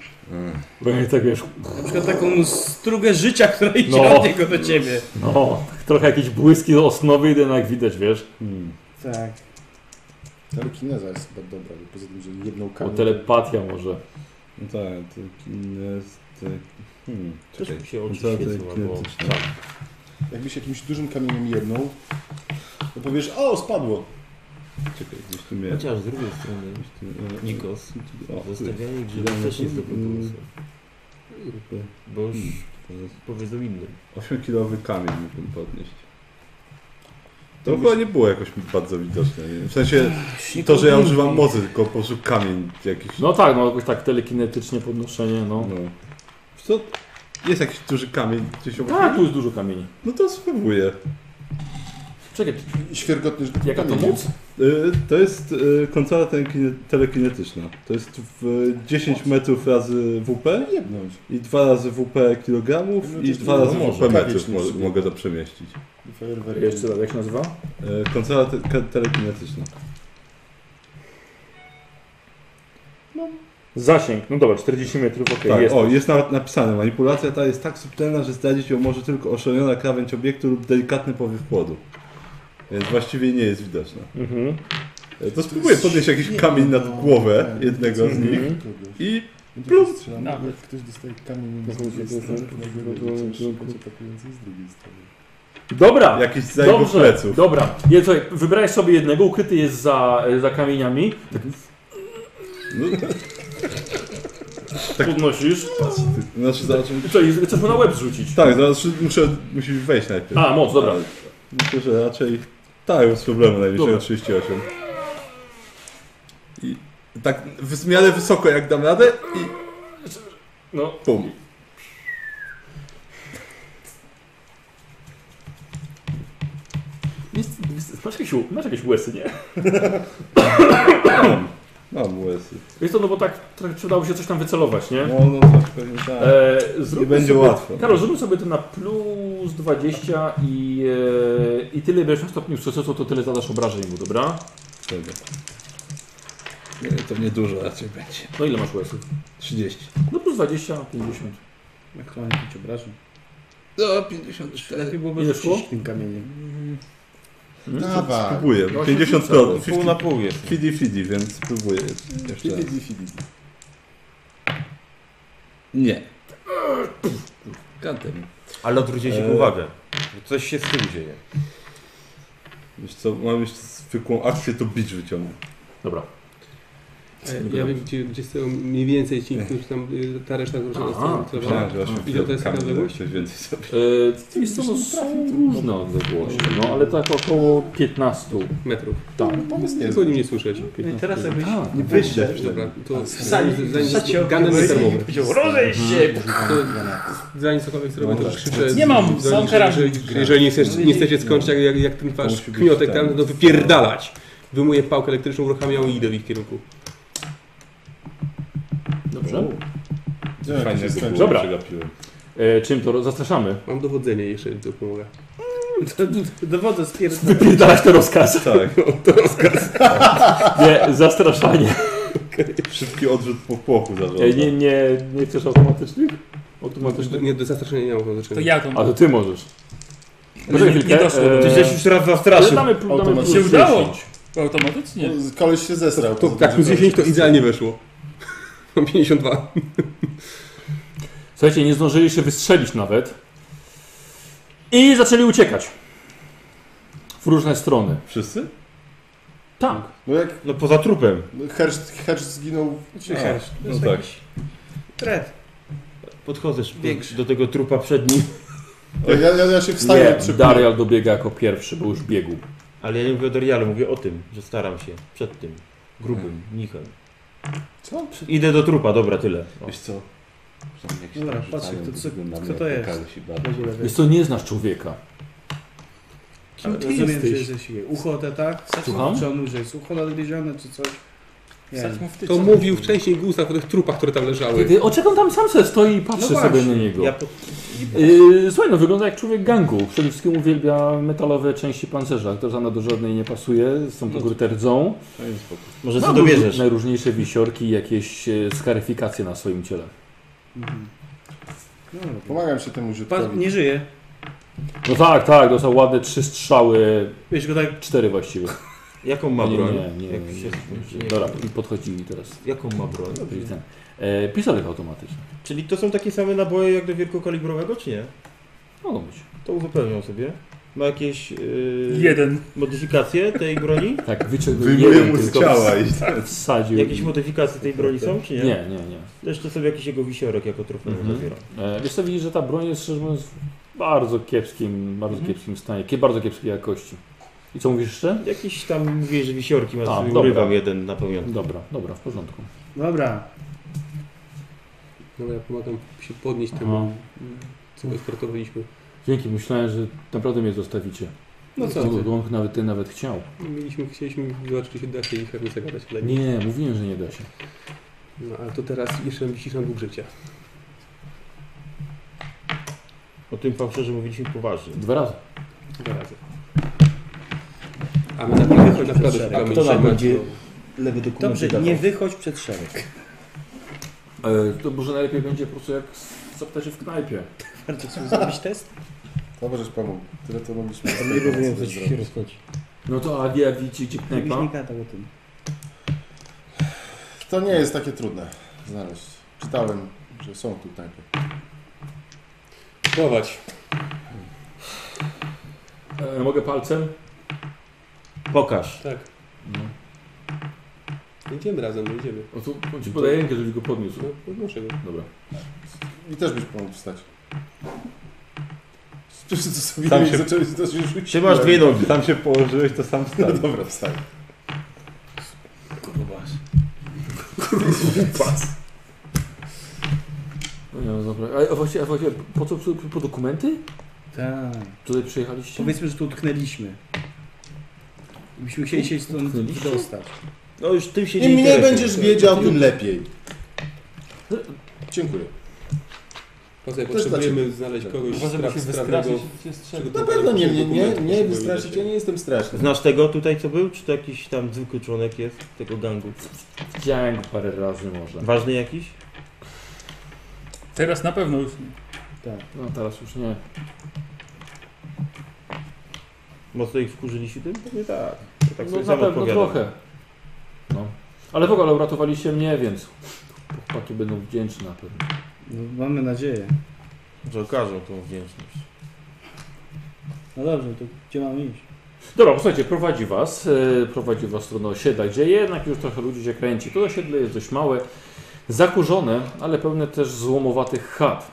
Speaker 1: Bo jak tak wiesz,
Speaker 2: Na przykład taką strugę życia, która idzie
Speaker 1: No.
Speaker 2: od niego do ciebie.
Speaker 1: no, trochę jakieś błyski osnowy jednak widać, wiesz.
Speaker 2: Tak.
Speaker 9: Telekineza jest chyba dobra, bo poza tym, że jedną
Speaker 1: Bo
Speaker 9: kartę.
Speaker 1: telepatia może.
Speaker 6: No tak, to kinez... Hmm,
Speaker 1: Też mi się oczy
Speaker 6: to
Speaker 1: świecą
Speaker 6: te
Speaker 1: albo- Tak.
Speaker 6: kinetyczne.
Speaker 9: Jakbyś jakimś dużym kamieniem jedną, to powiesz, o, spadło.
Speaker 6: Czekaj, gdzieś tu miałem.
Speaker 7: Chociaż z drugiej strony, e,
Speaker 6: gdzieś tu-
Speaker 7: Nikos,
Speaker 6: O, tu jest.
Speaker 7: zostawianie grzybów też jest dobrą pomysłem. Bo już powiedzą innym.
Speaker 6: 8-kilowy kamień mógłbym podnieść. To
Speaker 9: Jakbyś-
Speaker 6: chyba nie było jakoś bardzo widoczne. Nie wiem. W sensie to, że ja używam mocy, tylko po prostu kamień jakiś.
Speaker 1: No tak, no jakoś tak telekinetycznie podnoszenie, no.
Speaker 6: No. To jest jakiś duży kamień gdzieś obok.
Speaker 1: Tak, tu jest dużo kamieni.
Speaker 6: No to spróbuję.
Speaker 1: Czekaj,
Speaker 9: Świergotny rzut
Speaker 1: jaka to
Speaker 9: kamieniem.
Speaker 1: moc?
Speaker 6: Y, To jest y, kontrola telekine- telekinetyczna. To jest w y, 10 metrów razy WP
Speaker 9: Jednąć.
Speaker 6: i dwa razy WP kilogramów i
Speaker 9: Jednocześnie
Speaker 6: dwa razy
Speaker 9: no może.
Speaker 6: WP metrów
Speaker 9: Kawieć
Speaker 6: mo-
Speaker 9: sobie.
Speaker 6: mogę to przemieścić.
Speaker 9: I fajerwerki.
Speaker 1: Jeszcze raz, jak się nazywa?
Speaker 6: Y, Kontrola te- ke- telekinetyczna.
Speaker 1: Zasięg, no dobra, 40 metrów, okej,
Speaker 6: Tak,
Speaker 1: jest.
Speaker 6: o, jest nawet napisane. Manipulacja ta jest tak subtelna, że zdradzić ją może tylko oszalona krawędź obiektu lub delikatny powiew płodu. Więc właściwie nie jest widoczna.
Speaker 1: Mhm.
Speaker 6: E, To spróbuję podnieść jakiś kamień
Speaker 1: no,
Speaker 6: nad głowę
Speaker 9: Tak,
Speaker 6: jednego z
Speaker 9: tak,
Speaker 1: mhm.
Speaker 6: nich
Speaker 9: kogoś.
Speaker 6: i
Speaker 9: No to
Speaker 6: Plus.
Speaker 9: jak strzelam,
Speaker 4: Nawet.
Speaker 9: Jak ktoś dostaje kamień
Speaker 1: No
Speaker 9: z
Speaker 1: to-
Speaker 9: drugiej
Speaker 1: to- to-
Speaker 9: strony,
Speaker 1: to-
Speaker 9: to nagle
Speaker 1: to-
Speaker 9: robi coś
Speaker 1: to-
Speaker 9: będzie atakujący z drugiej strony.
Speaker 1: Dobra,
Speaker 6: jakiś z jego
Speaker 1: dobrze,
Speaker 6: pleców.
Speaker 1: dobra. Je, słuchaj, wybrałeś sobie jednego, ukryty jest za, za kamieniami.
Speaker 6: No,
Speaker 1: Tak. Podnosisz.
Speaker 6: znaczy, zaraz,
Speaker 1: Co, i chcesz mu na łeb rzucić?
Speaker 6: tak, zaraz muszę, musisz wejść najpierw.
Speaker 1: A, moc, dobra.
Speaker 6: Ale Myślę, że raczej tak, bez problemu najwyżej
Speaker 1: Dobra.
Speaker 6: na 38. I tak w miarę wysoko jak dam radę i
Speaker 1: No,
Speaker 6: pum.
Speaker 1: jest, jest, masz, jakieś, masz jakieś łysy, nie?
Speaker 6: Mam łez.
Speaker 1: Wiesz co, no bo tak trochę przydało się coś tam wycelować, nie?
Speaker 6: No, no tak, pewnie tak.
Speaker 1: E, zróbmy
Speaker 6: Nie będzie
Speaker 1: sobie,
Speaker 6: łatwo.
Speaker 1: Karol, zróbmy sobie to na plus 20 i, e, i tyle bierzesz na stopniu sukcesu, to tyle zadasz obrażeń mu, dobra?
Speaker 6: Dobra. Nie, to niedużo raczej będzie.
Speaker 1: No ile masz łysów?
Speaker 6: 30.
Speaker 1: No plus 20, 50.
Speaker 2: Jak to ma pięć obrażeń?
Speaker 6: No, 54.
Speaker 2: Lepiej byłoby
Speaker 1: Ile szło?
Speaker 2: rzucić tym kamieniem.
Speaker 9: Dawaj.
Speaker 6: Spróbuję.
Speaker 9: No,
Speaker 6: 50
Speaker 9: siedmica.
Speaker 6: procent.
Speaker 7: Pół na pół jest.
Speaker 6: Fidi, fidi, więc spróbuję jeszcze raz.
Speaker 9: Fidi, fidi.
Speaker 6: Nie. Kantem.
Speaker 7: Ale odwróciłeś
Speaker 6: Eee.
Speaker 7: eee. uwagę. bo Coś się z tym dzieje.
Speaker 6: Wiesz co, mam jeszcze zwykłą akcję, to bicz wyciągnę.
Speaker 1: Dobra.
Speaker 8: E, Ja wiem, gdzie, gdzie stoją mniej więcej ci, którzy tam, y, ta reszta, którzy
Speaker 1: Aha,
Speaker 8: tam
Speaker 6: Myślałem, że aż
Speaker 8: I to jest
Speaker 6: kamień,
Speaker 8: odległość?
Speaker 6: coś więcej sobie.
Speaker 1: E, wiesz co, no, są różne odległości, no ale tak około 15.
Speaker 8: metrów.
Speaker 1: Tak.
Speaker 9: Pomysł nie
Speaker 8: Tylko o nim nie słyszeć. E,
Speaker 2: No i teraz jakbyś
Speaker 1: Tak.
Speaker 6: Wyjście.
Speaker 8: Dobra, to
Speaker 2: wsali,
Speaker 8: zanim,
Speaker 2: wsadził
Speaker 8: zanim ganem termowy.
Speaker 2: powiedział, rozejść
Speaker 6: Mhm.
Speaker 2: się!
Speaker 8: Zanim cokolwiek zrobię, to już krzyczę.
Speaker 4: Nie mam,
Speaker 8: zanim-
Speaker 4: sam
Speaker 8: że-
Speaker 4: karabin.
Speaker 8: że- Jeżeli nie chcesz, nie chcecie skończyć jak, jak, jak ten
Speaker 6: To
Speaker 8: wasz
Speaker 6: musi być
Speaker 8: kniotek
Speaker 6: ten.
Speaker 8: tam, to wypierdalać. Wyjmuję pałkę elektryczną, uruchamiam ją i idę w ich kierunku.
Speaker 1: Dobrze.
Speaker 6: Fajnie,
Speaker 9: Fajnie,
Speaker 6: że było,
Speaker 1: Dobra.
Speaker 6: przegapiłem.
Speaker 1: E, czym to ro- zastraszamy?
Speaker 8: Mam dowodzenie jeszcze, to pomaga.
Speaker 2: Dowodzę z pierdolą.
Speaker 1: Wypierdalać to rozkaz.
Speaker 6: Tak,
Speaker 1: Nie, zastraszanie.
Speaker 6: szybki odrzut po płochu zarządzam.
Speaker 1: E, nie, nie, nie chcesz automatycznych? Automatycznych?
Speaker 8: Nie, do zastraszenia nie mam znaczy-
Speaker 4: To
Speaker 8: zastraszenia.
Speaker 4: ja to
Speaker 1: A to ty możesz.
Speaker 4: Ale nie, nie doszło. do
Speaker 1: Eee,
Speaker 4: mnie.
Speaker 7: Gdzieś już raz
Speaker 1: Ale
Speaker 7: zastraszył.
Speaker 1: damy, pl- damy
Speaker 9: Automatycznie.
Speaker 1: plus
Speaker 4: Się udało.
Speaker 1: 10.
Speaker 4: Automatycznie.
Speaker 9: Koleś się zesrał.
Speaker 8: To, tak, plus 10 to idealnie weszło. Mam 52.
Speaker 1: Słuchajcie, nie zdążyli się wystrzelić nawet. I zaczęli uciekać. W różne strony.
Speaker 6: Wszyscy?
Speaker 1: Tak.
Speaker 9: No jak
Speaker 7: No poza trupem.
Speaker 9: Hersz, hersz zginął,
Speaker 2: Czekaj, to jest
Speaker 6: no tak.
Speaker 2: jakiś... Tret.
Speaker 7: Podchodzę szybko
Speaker 2: Większy.
Speaker 7: do tego trupa przed nim.
Speaker 9: ja, ja, ja się wstaję
Speaker 1: Nie,
Speaker 9: od szybko.
Speaker 1: Darial dobiega jako pierwszy, bo już biegł.
Speaker 7: Ale ja nie mówię o Dorialu, mówię o tym, że staram się. Przed tym. Grubym, nichem.
Speaker 9: Co?
Speaker 7: Idę do trupa, dobra, tyle. O.
Speaker 6: Wiesz co?
Speaker 2: Dobra, patrzę, to co-
Speaker 6: wyglądamy
Speaker 2: kto
Speaker 6: jak
Speaker 2: to jest?
Speaker 6: Karl Sibada.
Speaker 1: Wiesz co, nie znasz człowieka.
Speaker 2: Kim
Speaker 7: Ale
Speaker 2: ty
Speaker 7: rozumiem,
Speaker 2: jesteś?
Speaker 7: że
Speaker 2: że jesteś jej. Ucho te tak?
Speaker 1: Słucham?
Speaker 2: Czy on już jest ucho nadgryzione, czy coś? Nie
Speaker 4: Wsadź
Speaker 2: wiem.
Speaker 4: mu w tyce.
Speaker 8: To mówił wcześniej Gustaw o tych trupach, które tam leżały.
Speaker 1: Kiedy oczekam tam sam sobie stoi i patrzę
Speaker 2: No
Speaker 1: sobie
Speaker 2: właśnie.
Speaker 1: na niego.
Speaker 2: Ja po...
Speaker 1: Yy, słuchaj, no wygląda jak człowiek gangu. Przede wszystkim uwielbia metalowe części pancerza, która na do żadnej nie pasuje, są to gry rdzą.
Speaker 7: Może
Speaker 1: Ma
Speaker 7: No. co dobierzesz.
Speaker 1: Najróżniejsze wisiorki i jakieś e, skaryfikacje na swoim ciele.
Speaker 2: Mhm. No, dobra.
Speaker 9: Pomagam się temu
Speaker 2: Pan
Speaker 9: ziutkowi.
Speaker 2: nie żyje.
Speaker 1: No tak, tak, dostał ładne trzy strzały,
Speaker 2: Wiesz go tak.
Speaker 1: cztery właściwie.
Speaker 7: Jaką ma
Speaker 1: nie,
Speaker 7: broń?
Speaker 1: nie, nie,
Speaker 7: Jak
Speaker 1: nie,
Speaker 7: się-
Speaker 1: nie,
Speaker 7: nie.
Speaker 1: Dobra, i podchodzi teraz.
Speaker 7: Jaką ma broń?
Speaker 1: E, pistolet automatyczny.
Speaker 7: Czyli to są takie same naboje jak do wielkokalibrowego, czy nie?
Speaker 1: Mogą być.
Speaker 7: To uzupełnią sobie. Ma jakieś yy,
Speaker 4: Jeden.
Speaker 7: modyfikacje tej broni?
Speaker 1: Tak, wyciągnął
Speaker 6: Wyjmuję
Speaker 1: jeden
Speaker 6: mu z
Speaker 1: tylko
Speaker 6: ciała i
Speaker 1: ws- wsadził.
Speaker 7: Jakieś
Speaker 1: i-
Speaker 7: modyfikacje tej broni są, czy nie?
Speaker 1: Nie, nie, nie.
Speaker 7: Zresztą sobie jakiś jego wisiorek jako trofeum
Speaker 1: Mhm.
Speaker 7: zabiera.
Speaker 1: E, Wiesz co, widzisz, że ta broń jest szczerze mówiąc w bardzo kiepskim, bardzo kiepskim stanie, kie- bardzo kiepskiej jakości. I co mówisz jeszcze?
Speaker 7: Jakiś tam, mówię, że wisiorki ma,
Speaker 1: A,
Speaker 7: sobie
Speaker 1: dobra.
Speaker 7: urywam jeden na pamiątkę.
Speaker 1: Dobra, dobra, w porządku.
Speaker 2: Dobra.
Speaker 8: No ja pomagam się podnieść
Speaker 1: No.
Speaker 8: temu, co go startowaliśmy.
Speaker 1: Dzięki, myślałem, że naprawdę mnie zostawicie.
Speaker 8: No co
Speaker 1: Bo
Speaker 8: ty?
Speaker 1: on nawet ty nawet chciał.
Speaker 8: Mieliśmy, chcieliśmy zobaczyć, czy się da się ich pewnie zagadać, ale nie.
Speaker 1: Nie, mówiłem, że nie da się.
Speaker 8: No ale to teraz jeszcze nam wisisz na dług życia.
Speaker 7: O tym fałszerze mówiliśmy poważnie.
Speaker 1: Dwa razy.
Speaker 8: Dwa razy. A my naprawdę, naprawdę szukamy
Speaker 7: Kto nam
Speaker 8: dzisiaj
Speaker 7: będzie
Speaker 8: macie-
Speaker 7: lewy dokument
Speaker 2: Dobrze,
Speaker 7: wydawał?
Speaker 2: nie wychodź przed szereg.
Speaker 1: E, to może najlepiej będzie po prostu jak zapytać się w knajpie.
Speaker 2: Warto sobie zrobić test?
Speaker 9: Dobrze, że pomógł. Tyle to mogliśmy.
Speaker 7: Nie rozumiem, co ci się rozchodzi.
Speaker 1: No to a ja widzicie gdzie
Speaker 2: Jakbyś
Speaker 1: knajpa?
Speaker 2: nie gadał o tym.
Speaker 9: To nie jest takie trudne znaleźć. Czytałem, że są tu knajpy.
Speaker 8: Próbować.
Speaker 1: E, mogę palcem?
Speaker 7: Pokaż.
Speaker 8: Tak.
Speaker 1: No.
Speaker 8: Idziemy razem, no idziemy.
Speaker 1: O tu on ci podaje rękę, żebyś go podniósł.
Speaker 8: No, podnoszę go.
Speaker 1: Dobra.
Speaker 9: I też byś pomógł wstać. Wszyscy to sobie
Speaker 6: Tam
Speaker 9: Tam
Speaker 6: się-
Speaker 9: zaczęli to się rzucić.
Speaker 7: Trzymasz dwie nogi.
Speaker 6: Tam się położyłeś, to sam
Speaker 9: No
Speaker 6: stał.
Speaker 9: dobra, wstań.
Speaker 1: No nie, no dobra. A, a, właśnie, a właśnie, po co po, po dokumenty?
Speaker 2: Tak.
Speaker 1: Tutaj przyjechaliście?
Speaker 2: Powiedzmy, że tu utknęliśmy. I Byśmy chcieli się stąd
Speaker 1: Utknęliśmy?
Speaker 2: dostać.
Speaker 7: No już tym się nie
Speaker 9: Im mniej
Speaker 7: interesuj.
Speaker 9: będziesz wiedział, tym lepiej. Dziękuję.
Speaker 8: Poza tym
Speaker 9: Też dla
Speaker 8: potrzebujemy znaleźć kogoś spra- sprawnego.
Speaker 9: Na pewno nie, nie, nie, nie wystraszyć, ja nie jestem straszny.
Speaker 7: Znasz tego tutaj co był? Czy to jakiś tam zwykły członek jest tego gangu?
Speaker 1: Widziałem go parę razy może.
Speaker 7: Ważny jakiś?
Speaker 4: Teraz na pewno już nie.
Speaker 1: No teraz już nie.
Speaker 7: Mocno ich wkurzyliście tym? Pewnie tak. Ja tak
Speaker 1: no
Speaker 7: sobie
Speaker 1: na
Speaker 7: sam
Speaker 1: pewno
Speaker 7: odpowiadam.
Speaker 1: trochę. No. Ale w ogóle uratowaliście mnie, więc chłopaki będą wdzięczni na pewno.
Speaker 2: No, mamy nadzieję.
Speaker 7: Że okażą tą wdzięczność.
Speaker 2: No dobrze, to gdzie mamy iść?
Speaker 1: Dobra, posłuchajcie, prowadzi was, e, prowadzi was w stronę osiedla, gdzie jednak już trochę ludzi się kręci. To osiedle jest dość małe, zakurzone, ale pełne też złomowatych chat.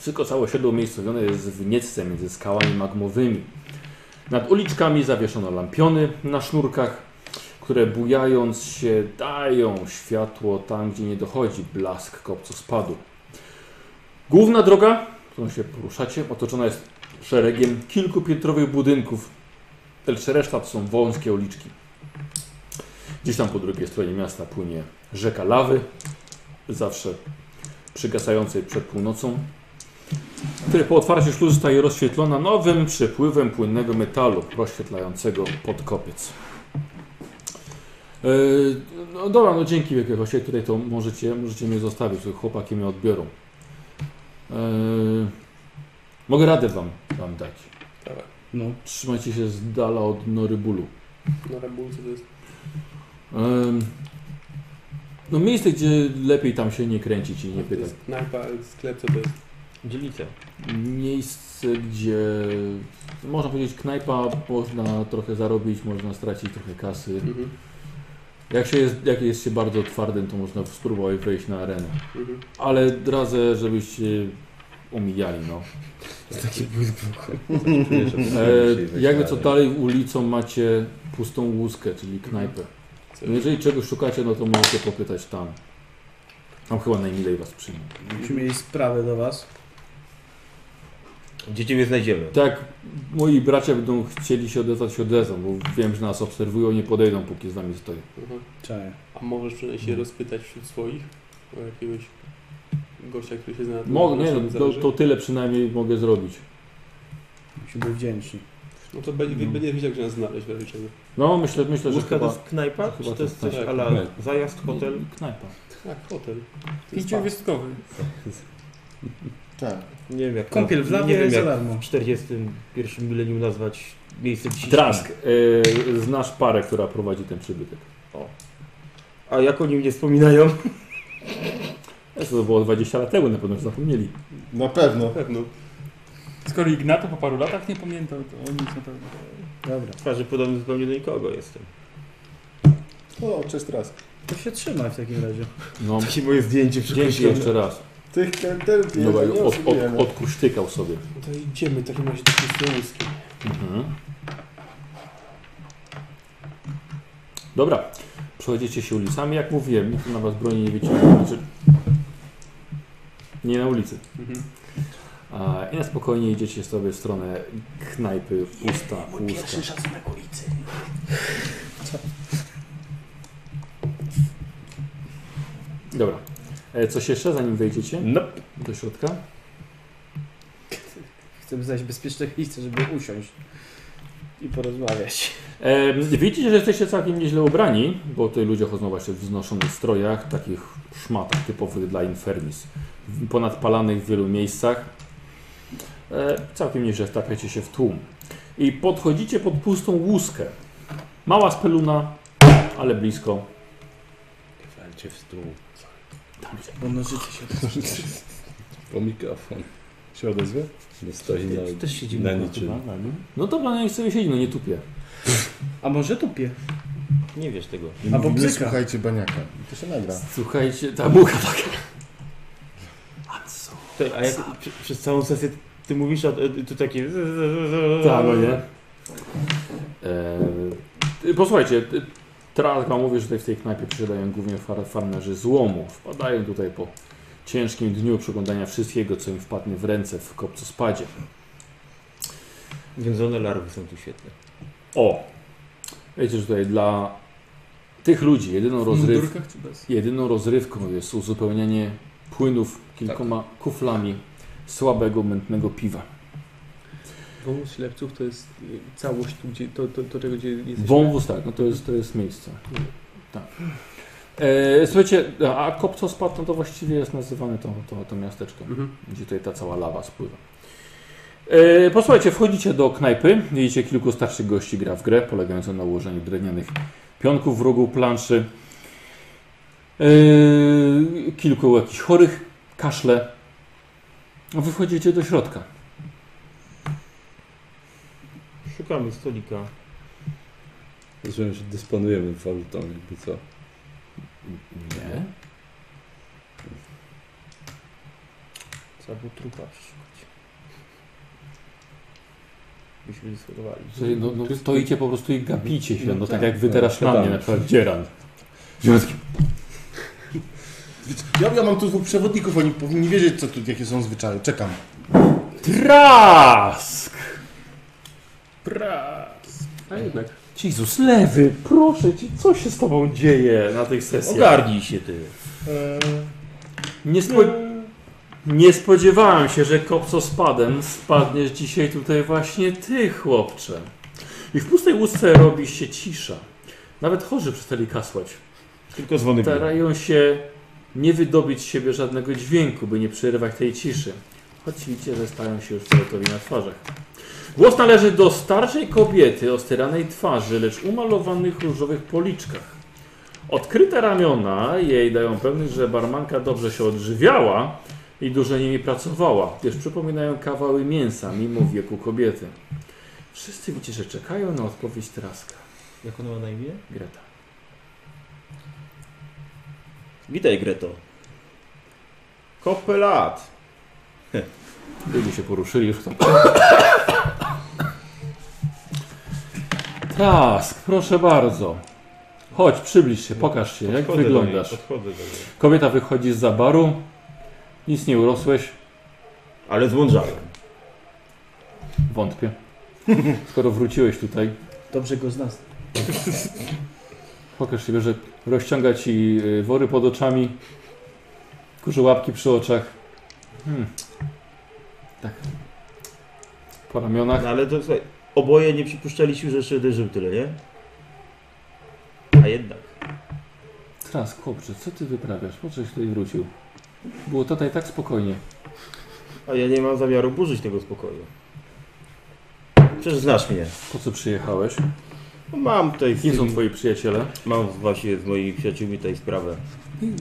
Speaker 1: Wszystko całe osiedle umiejscowione jest w niecce między skałami magmowymi. Nad uliczkami zawieszono lampiony na sznurkach, które bujając się dają światło tam, gdzie nie dochodzi blask kopcospadu. Główna droga, którą się poruszacie, otoczona jest szeregiem kilkupiętrowych budynków, lecz reszta to są wąskie uliczki. Gdzieś tam po drugiej stronie miasta płynie rzeka lawy, zawsze przygasającej przed północą, która po otwarciu śluzy zostaje rozświetlona nowym przepływem płynnego metalu rozświetlającego podkopiec. Yy, no dobra, no dzięki jakiegoś tutaj to możecie, możecie mnie zostawić, to chłopaki mnie odbiorą. Yy, mogę radę wam, wam dać.
Speaker 8: Dawaj.
Speaker 2: No.
Speaker 1: Trzymajcie się z dala od norybulu.
Speaker 8: Na rabulce to jest.
Speaker 1: Em, no miejsce, gdzie lepiej tam się nie kręcić i nie
Speaker 8: to
Speaker 1: pytać.
Speaker 8: jest knajpa, sklep, co to jest?
Speaker 7: Dzielnica.
Speaker 1: Miejsce, gdzie można powiedzieć knajpa, można trochę zarobić, można stracić trochę kasy.
Speaker 8: Mhm.
Speaker 1: Jak się jest, jak jest się bardzo twardym, to można spróbować wejść na arenę.
Speaker 8: Mhm.
Speaker 1: Ale radzę, żebyście umijali, no. E, jakby co dalej ulicą macie pustą łuskę, czyli knajpę.
Speaker 8: Mhm. Co-
Speaker 1: No jeżeli czegoś szukacie, no to możecie popytać tam. Tam chyba najmilej was przyjmą.
Speaker 2: Myśmy mieli sprawę do was.
Speaker 7: Gdzie ciebie znajdziemy?
Speaker 1: Tak, moi bracia będą chcieli się odezwać, się odezwą, bo wiem, że nas obserwują, nie podejdą, póki z nami stoję.
Speaker 6: Czaję.
Speaker 8: A możesz przynajmniej się rozpytać wśród swoich o jakiegoś gościa, który się zna na tym
Speaker 1: Mogę, nie,
Speaker 8: na
Speaker 1: no,
Speaker 8: czym
Speaker 1: to,
Speaker 8: zależy?
Speaker 1: to tyle przynajmniej mogę zrobić.
Speaker 6: Musimy być wdzięczni.
Speaker 8: No to będzie, będzie wiedział, gdzie nas znaleźć, w razie czego.
Speaker 1: No, myślę, myślę że
Speaker 7: Łódka to
Speaker 1: chyba...
Speaker 7: jest knajpa?
Speaker 1: chyba
Speaker 7: Czy
Speaker 1: to
Speaker 7: to jest coś
Speaker 8: tak.
Speaker 7: ala
Speaker 6: Nie.
Speaker 7: zajazd, hotel?
Speaker 1: Knajpa.
Speaker 8: Tak, hotel.
Speaker 4: Pięciogwiazdkowy.
Speaker 9: Tak.
Speaker 7: Nie wiem jak
Speaker 2: Kąpiel w
Speaker 7: na-
Speaker 2: lawie
Speaker 7: nie wiem
Speaker 2: za
Speaker 7: jak
Speaker 2: darmo.
Speaker 7: w 41 milenium nazwać miejsce dzisiejsze.
Speaker 1: Trask, e, znasz parę, która prowadzi ten przybytek.
Speaker 7: A jak o nim nie wspominają?
Speaker 1: To to było 20 lat temu, na pewno już zapomnieli.
Speaker 9: Na pewno.
Speaker 8: Na pewno.
Speaker 4: Skoro Ignato po paru latach nie pamiętał, to o nic na pewno.
Speaker 2: Dobra.
Speaker 7: Twarzy podobny zupełnie do nikogo jestem.
Speaker 9: O, cześć raz.
Speaker 2: To się trzymaj w takim razie.
Speaker 1: No,
Speaker 7: Takie moje zdjęcie
Speaker 1: dzięki jeszcze raz.
Speaker 9: Tych kętelki
Speaker 1: Dobra,
Speaker 9: nie
Speaker 1: No, od,
Speaker 9: obsługujemy.
Speaker 1: od, odkusztykał sobie.
Speaker 8: No to idziemy w takim razie do Krystiańskiej.
Speaker 1: Mhm. Dobra, przechodzicie się ulicami, jak mówiłem, nikt na was broni nie wyciąga, znaczy nie na ulicy.
Speaker 8: Mhm.
Speaker 1: A, I na spokojnie idziecie sobie w stronę knajpy usta, usta.
Speaker 2: szacunek ulicy.
Speaker 1: Dobra, E, coś jeszcze zanim wejdziecie
Speaker 7: No,
Speaker 1: do środka?
Speaker 2: Chcemy znaleźć bezpieczne miejsce, żeby usiąść i porozmawiać.
Speaker 1: E, widzicie, że jesteście całkiem nieźle ubrani, bo tutaj ludzie chodzą właśnie w wznoszonych strojach, takich szmatach typowych dla Infernis, w- ponadpalanych w wielu miejscach. E, całkiem nieźle wtapiacie się w tłum. I podchodzicie pod pustą łuskę. Mała speluna, ale blisko.
Speaker 7: Walcie w stół.
Speaker 10: Ono życie się
Speaker 6: O mikrofon. Się odezwie? Nie stoi na,
Speaker 7: Też siedzimy.
Speaker 6: na niczym.
Speaker 1: No dobra, niech sobie siedzi, no nie tupie.
Speaker 2: A może tupie?
Speaker 7: Nie wiesz tego.
Speaker 9: A
Speaker 2: Albo
Speaker 9: mówimy,
Speaker 2: bzyka.
Speaker 9: słuchajcie baniaka. I To się nagra.
Speaker 1: Słuchajcie, ta mucha taka. Ansu.
Speaker 7: Te- A jak przy- przez całą sesję ty mówisz, a e, tu takie...
Speaker 1: Tak, no nie? E, posłuchajcie, e, teraz wam mówię, że tutaj w tej knajpie przyjadają głównie far, farmerzy złomu. Wpadają tutaj po ciężkim dniu przeglądania wszystkiego, co im wpadnie w ręce w kopcospadzie.
Speaker 7: Więzone larwy są tu świetne.
Speaker 1: O! Wiecie, że tutaj dla tych ludzi jedyną, rozryw,
Speaker 4: mundurkach czy bez?
Speaker 1: jedyną rozrywką jest uzupełnianie płynów kilkoma
Speaker 8: Tak.
Speaker 1: kuflami słabego, mętnego piwa.
Speaker 8: Wąwóz ślepców to jest y, całość, tu, gdzie, to, to, to czego gdzie jesteśmy.
Speaker 1: Wąwóz, tak, no to jest, to jest miejsce. Tak. E, słuchajcie, a Kopcospad no to właściwie jest nazywane to, to, to miasteczko,
Speaker 8: Mhm.
Speaker 1: gdzie tutaj ta cała lawa spływa. E, posłuchajcie, wchodzicie do knajpy, widzicie kilku starszych gości gra w grę, polegającą na ułożeniu drewnianych pionków w rogu planszy. E, kilku jakichś chorych, kaszle. Wy wchodzicie do środka.
Speaker 7: Szukamy stolika.
Speaker 6: Rozumiem, że dysponujemy walutą, jakby co.
Speaker 1: Nie.
Speaker 7: Trzeba było trupa przeszukać. Byśmy nie schorowali.
Speaker 1: Słuchaj, no, no stoicie po prostu i gapicie się, no, tak,
Speaker 6: tak,
Speaker 1: jak wy
Speaker 6: no,
Speaker 1: teraz na mnie,
Speaker 6: gadamy.
Speaker 1: na przykład dzieran.
Speaker 9: Ja, ja mam tu dwóch przewodników, oni powinni wiedzieć, co tu, jakie są zwyczaje. Czekam.
Speaker 1: Trask!
Speaker 8: A jednak.
Speaker 1: Jezus, lewy, proszę cię, co się z tobą dzieje na tych sesjach? E,
Speaker 7: Ogarnij się ty.
Speaker 1: Nie, spo... Nie spodziewałem się, że kopco spadem spadniesz dzisiaj tutaj właśnie ty, chłopcze. I w pustej łódce robi się cisza. Nawet chorzy przestali kasłać.
Speaker 7: Tylko dzwony biją.
Speaker 1: Starają się nie wydobyć z siebie żadnego dźwięku, by nie przerywać tej ciszy. Choć widzicie, że stają się już gotowi na twarzach. Głos należy do starszej kobiety o styranej twarzy, lecz umalowanych różowych policzkach. Odkryte ramiona jej dają pewność, że barmanka dobrze się odżywiała i dużo nimi pracowała, gdyż przypominają kawały mięsa mimo wieku kobiety. Wszyscy widzicie, że czekają na odpowiedź Traska.
Speaker 7: Jak ona ma na imię?
Speaker 1: Greta.
Speaker 7: Witaj Greto. Kopę lat.
Speaker 1: Ludzie się poruszyli już tam. Trask, proszę bardzo. Chodź, przybliż się, pokaż się, jak
Speaker 7: Podchodzę do niej,
Speaker 1: wyglądasz.
Speaker 7: Podchodzę do niej.
Speaker 1: Kobieta wychodzi z za baru, nic nie urosłeś.
Speaker 7: Ale zmądrzałem.
Speaker 1: Wątpię. Skoro wróciłeś tutaj,
Speaker 2: Dobrze go znasz.
Speaker 1: pokaż się, że rozciąga ci y, wory pod oczami, kurzy łapki przy oczach. Hmm. Tak. Po ramionach.
Speaker 12: No ale to słuchaj, oboje nie przypuszczaliśmy, że jeszcze będę żył tyle, nie? A jednak.
Speaker 1: Teraz, chłopcze, co ty wyprawiasz? Po coś tutaj wrócił? Było tutaj tak spokojnie.
Speaker 12: A ja nie mam zamiaru burzyć tego spokoju. Przecież znasz mnie.
Speaker 1: Po co przyjechałeś?
Speaker 12: No mam tutaj...
Speaker 1: Kim są twoi przyjaciele?
Speaker 12: Mam właśnie z moimi przyjaciółmi tutaj sprawę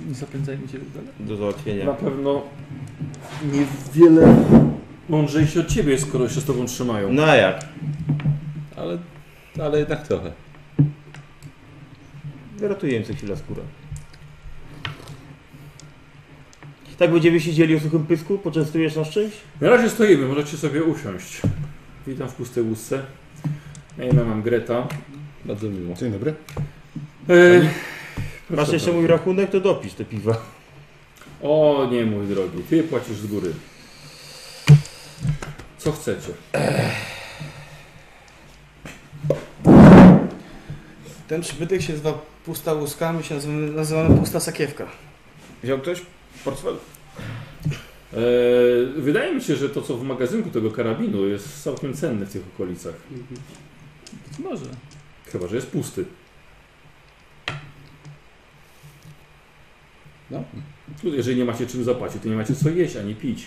Speaker 4: Nie zapędzajmy się No. dalej.
Speaker 12: do załatwienia.
Speaker 1: Na pewno niewiele mądrzejsi od ciebie, skoro się z tobą trzymają.
Speaker 12: No a jak?
Speaker 8: Ale, ale jednak trochę.
Speaker 12: Ratuje im co chwila skóra. Tak będziemy siedzieli o suchym pysku? Poczęstujesz nas czymś?
Speaker 1: Na razie stoimy, możecie sobie usiąść. Witam w pustej łusce. Ja imię mam Greta.
Speaker 8: Bardzo miło.
Speaker 9: Dzień dobry.
Speaker 1: E,
Speaker 12: Masz
Speaker 1: proszę
Speaker 12: jeszcze mój rachunek, to dopisz te piwa.
Speaker 1: bardzo. O nie, mój drogi, ty płacisz z góry. Co chcecie?
Speaker 10: Ten przybytek się nazywa Pusta Łuska, my się nazywamy, nazywamy Pusta Sakiewka.
Speaker 9: Wziął ktoś portfel?
Speaker 1: E, wydaje mi się, że to co w magazynku tego karabinu jest całkiem cenne w tych okolicach.
Speaker 4: Być może.
Speaker 1: Chyba, że jest pusty.
Speaker 9: No.
Speaker 1: Tu, Jeżeli nie macie czym zapłacić, to nie macie co jeść ani pić.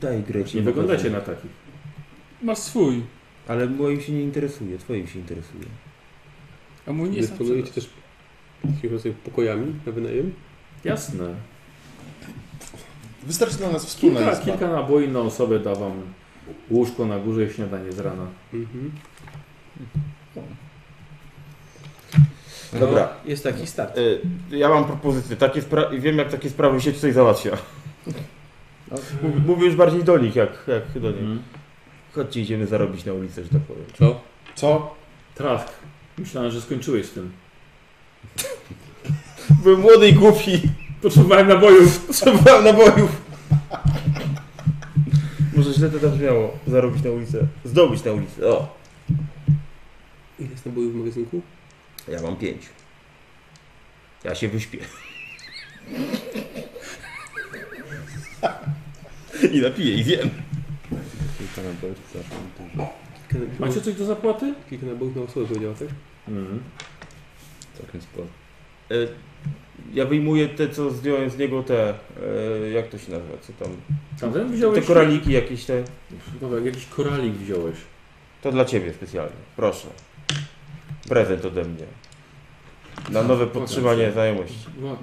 Speaker 12: Daj Grecie.
Speaker 1: Nie wyglądacie na takich.
Speaker 4: Masz swój.
Speaker 12: Ale moim się nie interesuje, twoim się interesuje.
Speaker 4: A mój nie jest
Speaker 8: Dysponujecie też jakimiś rodzaju pokojami na wynajem?
Speaker 1: Jasne.
Speaker 9: Wystarczy dla nas wspólna
Speaker 1: Kilka,
Speaker 9: izba.
Speaker 1: kilka naboi na osobę da wam łóżko na górze i śniadanie z rana.
Speaker 8: Mhm.
Speaker 12: Dobra.
Speaker 2: No, jest taki start.
Speaker 12: Y, Ja mam propozycję. Takie spra- wiem, jak takie sprawy się tutaj załatwia. Mów- Mówię już bardziej do nich, jak, jak do nich.
Speaker 1: Mhm.
Speaker 12: Chodźcie, idziemy zarobić na ulicę, że tak powiem.
Speaker 8: Co?
Speaker 9: Co?
Speaker 1: Trask, myślałem, że skończyłeś z tym.
Speaker 12: Byłem młody i głupi.
Speaker 1: Potrzebowałem nabojów.
Speaker 12: Potrzebowałem nabojów. Może źle to tam brzmiało. Zarobić na ulicę. Zdobyć na ulicę. O.
Speaker 8: Ile jest nabojów w magazynku?
Speaker 12: Ja mam pięć. Ja się wyśpię. I napiję i zjem.
Speaker 6: Kilka nabojów, zawsze dużo.
Speaker 8: Kilka nabojów,
Speaker 1: Macie coś do zapłaty?
Speaker 8: kilka nabojów na osobę powiedziała, tak?
Speaker 1: Mhm.
Speaker 6: Całkiem sporo.
Speaker 12: E, Ja wyjmuję te, co zdjąłem z niego te, e, jak to się nazywa, co tam,
Speaker 1: Tamten
Speaker 12: te
Speaker 1: wziąłeś?
Speaker 12: koraliki jakieś te,
Speaker 1: Dobra, jakiś koralik wziąłeś.
Speaker 12: to dla Ciebie specjalnie, proszę. Prezent ode mnie. Na nowe podtrzymanie znajomości.
Speaker 1: No,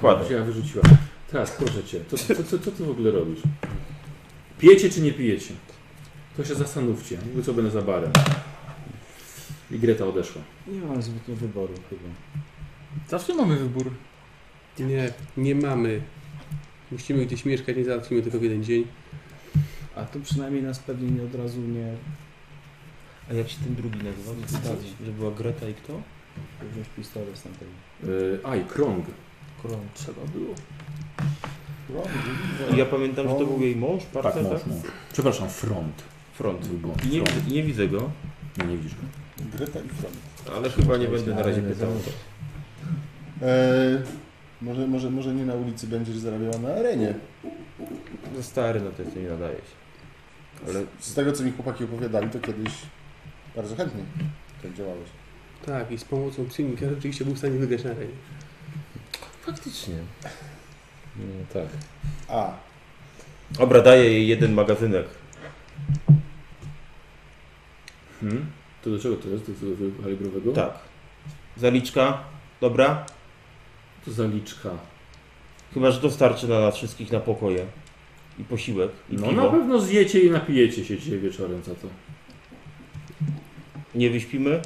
Speaker 12: Kładę.
Speaker 1: ja wyrzuciłem. Teraz, proszę cię, co, co, co, co ty w ogóle robisz? Pijecie czy nie pijecie? To się zastanówcie, Mówię, co będę za barem. I Greta odeszła.
Speaker 2: Nie mam zbytnio wyboru chyba.
Speaker 4: Zawsze mamy wybór.
Speaker 8: Nie, nie mamy. Musimy gdzieś mieszkać, nie załatwimy tego w jeden dzień.
Speaker 2: A to przynajmniej nas pewnie nie od razu nie...
Speaker 12: A jak się ten drugi nazywał? Że była Greta i kto?
Speaker 2: wziąć pistolet z tamtego.
Speaker 1: Yy, aj, krąg.
Speaker 2: Krąg.
Speaker 1: Trzeba było.
Speaker 12: I ja pamiętam, że to był jej mąż,
Speaker 1: Tak,
Speaker 12: partner, tak?
Speaker 1: mocno. Przepraszam, front.
Speaker 12: Front.
Speaker 1: Był błąd.
Speaker 12: I nie,
Speaker 1: Front.
Speaker 12: widzę- nie widzę go,
Speaker 1: No nie widzisz go.
Speaker 9: Greta i Front.
Speaker 12: ale chyba nie będę na razie pytał.
Speaker 9: E, może, może, może nie na ulicy będziesz zarabiała na arenie.
Speaker 12: Za No stary na to jest, nie nadaje się. Ale
Speaker 9: Z tego, co mi chłopaki opowiadali, to kiedyś bardzo chętnie tak działałeś.
Speaker 8: Tak, i z pomocą psinika rzeczywiście był w stanie wygrać na arenie.
Speaker 12: faktycznie.
Speaker 6: No tak.
Speaker 9: A,
Speaker 12: Dobra, daję jej jeden magazynek.
Speaker 1: Hmm? To do czego to jest? Do tego kalibrowego?
Speaker 12: Tak. Zaliczka, dobra?
Speaker 1: To zaliczka.
Speaker 12: Chyba, że dostarczy na nas wszystkich na pokoje i posiłek i
Speaker 1: No
Speaker 12: piwo.
Speaker 1: na pewno zjecie i napijecie się dzisiaj wieczorem za to.
Speaker 12: Nie wyśpimy?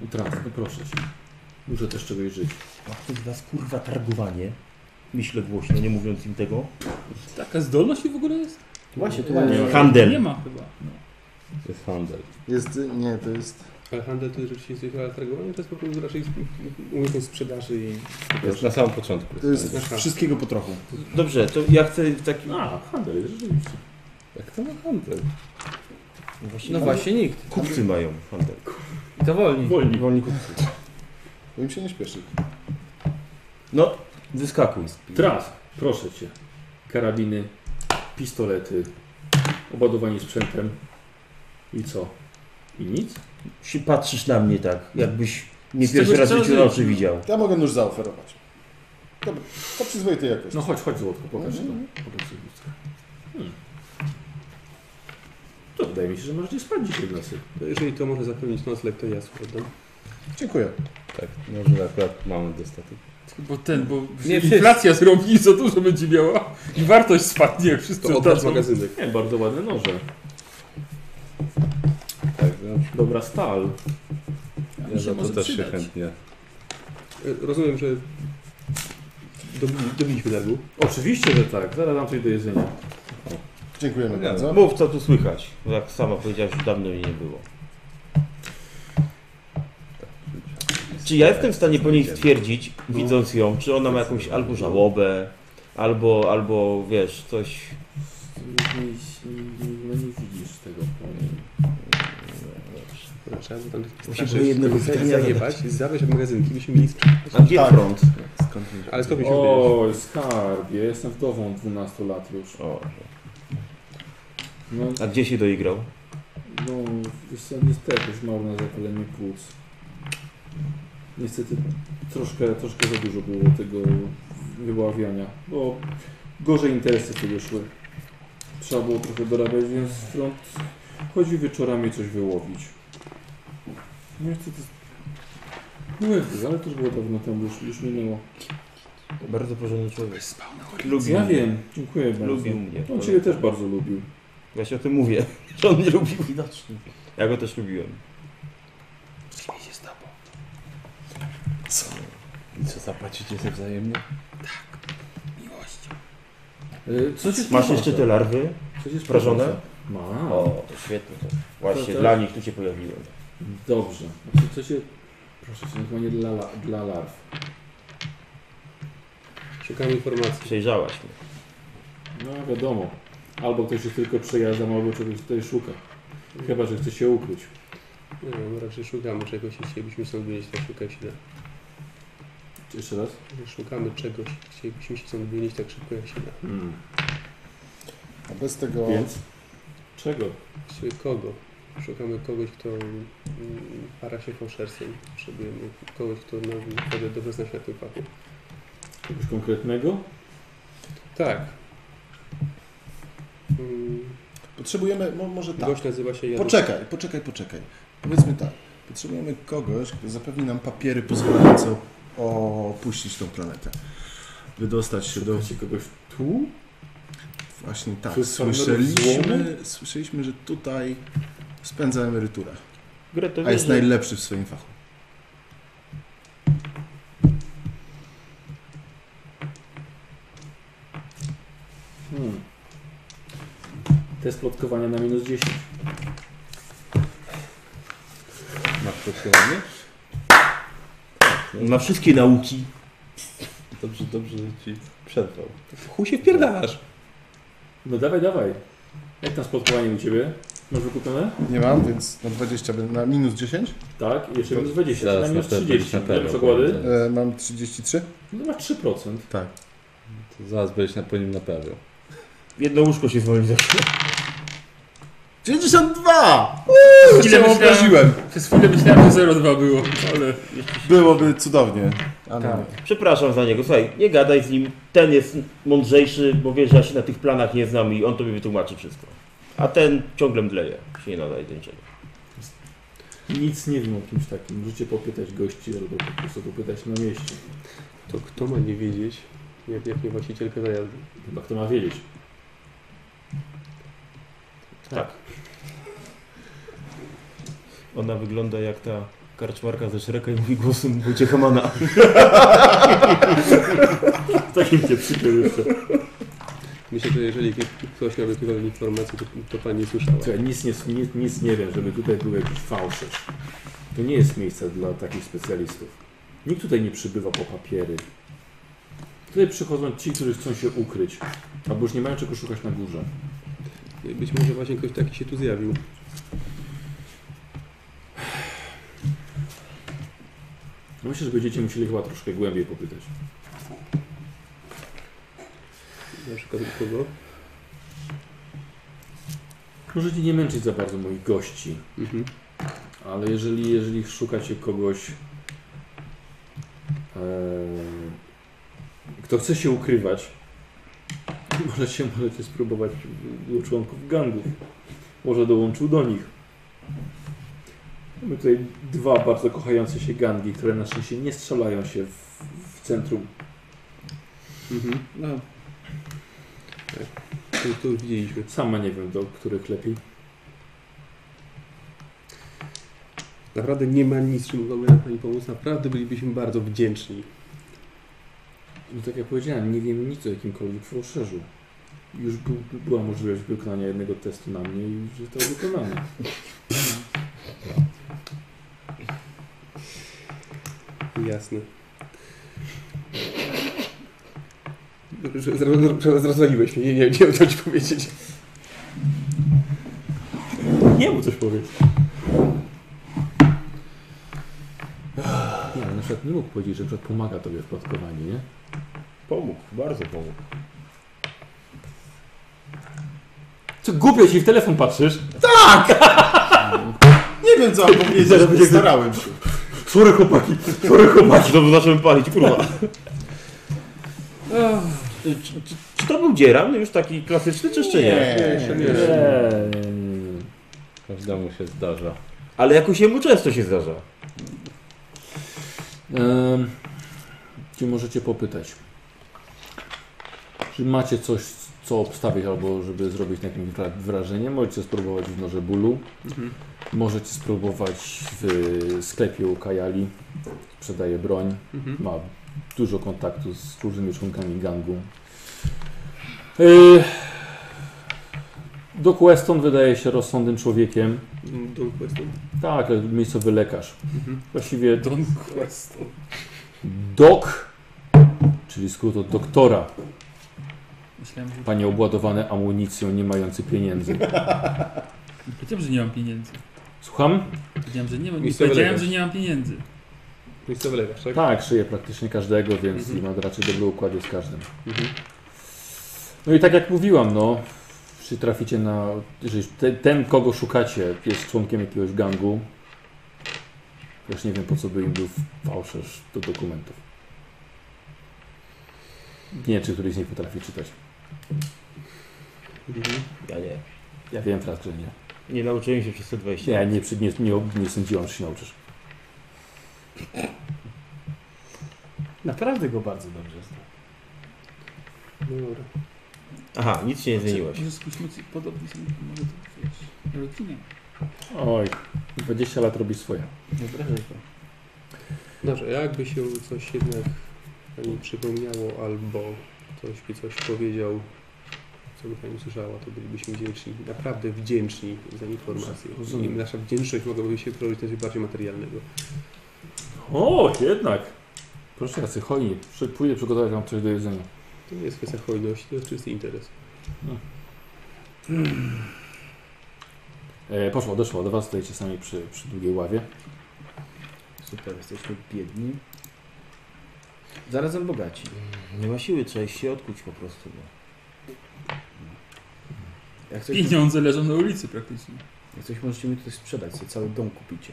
Speaker 1: Utrat, no proszę cię. Muszę też czegoś żyć.
Speaker 12: A ty was kurwa targowanie. Myślę głośno, nie mówiąc im tego.
Speaker 4: Taka zdolność w ogóle jest?
Speaker 2: Właśnie, No to
Speaker 9: nie,
Speaker 4: Nie
Speaker 12: Handel.
Speaker 4: ma chyba.
Speaker 6: Jest handel.
Speaker 9: jest, nie, to jest...
Speaker 8: Ale handel to rzeczywiście jest wielkie targowanie, to jest po prostu raczej umiejętność sprzedaży i...
Speaker 6: Jest na samym początku.
Speaker 9: To jest wszystkiego po trochu.
Speaker 12: Dobrze, to ja chcę taki...
Speaker 1: A, handel, rzeczywiście.
Speaker 6: Jak to ma handel?
Speaker 10: No właśnie nikt.
Speaker 12: Kupcy mają handel.
Speaker 10: I to wolni.
Speaker 12: Wolni. Wolni kupcy.
Speaker 9: Bo im się nie śpieszy.
Speaker 12: No, wyskakuj.
Speaker 1: Teraz, proszę cię. Karabiny, pistolety, obadowanie sprzętem. I co? I nic?
Speaker 12: Się patrzysz na mnie tak, jakbyś nie
Speaker 1: Z
Speaker 12: pierwszy
Speaker 1: tego
Speaker 12: raz w życiu
Speaker 1: całego-
Speaker 12: na oczy widział.
Speaker 9: Ja mogę nóż zaoferować. Dobra, to przyzwoitej jakości.
Speaker 1: No chodź, chodź złotko, pokaż to.
Speaker 9: Mhm.
Speaker 1: Pokaż to lustrze. Hmm. To wydaje mi się, że możecie spać dzisiaj w nocy.
Speaker 8: To jeżeli to może zapewnić nocleg, to ja no. sobie oddam.
Speaker 9: Dziękuję.
Speaker 6: Tak, może akurat mamy dostatek.
Speaker 4: Bo ten, bo
Speaker 8: Nie
Speaker 4: inflacja zrobi i za dużo będzie miała i wartość spadnie, jak wszyscy
Speaker 8: To oddać
Speaker 4: oddadzą.
Speaker 8: magazynek.
Speaker 1: Nie, bardzo ładne noże.
Speaker 6: Tak, no,
Speaker 1: Dobra stal.
Speaker 6: ja za to też się chętnie.
Speaker 8: E, Rozumiem, że dobili, dobiliśmy nerwu.
Speaker 1: Oczywiście, że tak. Zaraz dam coś do jedzenia.
Speaker 9: Dziękujemy bardzo.
Speaker 12: Mów, co tu słychać. Bo jak sama powiedziałaś, że dawno jej nie było. Czy ja jestem w stanie po niej stwierdzić, widząc ją, czy ona ma jakąś albo żałobę, albo, albo wiesz, coś...
Speaker 1: No nie widzisz tego.
Speaker 8: Trzeba by tam
Speaker 12: Musimy
Speaker 8: straszyć,
Speaker 12: jednego
Speaker 8: kogoś
Speaker 12: dnia
Speaker 8: zajebać, zabrać magazynki, byśmy mieli sprzęt.
Speaker 12: A gdzie front?
Speaker 6: Skąd mieliśmy?
Speaker 8: Ale Tak. skąd mieliśmy wiedzieć?
Speaker 1: Oj, skarbie. Jestem wdową 12 lat już.
Speaker 12: O,
Speaker 1: No,
Speaker 12: a gdzie się doigrał?
Speaker 1: no wiesz co, niestety zmarł na zapalenie płuc. Niestety troszkę, troszkę za dużo było tego wyławiania, bo gorzej interesy tego szły. Trzeba było trochę dorabiać, więc front chodzi wieczorami coś wyłowić. Nie chcę to... Były, ale to już było dawno temu, już, już minęło.
Speaker 12: Bardzo porządny człowiek.
Speaker 1: ja wiem, dziękuję bardzo.
Speaker 12: Lubił mnie.
Speaker 1: On Ciebie też bardzo lubił.
Speaker 12: Właśnie o tym mówię, że on mnie lubił widocznie. Ja go też lubiłem.
Speaker 8: Przyjmij się z tobą.
Speaker 6: I co, zapłacicie sobie wzajemnie?
Speaker 8: Miłością.
Speaker 1: E, Co cię
Speaker 12: Masz
Speaker 1: sprowadza?
Speaker 12: jeszcze te larwy?
Speaker 1: Co cię
Speaker 12: Prażone?
Speaker 1: sprowadza? Mam.
Speaker 12: O, to świetnie. To.
Speaker 1: To-
Speaker 12: Właśnie
Speaker 1: to-
Speaker 12: dla nich tu się pojawiłem.
Speaker 1: Dobrze. A co- Co się... Proszę cię, chyba nie dla, la- dla larw.
Speaker 8: Szukamy informacji.
Speaker 12: Przejrzałaś mnie.
Speaker 1: No wiadomo. Albo ktoś jest tylko przejazdem, albo czegoś tutaj szuka. Chyba, że chce się ukryć.
Speaker 8: Nie wiem, no raczej szukamy czegoś, jeśli chcielibyśmy stąd wynieść, to szukać się da.
Speaker 1: Jeszcze raz?
Speaker 8: Szukamy czegoś, chcielibyśmy się stąd wynieść tak szybko jak się da.
Speaker 1: Hmm.
Speaker 9: A bez tego
Speaker 1: Więc? Czego?
Speaker 8: Właściwie kogo? Szukamy kogoś, kto mm, para się fałszerstwem. Potrzebujemy kogoś, kto nam naprawdę dobrze zna świat wypadku.
Speaker 1: Czegoś konkretnego?
Speaker 8: Tak. Mm,
Speaker 9: potrzebujemy, mo, może tak.
Speaker 8: Gość nazywa się Janusz.
Speaker 9: Poczekaj, poczekaj, poczekaj. Powiedzmy tak. Potrzebujemy kogoś, kto zapewni nam papiery pozwalające opuścić tą planetę. Wydostać się do...
Speaker 1: Macie kogoś tu?
Speaker 9: Właśnie
Speaker 1: Czy
Speaker 9: tak.
Speaker 1: z farmerów
Speaker 9: Słyszeliśmy, słyszeliśmy, że tutaj spędza emeryturę.
Speaker 12: Greta,
Speaker 9: A
Speaker 12: wiesz,
Speaker 9: jest
Speaker 12: że
Speaker 9: najlepszy w swoim fachu.
Speaker 1: Hmm. Test plotkowania na minus 10.
Speaker 6: Masz podsumowanie?
Speaker 12: na wszystkie nauki.
Speaker 6: Dobrze, dobrze że ci przerwał.
Speaker 8: Chuj się wpierdalasz!
Speaker 1: No dawaj, dawaj. Jak tam spotkowanie u Ciebie? Masz wykupione?
Speaker 9: Nie mam, więc na 20 będę, na minus 10.
Speaker 1: Tak, i jeszcze minus 20,
Speaker 6: Zaraz
Speaker 1: na minus
Speaker 6: na pewno,
Speaker 1: 30.
Speaker 6: na pewno
Speaker 1: Ile masz ogłady?
Speaker 6: będzie.
Speaker 9: E, mam 33.
Speaker 1: No masz 3%.
Speaker 9: Tak.
Speaker 6: To zaraz będziesz na po nim naprawiał.
Speaker 12: Jedno łóżko się zwolni za
Speaker 9: 92!
Speaker 4: Chwilę myślałem, przez chwilę myślałem, że 0,2 było, ale...
Speaker 9: Byłoby cudownie. Ale
Speaker 12: Przepraszam za niego, słuchaj, nie gadaj z nim. Ten jest mądrzejszy, bo wiesz, że ja się na tych planach nie znam i on tobie wytłumaczy wszystko. A ten ciągle mdleje, się nie nadaje do niczego.
Speaker 1: Nic nie wiem o kimś takim. Możecie popytać gości albo po prostu popytać na mieście.
Speaker 8: To kto ma nie wiedzieć, jak, jak nie właścicielka zajazdu?
Speaker 1: Chyba kto ma wiedzieć.
Speaker 12: Tak. Ona wygląda jak ta karczmarka ze Shreka i mówi głosem Wojciecha Mana.
Speaker 1: Takim cię przypiął jeszcze.
Speaker 8: Myślę, że jeżeli ktoś miał jakiekolwiek informacje, to, to pani słyszała.
Speaker 1: Słuchaj, nic nie, nic, nic nie wiem, żeby tutaj był jakiś fałszerz. To nie jest miejsce dla takich specjalistów. Nikt tutaj nie przybywa po papiery. Tutaj przychodzą ci, którzy chcą się ukryć, albo już nie mają czego szukać na górze.
Speaker 8: Być może właśnie ktoś taki się tu zjawił.
Speaker 1: No Myślę, że będziecie musieli chyba troszkę głębiej popytać.
Speaker 8: Na przykład u kogo?
Speaker 1: Możecie nie męczyć za bardzo moich gości.
Speaker 8: Mhm.
Speaker 1: Ale jeżeli, jeżeli szukacie kogoś, e, kto chce się ukrywać, możecie, możecie spróbować u- u członków gangów. Może dołączył do nich. Mamy tutaj dwa bardzo kochające się gangi, które na szczęście nie strzelają się w, w centrum.
Speaker 8: No. To, to już widzieliśmy.
Speaker 1: Sama nie wiem, do których lepiej.
Speaker 8: Naprawdę nie ma nic, czym mogłaby nam Pani pomóc. Naprawdę bylibyśmy bardzo wdzięczni.
Speaker 1: No tak jak powiedziałem, nie wiemy nic o jakimkolwiek fałszerzu. Już był, była możliwość wykonania jednego testu na mnie i już zostało wykonane.
Speaker 8: Jasne. Że- zro- zro- Zrozumiałeś mnie, nie, nie, nie wiem co ci powiedzieć.
Speaker 1: Nie mu coś powiedz. Nie, ale na przykład nie mógł powiedzieć, że na przykład pomaga tobie w plotkowaniu, nie?
Speaker 12: Pomógł, bardzo pomógł.
Speaker 1: Co głupio ci w telefon patrzysz?
Speaker 9: Nie wiem co mam powiedzieć, starałem się.
Speaker 1: Sorry chłopaki, sorry chłopaki,
Speaker 12: to zacząłem palić, kurwa. Czy, czy, czy to był dzieran już taki klasyczny, czy jeszcze nie?
Speaker 1: Nie, jeszcze nie. Nie,
Speaker 7: Każdemu się zdarza.
Speaker 12: Ale jakoś jemu często się zdarza.
Speaker 1: Ehm, Czy możecie popytać? Czy macie coś, co obstawić, albo żeby zrobić na jakimś wra- wrażenie? Możecie spróbować w noże bólu.
Speaker 4: Mhm.
Speaker 1: Możecie spróbować w sklepie u Kajali. Sprzedaje broń.
Speaker 4: Mhm.
Speaker 1: Ma dużo kontaktu z różnymi członkami gangu. Yy, Doc Weston wydaje się rozsądnym człowiekiem.
Speaker 8: Don Queston.
Speaker 1: Tak, miejscowy lekarz.
Speaker 8: Mhm.
Speaker 1: Właściwie
Speaker 4: Don Queston.
Speaker 1: Dok, czyli skrót od doktora.
Speaker 4: Myślałem, że...
Speaker 1: Panie obładowany amunicją, nie mający pieniędzy.
Speaker 4: Wiedziałem, że nie mam pieniędzy.
Speaker 1: Słucham?
Speaker 4: Wiedziałem, że nie mam...
Speaker 8: Miejscowy
Speaker 4: Powiedziałem,
Speaker 8: lekarz.
Speaker 4: że nie mam pieniędzy.
Speaker 8: Miejscowy lekarz, tak?
Speaker 1: Tak, szyję praktycznie każdego, więc
Speaker 12: Mhm.
Speaker 1: mam raczej dobry układ z każdym.
Speaker 8: Mhm.
Speaker 1: No i tak jak mówiłam, no, czy traficie na... Jeżeli te, ten, kogo szukacie, jest członkiem jakiegoś gangu, też nie wiem, po co by im był fałszerz do dokumentów. Nie wiem, czy któryś z nich potrafi czytać.
Speaker 12: Mhm. Ja nie.
Speaker 1: Ja wiem teraz, że nie.
Speaker 12: Nie nauczyłem się przez te 20
Speaker 1: Nie, nie, przy- nie, nie, nie sądziłam, że się nauczysz.
Speaker 2: Naprawdę go bardzo dobrze znam.
Speaker 8: Dobra.
Speaker 12: Aha, nic się nie zmieniłeś.
Speaker 4: Znaczy, Może spójrzmy, czy podobni są, może to wiesz, rodzinie.
Speaker 1: Oj, 20 lat robi swoje.
Speaker 2: No
Speaker 8: Dobrze, jakby się coś jednak Pani przypomniało albo ktoś by coś powiedział, co by Pani usłyszała, to bylibyśmy wdzięczni, naprawdę wdzięczni za informację. I
Speaker 1: Rozumiem.
Speaker 8: nasza wdzięczność mogłaby się przerodzić na coś bardziej materialnego.
Speaker 1: O, jednak. Proszę racy, hojnie, przy- pójdę przygotować wam coś do jedzenia.
Speaker 8: To nie jest kwestia hojności, to jest czysty interes.
Speaker 1: E, poszło, doszło do was, stoicie sami przy, przy długiej ławie.
Speaker 7: Super, jesteśmy biedni. Zarazem bogaci.
Speaker 12: Nie ma siły, trzeba iść się odkuć po prostu. No.
Speaker 7: Jak coś,
Speaker 4: Pieniądze leżą na ulicy praktycznie.
Speaker 7: jak coś możecie mi tutaj sprzedać, sobie cały dom kupicie.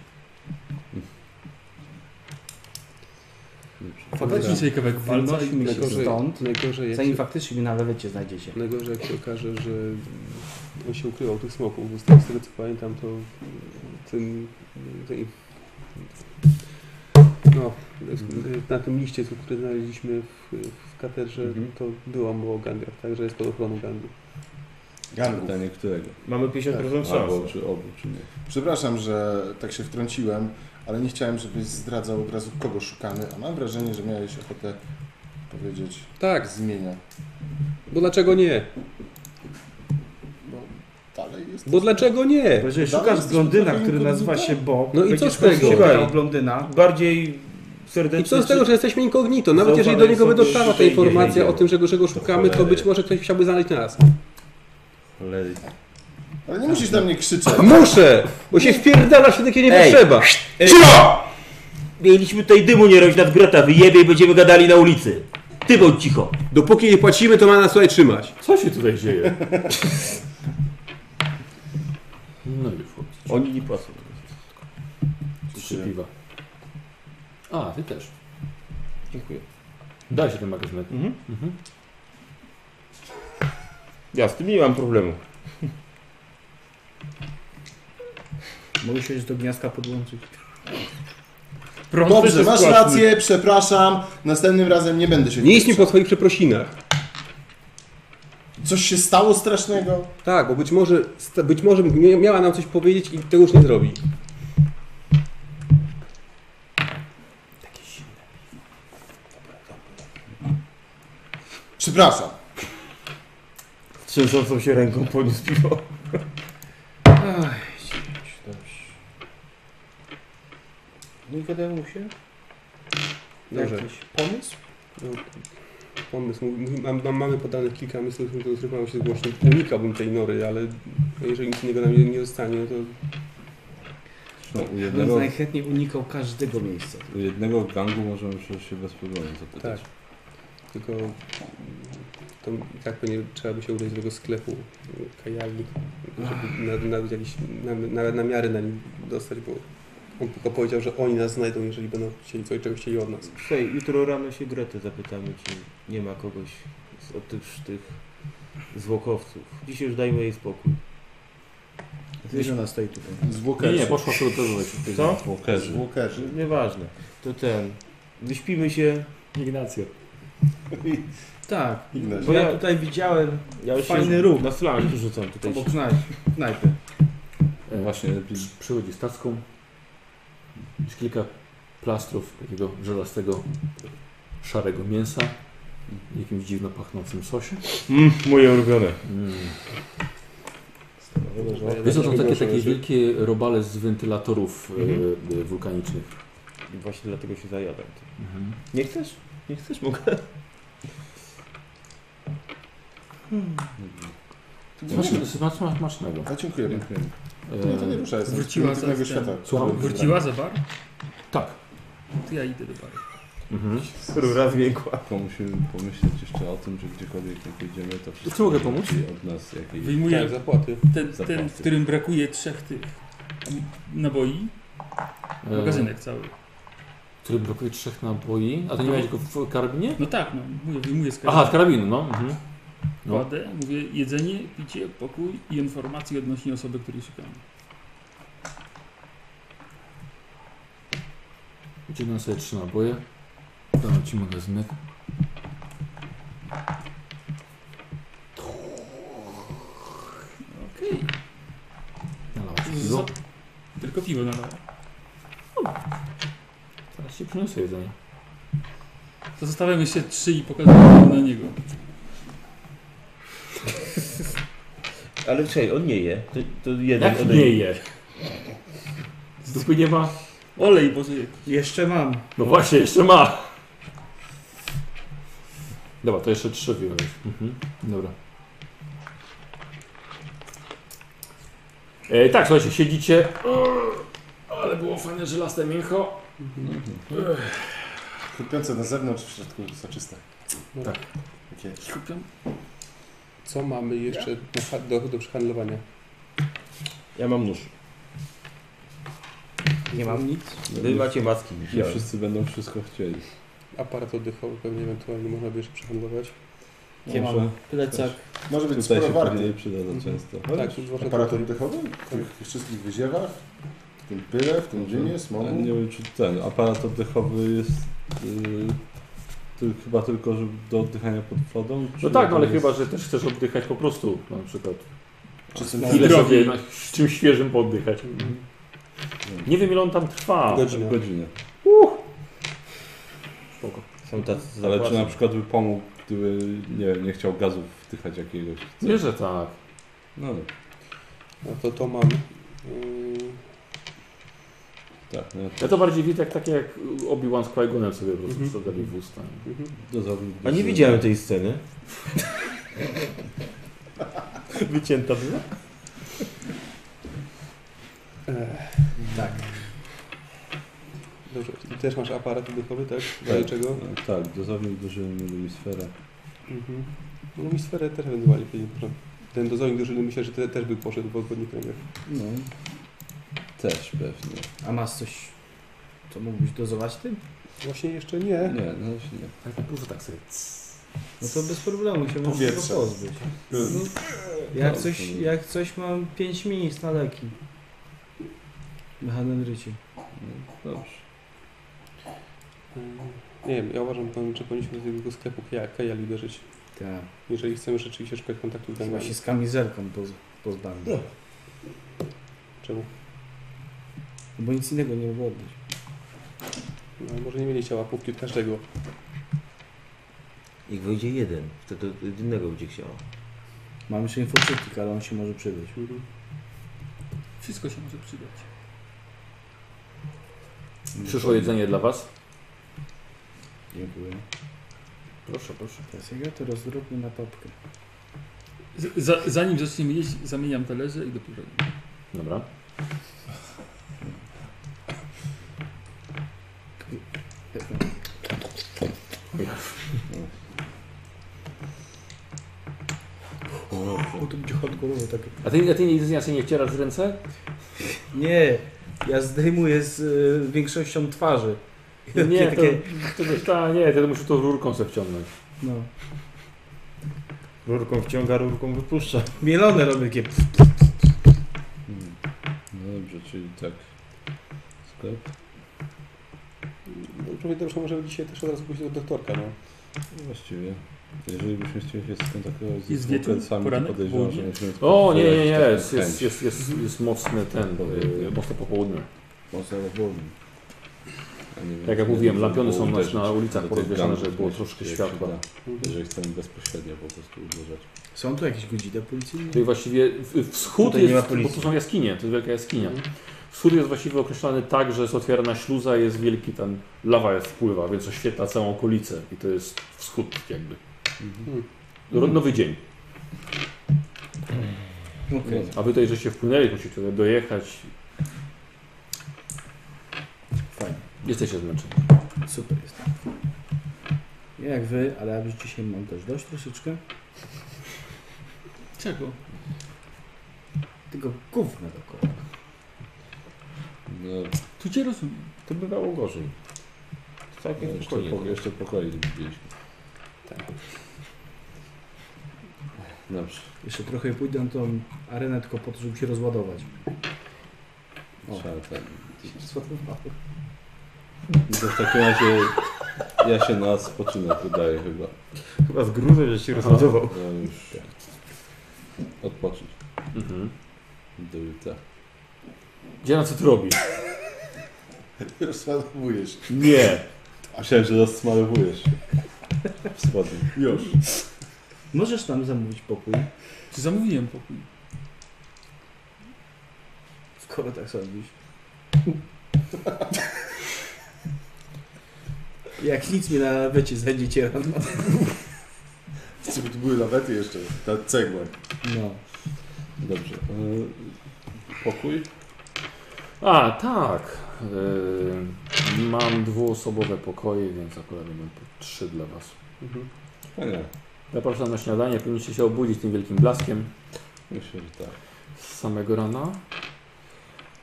Speaker 4: Faktycznie sobie kawałek walca i...
Speaker 7: Wynosimy się
Speaker 8: Najgorzej-
Speaker 7: stąd,
Speaker 8: najgorzej jak
Speaker 7: zanim
Speaker 8: się-
Speaker 7: faktycznie mnie na lewecie znajdziecie.
Speaker 8: Najgorzej jak się okaże, że on się ukrywał u tych smoków, bo z tego, z tego co pamiętam, to ten, ten no, na tym liście, co- który znaleźliśmy w, w katedrze,
Speaker 7: Mhm.
Speaker 8: to była mu o gangach, także jest pod ochroną gangu.
Speaker 9: Gangów.
Speaker 6: Pytanie którego?
Speaker 12: Mamy 50%
Speaker 8: Tak,
Speaker 12: szans.
Speaker 6: Albo czy obu, czy nie.
Speaker 9: Przepraszam, że tak się wtrąciłem, ale nie chciałem, żebyś zdradzał od razu kogo szukamy, a mam wrażenie, że miałeś ochotę powiedzieć
Speaker 8: Tak,
Speaker 9: z imienia.
Speaker 8: bo dlaczego nie?
Speaker 9: Bo dalej jest.
Speaker 8: Bo dlaczego nie?
Speaker 9: Bo
Speaker 10: Bo
Speaker 9: dalej
Speaker 10: jeżeli szukasz
Speaker 9: jesteś
Speaker 10: blondyna,
Speaker 9: potrafieniem
Speaker 10: który nazywa
Speaker 9: kobietą?
Speaker 10: się Bob,
Speaker 8: No i
Speaker 10: będziesz
Speaker 8: co z
Speaker 10: chodził
Speaker 8: tego?
Speaker 10: się
Speaker 8: Słuchaj.
Speaker 10: brał blondyna,
Speaker 12: Bardziej
Speaker 8: I
Speaker 12: serdecznie.
Speaker 8: co z tego, że jesteśmy inkognito? Nawet
Speaker 12: Zaufamy
Speaker 8: jeżeli do niego by
Speaker 12: sobie
Speaker 8: dotarła ta
Speaker 12: szczęście
Speaker 8: informacja
Speaker 12: nie
Speaker 8: o tym, że go, że go szukamy, to
Speaker 12: cholery.
Speaker 8: być może ktoś chciałby znaleźć nas.
Speaker 6: Cholery.
Speaker 9: Ale nie musisz na mnie krzyczeć.
Speaker 8: Muszę! Bo się wpierdala się kiedy nie
Speaker 12: Ej.
Speaker 8: potrzeba.
Speaker 12: Cicho! Mieliśmy tutaj dymu nie robić nad grota, wyjebie i będziemy gadali na ulicy. Ty bądź cicho.
Speaker 8: Dopóki nie płacimy, to ma nas tutaj trzymać.
Speaker 1: Co się tutaj dzieje? No już.
Speaker 12: Oni nie płacą.
Speaker 1: Trzy piwa. A, ty też.
Speaker 12: Dziękuję.
Speaker 1: Daj się ten magazyn.
Speaker 12: Mhm. Ja z tym nie mam problemu.
Speaker 2: Mogę się do gniazdka podłączyć.
Speaker 9: Dobrze, masz rację, przepraszam. Następnym razem nie będę się
Speaker 8: Nie idź mi po swoich przeprosinach.
Speaker 9: Coś się stało strasznego?
Speaker 8: Tak, bo być może, sta- być może mia- miała nam coś powiedzieć i tego już nie zrobi.
Speaker 9: Przepraszam.
Speaker 12: Z Trzęsącą się ręką poniósł piwo.
Speaker 10: No i gadają mu się.
Speaker 8: Dobrze.
Speaker 10: Jakiś pomysł?
Speaker 8: No, Pomysł. Mówi- Mam, mam, mamy podane kilka myśli, do których mam się zgłosić. Unikałbym tej nory, ale jeżeli nic innego nam nie, nie zostanie, to
Speaker 10: No,
Speaker 6: u
Speaker 10: ja
Speaker 6: jednego,
Speaker 10: bym najchętniej unikał każdego miejsca.
Speaker 6: u jednego gangu możemy przecież się bez problemu zapytać.
Speaker 8: tak. Tylko to i tak pewnie trzeba by się udać do tego sklepu y, kajalnik, żeby na, na, jakiś, na, na, na miarę na nim dostać, bo on tylko powiedział, że oni nas znajdą, jeżeli będą chcieli coś, czego chcieli od nas.
Speaker 7: Słuchaj, jutro rano się Gretę zapytamy, czy nie ma kogoś z, od tych, tych złokowców. Dzisiaj już dajmy jej spokój.
Speaker 10: Wiesz, ona stoi tutaj.
Speaker 9: Zwłokerzy.
Speaker 1: Nie, nie, poszła przygotowywać.
Speaker 7: Co?
Speaker 6: Walkerzy.
Speaker 9: Zwłokerzy.
Speaker 7: Nieważne. To ten. Wyśpimy się.
Speaker 1: Ignacja.
Speaker 10: Tak,
Speaker 9: Ignacy.
Speaker 10: bo ja tutaj widziałem
Speaker 7: Ja już
Speaker 10: fajny
Speaker 7: się
Speaker 10: ruch
Speaker 7: Na flank rzucam tutaj.
Speaker 10: obok knaj- knajpy.
Speaker 1: Właśnie przychodzi z tacką. Jest kilka plastrów takiego żelastego, szarego mięsa. w Jakimś dziwno pachnącym sosie.
Speaker 7: Mm, moje ulubione.
Speaker 1: Wiesz, to są takie, takie wielkie robale z wentylatorów e, e, wulkanicznych.
Speaker 7: Mhm. I właśnie dlatego się zajadam.
Speaker 1: Mhm.
Speaker 7: Nie chcesz? Nie chcesz? Mogę.
Speaker 1: Masz, masz, masz nowego.
Speaker 9: A, dziękuję.
Speaker 6: Dziękuję.
Speaker 1: E,
Speaker 9: To nie, to nie rusza, jestem
Speaker 4: Wróciła
Speaker 9: z innego
Speaker 4: za-
Speaker 9: świata.
Speaker 1: Słucham?
Speaker 4: Wróciła za bar?
Speaker 1: Tak.
Speaker 4: To ja idę do baru.
Speaker 1: Mhm.
Speaker 7: Rura zmiękła.
Speaker 6: Tylko musimy pomyśleć jeszcze o tym, że gdziekolwiek jak idziemy, to wszystko
Speaker 1: mogę pomóc?
Speaker 6: będzie od nas jakiejś...
Speaker 4: Wyjmuję
Speaker 8: Tak, zapłaty.
Speaker 4: ten, ten,
Speaker 6: Zapłaty.
Speaker 4: w którym brakuje trzech tych naboi.
Speaker 1: E,
Speaker 4: Magazynek cały.
Speaker 1: Który blokuje trzech naboi. A to nie
Speaker 9: Tak.
Speaker 1: miałeś go w karabinie?
Speaker 4: No tak, no, mówię, wyjmuję z
Speaker 1: Aha, z karabinu, no. Mhm. no.
Speaker 4: Kładę, mówię jedzenie, picie, pokój i informacje odnośnie osoby, której szukamy.
Speaker 1: Wyciągnę sobie trzy naboje. Dam ci magazynek.
Speaker 4: Okej.
Speaker 1: Nalałaś piwo.
Speaker 4: Za- Tylko piwo nalałem.
Speaker 1: Teraz ci przyniosę jedzenie.
Speaker 4: To zostawiam jeszcze trzy i pokazuję na niego.
Speaker 12: Ale czekaj, on nie je. To, to jeden
Speaker 1: Jak
Speaker 12: odejmie.
Speaker 1: nie je? Z dupy nie ma?
Speaker 4: Olej, Boże.
Speaker 2: Jeszcze mam.
Speaker 1: No właśnie, jeszcze ma. Dobra, to jeszcze trzy piwa. jest. Mhm. Dobra. E, tak, słuchajcie, siedzicie. Uuu, Ale było fajne żelaste mięcho.
Speaker 9: Chrupiące na zewnątrz, w środku soczyste.
Speaker 1: Tak.
Speaker 9: Takie
Speaker 4: Skupiam.
Speaker 8: Co mamy jeszcze do ha- do, do przehandlowania?
Speaker 12: Ja mam nóż.
Speaker 2: Nie mam nic.
Speaker 12: Wy macie maski.
Speaker 6: Nie
Speaker 1: tak.
Speaker 12: widziałem.
Speaker 6: wszyscy będą wszystko chcieli.
Speaker 8: Aparat oddechowy pewnie ewentualnie można by jeszcze przehandlować.
Speaker 10: Nie
Speaker 6: Może
Speaker 10: mam. Plecak.
Speaker 9: Może być
Speaker 6: Tutaj
Speaker 9: sporo
Speaker 6: się
Speaker 9: warty.
Speaker 6: pewnie
Speaker 1: Mhm.
Speaker 6: przyda często.
Speaker 8: Tak, zwłaszcza
Speaker 9: Aparat oddechowy? W tych wszystkich wyziewach? W tym pyle, w tym dymie,
Speaker 6: Ale
Speaker 9: smogu?
Speaker 6: Nie wiem czy ten aparat oddechowy jest yy, ty, chyba tylko że do oddychania pod wodą?
Speaker 1: No
Speaker 6: czy
Speaker 1: tak, no ale
Speaker 6: to jest-
Speaker 1: chyba, że też chcesz oddychać po prostu, na przykład.
Speaker 9: Czy są
Speaker 1: Ile sobie
Speaker 4: Zdrowie.
Speaker 1: na, z czymś świeżym poddychać. Nie wiem ile on tam trwa.
Speaker 2: Znaczy-
Speaker 8: Godzinę.
Speaker 6: Godzinę.
Speaker 1: Spoko.
Speaker 12: Są tacy
Speaker 6: Ale czy
Speaker 12: zapłacą.
Speaker 6: na przykład by pomógł, gdyby nie, wiem, nie chciał gazu wdychać jakiegoś? co?
Speaker 1: Nie, że tak.
Speaker 6: No
Speaker 8: No to to mam. Yy,
Speaker 6: tak, no,
Speaker 1: Ja to bardziej widzę jak takie jak Obi-Wan z qui sobie po prostu
Speaker 8: Mhm.
Speaker 1: wsadzali w usta.
Speaker 8: mhm.
Speaker 6: dozownik.
Speaker 12: A nie
Speaker 6: duży.
Speaker 12: widziałem tej sceny. Wycięta była?
Speaker 8: tak. Dobrze, ty też masz aparat oddechowy, tak?
Speaker 6: Tak,
Speaker 8: Dlaczego?
Speaker 6: e, Tak, dozownik drużyny Lumisfera.
Speaker 8: Mhm. No mi sferę też ewentualnie powinien poszedł. Ten dozownik drużyny myślę, że te, też by poszedł w odpowiednich kręgach.
Speaker 6: No. Też pewnie.
Speaker 2: A masz coś, co mógłbyś dozować tym?
Speaker 8: Właśnie jeszcze nie.
Speaker 6: Nie, no właśnie nie.
Speaker 2: Ale dużo tak sobie. No to bez problemu się możesz
Speaker 6: Powietrze.
Speaker 2: tego pozbyć.
Speaker 6: No.
Speaker 2: Jak
Speaker 6: No,
Speaker 2: coś,
Speaker 6: to-
Speaker 2: jak coś mam 5 miejsc na leki. Mechanodrycie.
Speaker 6: Dobrze.
Speaker 8: Yy, Nie wiem, ja uważam, pan- że powinniśmy do tego sklepu Kaja- Kajali uderzyć.
Speaker 2: Tak.
Speaker 8: Jeżeli chcemy rzeczywiście szukać kontaktu z
Speaker 2: Chyba
Speaker 8: gangami.
Speaker 2: się Tak z kamizelką poz, pozbawmy.
Speaker 8: No. Czemu?
Speaker 2: Bo nic innego nie mogło być.
Speaker 8: No, może nie mieliście łapówki od każdego.
Speaker 12: Jak wyjdzie jeden, wtedy od jednego będzie chciał.
Speaker 2: Mam jeszcze infoczytnik, ale on się może przydać.
Speaker 4: Wszystko się może przydać.
Speaker 2: Mhm.
Speaker 1: Przyszło jedzenie dla Was.
Speaker 2: Dziękuję.
Speaker 1: Proszę, proszę.
Speaker 2: Teraz ja to rozróbmy na papkę.
Speaker 4: Z, za, zanim zaczniemy jeść, zamieniam talerze i dopiero.
Speaker 1: Dobra.
Speaker 2: O, to będzie hot golowo tak.
Speaker 1: A ty, a ty nic nie, nie wcierasz w ręce?
Speaker 2: Nie, ja zdejmuję z y, większością twarzy.
Speaker 1: Nie, to,
Speaker 2: Takie-
Speaker 1: to, wiesz, ta, nie, ty musisz to rurką sobie wciągnąć.
Speaker 2: No.
Speaker 12: Rurką wciąga, rurką wypuszcza.
Speaker 2: Mielone robię takie.
Speaker 6: Hmm. No dobrze, czyli tak. Sklep.
Speaker 8: No, Równie dobrze możemy dzisiaj też od razu pójść do doktorka, no.
Speaker 6: Właściwie. Jeżeli byśmy chcieli się skontaktować z
Speaker 4: Jest wieczór?
Speaker 6: Wilkensami, to
Speaker 4: Poranek?
Speaker 6: podejrzewam, że
Speaker 4: Południe?
Speaker 6: musimy
Speaker 1: O, nie, nie, nie,
Speaker 6: spotkać
Speaker 1: jest,
Speaker 6: taką
Speaker 1: jest,
Speaker 6: chęć.
Speaker 1: jest, jest, jest mocny ten, y, mocne popołudnie.
Speaker 6: Mocno południe. A nie wiem,
Speaker 1: Tak jak
Speaker 6: czy
Speaker 1: mówiłem,
Speaker 6: można
Speaker 1: lampiony
Speaker 6: było
Speaker 1: są na-
Speaker 6: uderzyć
Speaker 1: na ulicach
Speaker 6: do tych
Speaker 1: porozwieszane,
Speaker 6: ganków,
Speaker 1: żeby było
Speaker 6: jeśli
Speaker 1: troszkę
Speaker 6: się
Speaker 1: światła.
Speaker 6: da. Jeżeli chcemy bezpośrednio po prostu uderzać.
Speaker 2: Są tu jakieś godziny policyjne?
Speaker 1: Tutaj No właściwie w- wschód
Speaker 2: Tutaj nie ma
Speaker 1: jest,
Speaker 2: policji.
Speaker 1: bo tu są jaskinie, to jest wielka jaskinia. Wschód jest właściwie określany tak, że jest otwierana śluza, jest wielki ten, lawa jest wpływa, więc oświetla całą okolicę i to jest wschód jakby. Ro- Nowy dzień.
Speaker 2: Okej.
Speaker 1: A wy tutaj, że się wpłynęli, musicie tutaj dojechać.
Speaker 2: Fajnie.
Speaker 1: Jesteście zmęczeni.
Speaker 2: Super jest. Nie jak wy, ale ja już dzisiaj mam też dość troszeczkę.
Speaker 4: Czego?
Speaker 2: Tego gówna dookoła.
Speaker 6: No,
Speaker 4: Tu cię rozumiem.
Speaker 6: to bywało gorzej.
Speaker 12: Tak,
Speaker 6: No,
Speaker 12: jak
Speaker 6: jeszcze,
Speaker 12: spokojnie.
Speaker 6: po, jeszcze pokoje nie widzieliśmy.
Speaker 4: Tak.
Speaker 6: Dobrze.
Speaker 2: Jeszcze trochę pójdę na tą arenę tylko po to, żeby się rozładować. O.
Speaker 6: Trzeba ten.
Speaker 2: Rozładowało.
Speaker 6: No to w takim razie ja się na spoczynek udaję chyba.
Speaker 12: Chyba z gruzem, że się rozładował.
Speaker 6: No już.
Speaker 4: Tak.
Speaker 6: Odpocząć.
Speaker 1: Mhm.
Speaker 6: Do jutra.
Speaker 1: Dziana, co ty robisz?
Speaker 9: Rozładowujesz.
Speaker 1: Nie.
Speaker 6: A Myślałem, że rozsmarowujesz się. W spodni. Już.
Speaker 2: Możesz nam zamówić pokój,
Speaker 4: Czy zamówiłem pokój?
Speaker 2: skoro tak sądzisz. Jak nic mi na lawecie znajdziecie rano.
Speaker 9: Chcę, by tu były lawety jeszcze, ta cegła.
Speaker 2: No.
Speaker 6: Dobrze. e, Pokój?
Speaker 1: A, tak. Yy, mam dwuosobowe pokoje, więc akurat będą po trzy dla was.
Speaker 8: Mhm.
Speaker 6: Fajnie.
Speaker 1: Zapraszam na śniadanie, powinniście się obudzić tym wielkim blaskiem
Speaker 6: Myślę, że tak.
Speaker 1: z samego rana.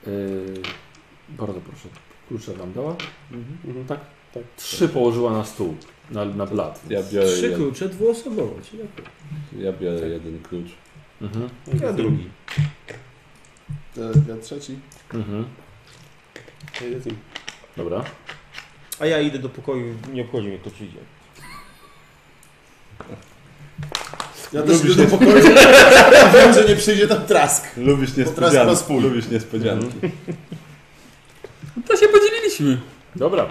Speaker 1: Yy, bardzo proszę, klucze wam dała.
Speaker 8: Mhm.
Speaker 1: Tak, tak. Trzy położyła na stół, na, na blat.
Speaker 6: Ja biorę,
Speaker 2: Trzy
Speaker 6: jed...
Speaker 2: klucze dwuosobowo, tak. czyli akurat.
Speaker 6: ja biorę jeden klucz.
Speaker 1: Mhm,
Speaker 8: No
Speaker 2: Ja drugi.
Speaker 9: Ja trzeci.
Speaker 1: mhm.
Speaker 8: Ja idę z nim.
Speaker 1: Dobra.
Speaker 12: A ja idę do pokoju, nie obchodzi mnie kto przyjdzie.
Speaker 9: Ja też idę do pokoju. Wiem, że nie przyjdzie tam trask.
Speaker 6: Lubisz
Speaker 9: Bo teraz po
Speaker 6: niespodzianki.
Speaker 9: spój.
Speaker 6: Lubisz niespodzianki.
Speaker 4: No to się podzieliliśmy.
Speaker 1: Dobra.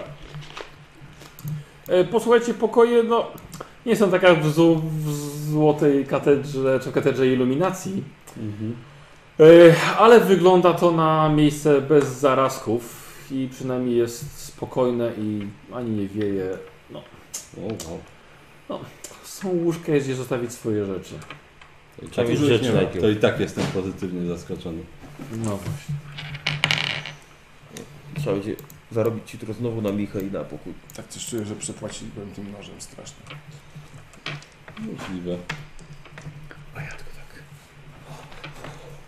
Speaker 1: E, posłuchajcie, pokoje, no nie są taka w, zł- w złotej katedrze, czy w katedrze iluminacji,
Speaker 6: Mhm.
Speaker 1: e, ale wygląda to na miejsce bez zarazków i przynajmniej jest spokojne i ani nie wieje.
Speaker 6: O, wow.
Speaker 1: Są łóżka, jest gdzie zostawić swoje rzeczy.
Speaker 12: Trzeba mieć
Speaker 6: Dużo ich
Speaker 12: Tak rzeczy
Speaker 6: tak nie ma.
Speaker 12: najpierw.
Speaker 6: To i tak jestem pozytywnie zaskoczony.
Speaker 1: No właśnie.
Speaker 12: Trzeba będzie zarobić jutro znowu na Micha i na pokój.
Speaker 9: Tak coś czuję, że przepłaciłem tym nożem strasznie.
Speaker 6: Możliwe.
Speaker 12: tak.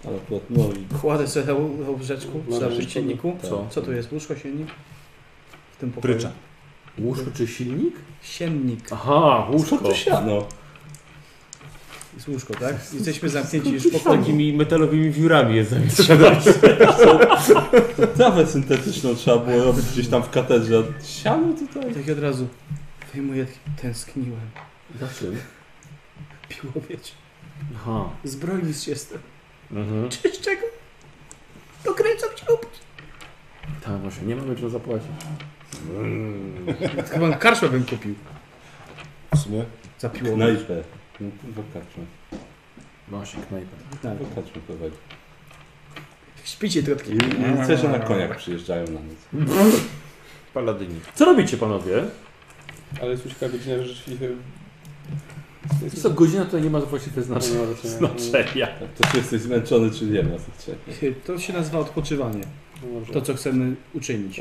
Speaker 6: Ale płatno i...
Speaker 2: Kładę sobie tą- tą łóżeczku
Speaker 6: Masz
Speaker 2: przy
Speaker 6: łóżeczko?
Speaker 2: silniku.
Speaker 6: Co?
Speaker 2: Co tu jest? Łóżko, silnik? W tym pokoju.
Speaker 1: Prycza. Łóżko czy silnik?
Speaker 2: Siennik.
Speaker 1: Aha, łóżko.
Speaker 2: Skąd to
Speaker 6: no.
Speaker 2: siano? Jest łóżko, tak? Jesteśmy zamknięci już pod takimi metalowymi wiórami jest zamiast siadać.
Speaker 6: Trawę syntetyczną trzeba było robić gdzieś tam w katedrze.
Speaker 2: Siano tutaj. Tak i od razu wyjmuję, tęskniłem.
Speaker 1: Za czym?
Speaker 2: Piłowiecz.
Speaker 1: Aha.
Speaker 2: Zbrojnic jestem.
Speaker 1: Mhm.
Speaker 2: Czyż czego? Dokręcam śrub.
Speaker 1: Tak, właśnie, nie mamy czym zapłacić.
Speaker 2: Chyba na karczmę bym kupił.
Speaker 9: W sumie?
Speaker 2: Za piłowiecz.
Speaker 6: Knajpę. No, Wykaczmy.
Speaker 1: Właśnie, knajpę.
Speaker 2: Tak.
Speaker 6: Wykaczmy prowadzi.
Speaker 2: Śpicie trotki.
Speaker 6: I, i chcesz, że na koniach przyjeżdżają na nic.
Speaker 12: Paladyni.
Speaker 1: Co robicie panowie?
Speaker 8: Ale jest już taka godzina, że rzeczywiście...
Speaker 1: Jest to znaczy? godzina, tutaj nie ma właśnie
Speaker 8: No,
Speaker 1: wyznaczenia. znaczenia.
Speaker 6: To czy jesteś zmęczony, czy nie ma znaczenia.
Speaker 2: To się nazywa odpoczywanie.
Speaker 8: Dobrze.
Speaker 2: To, co chcemy uczynić.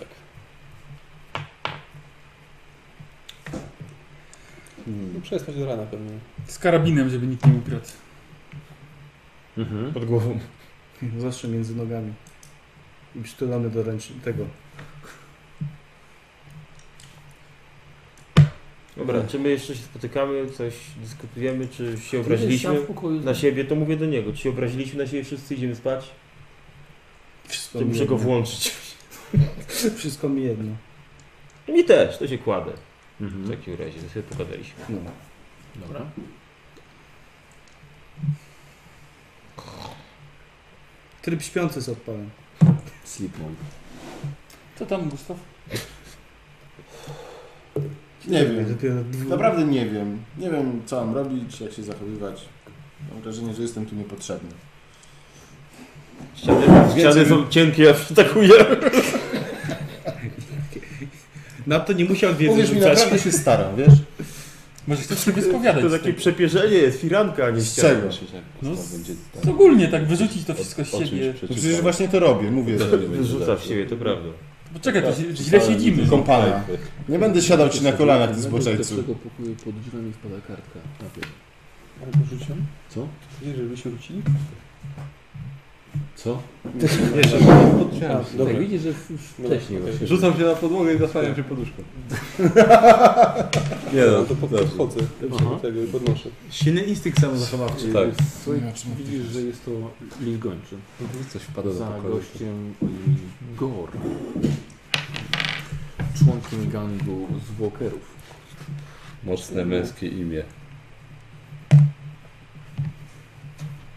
Speaker 8: No, przespać do rana pewnie.
Speaker 4: Z karabinem, żeby nikt nie ukradł.
Speaker 1: Mhm.
Speaker 2: Pod głową. Zawsze między nogami. I przytulony do ręcz tego.
Speaker 12: Dobra, czy my jeszcze się spotykamy, coś dyskutujemy, czy się
Speaker 1: Ty jesteś sam
Speaker 12: obraziliśmy
Speaker 1: w pokoju.
Speaker 12: na siebie, to mówię do niego. Czy się obraziliśmy na siebie, wszyscy idziemy spać?
Speaker 2: Wszystko
Speaker 12: To
Speaker 2: mi
Speaker 12: muszę go
Speaker 2: jedno.
Speaker 12: włączyć.
Speaker 2: Wszystko mi jedno.
Speaker 12: I mi też, to się kładę.
Speaker 1: Mhm.
Speaker 12: W takim razie, to sobie pogadaliśmy.
Speaker 2: No.
Speaker 1: Dobra.
Speaker 2: Tryb śpiący z odpalem.
Speaker 1: Sleep mode.
Speaker 4: Co tam, Gustaw?
Speaker 9: Nie
Speaker 2: Dopiero
Speaker 9: wiem.
Speaker 2: dwu-
Speaker 9: Naprawdę nie wiem. Nie wiem, co mam robić, jak się zachowywać. Mam wrażenie, że jestem tu niepotrzebny.
Speaker 12: Ściany, ściany
Speaker 9: Więcej-
Speaker 12: są cienkie, aż atakuje.
Speaker 2: Na to nie musiał wiedzy
Speaker 9: Uwierz mi,
Speaker 2: rzucać.
Speaker 9: naprawdę się staram, wiesz?
Speaker 4: Może chcesz sobie spowiadać.
Speaker 12: To takie przepierzenie jest, firanka, a nie
Speaker 9: Z
Speaker 12: ściana.
Speaker 9: czego?
Speaker 4: No, z, ogólnie tak, wyrzucić to wszystko z siebie.
Speaker 9: No przecież właśnie to robię, mówię. że-
Speaker 12: Wyrzuca w siebie, to prawda.
Speaker 4: Poczekaj,
Speaker 6: Tak.
Speaker 4: to się- Tak. źle siedzimy.
Speaker 9: Kąpana. Nie będę siadał ci na kolanach, ty zboczejcu.
Speaker 1: tego pokoju pod drzwiami wpada kartka.
Speaker 8: Ale to rzuciłem?
Speaker 1: Co?
Speaker 8: Wiesz, żebyśmy rzucili?
Speaker 1: Co?
Speaker 8: Jeszcze
Speaker 1: Tak widzisz, że już wcześniej właśnie.
Speaker 6: Rzucam się na podłogę i zasłaniam się poduszką. Nie no,
Speaker 8: to po
Speaker 6: dobrze.
Speaker 8: podchodzę.
Speaker 1: Aha.
Speaker 8: Dobrze, tego podnoszę.
Speaker 2: Silny instynkt samozachowawczy.
Speaker 6: Tak.
Speaker 1: Słuchaj, widzisz, że jest to list gończy.
Speaker 6: No Coś wpada do
Speaker 1: Za
Speaker 6: pokoju.
Speaker 1: gościem Gor. Członkiem gangu z Walkerów.
Speaker 6: Mocne męskie imię.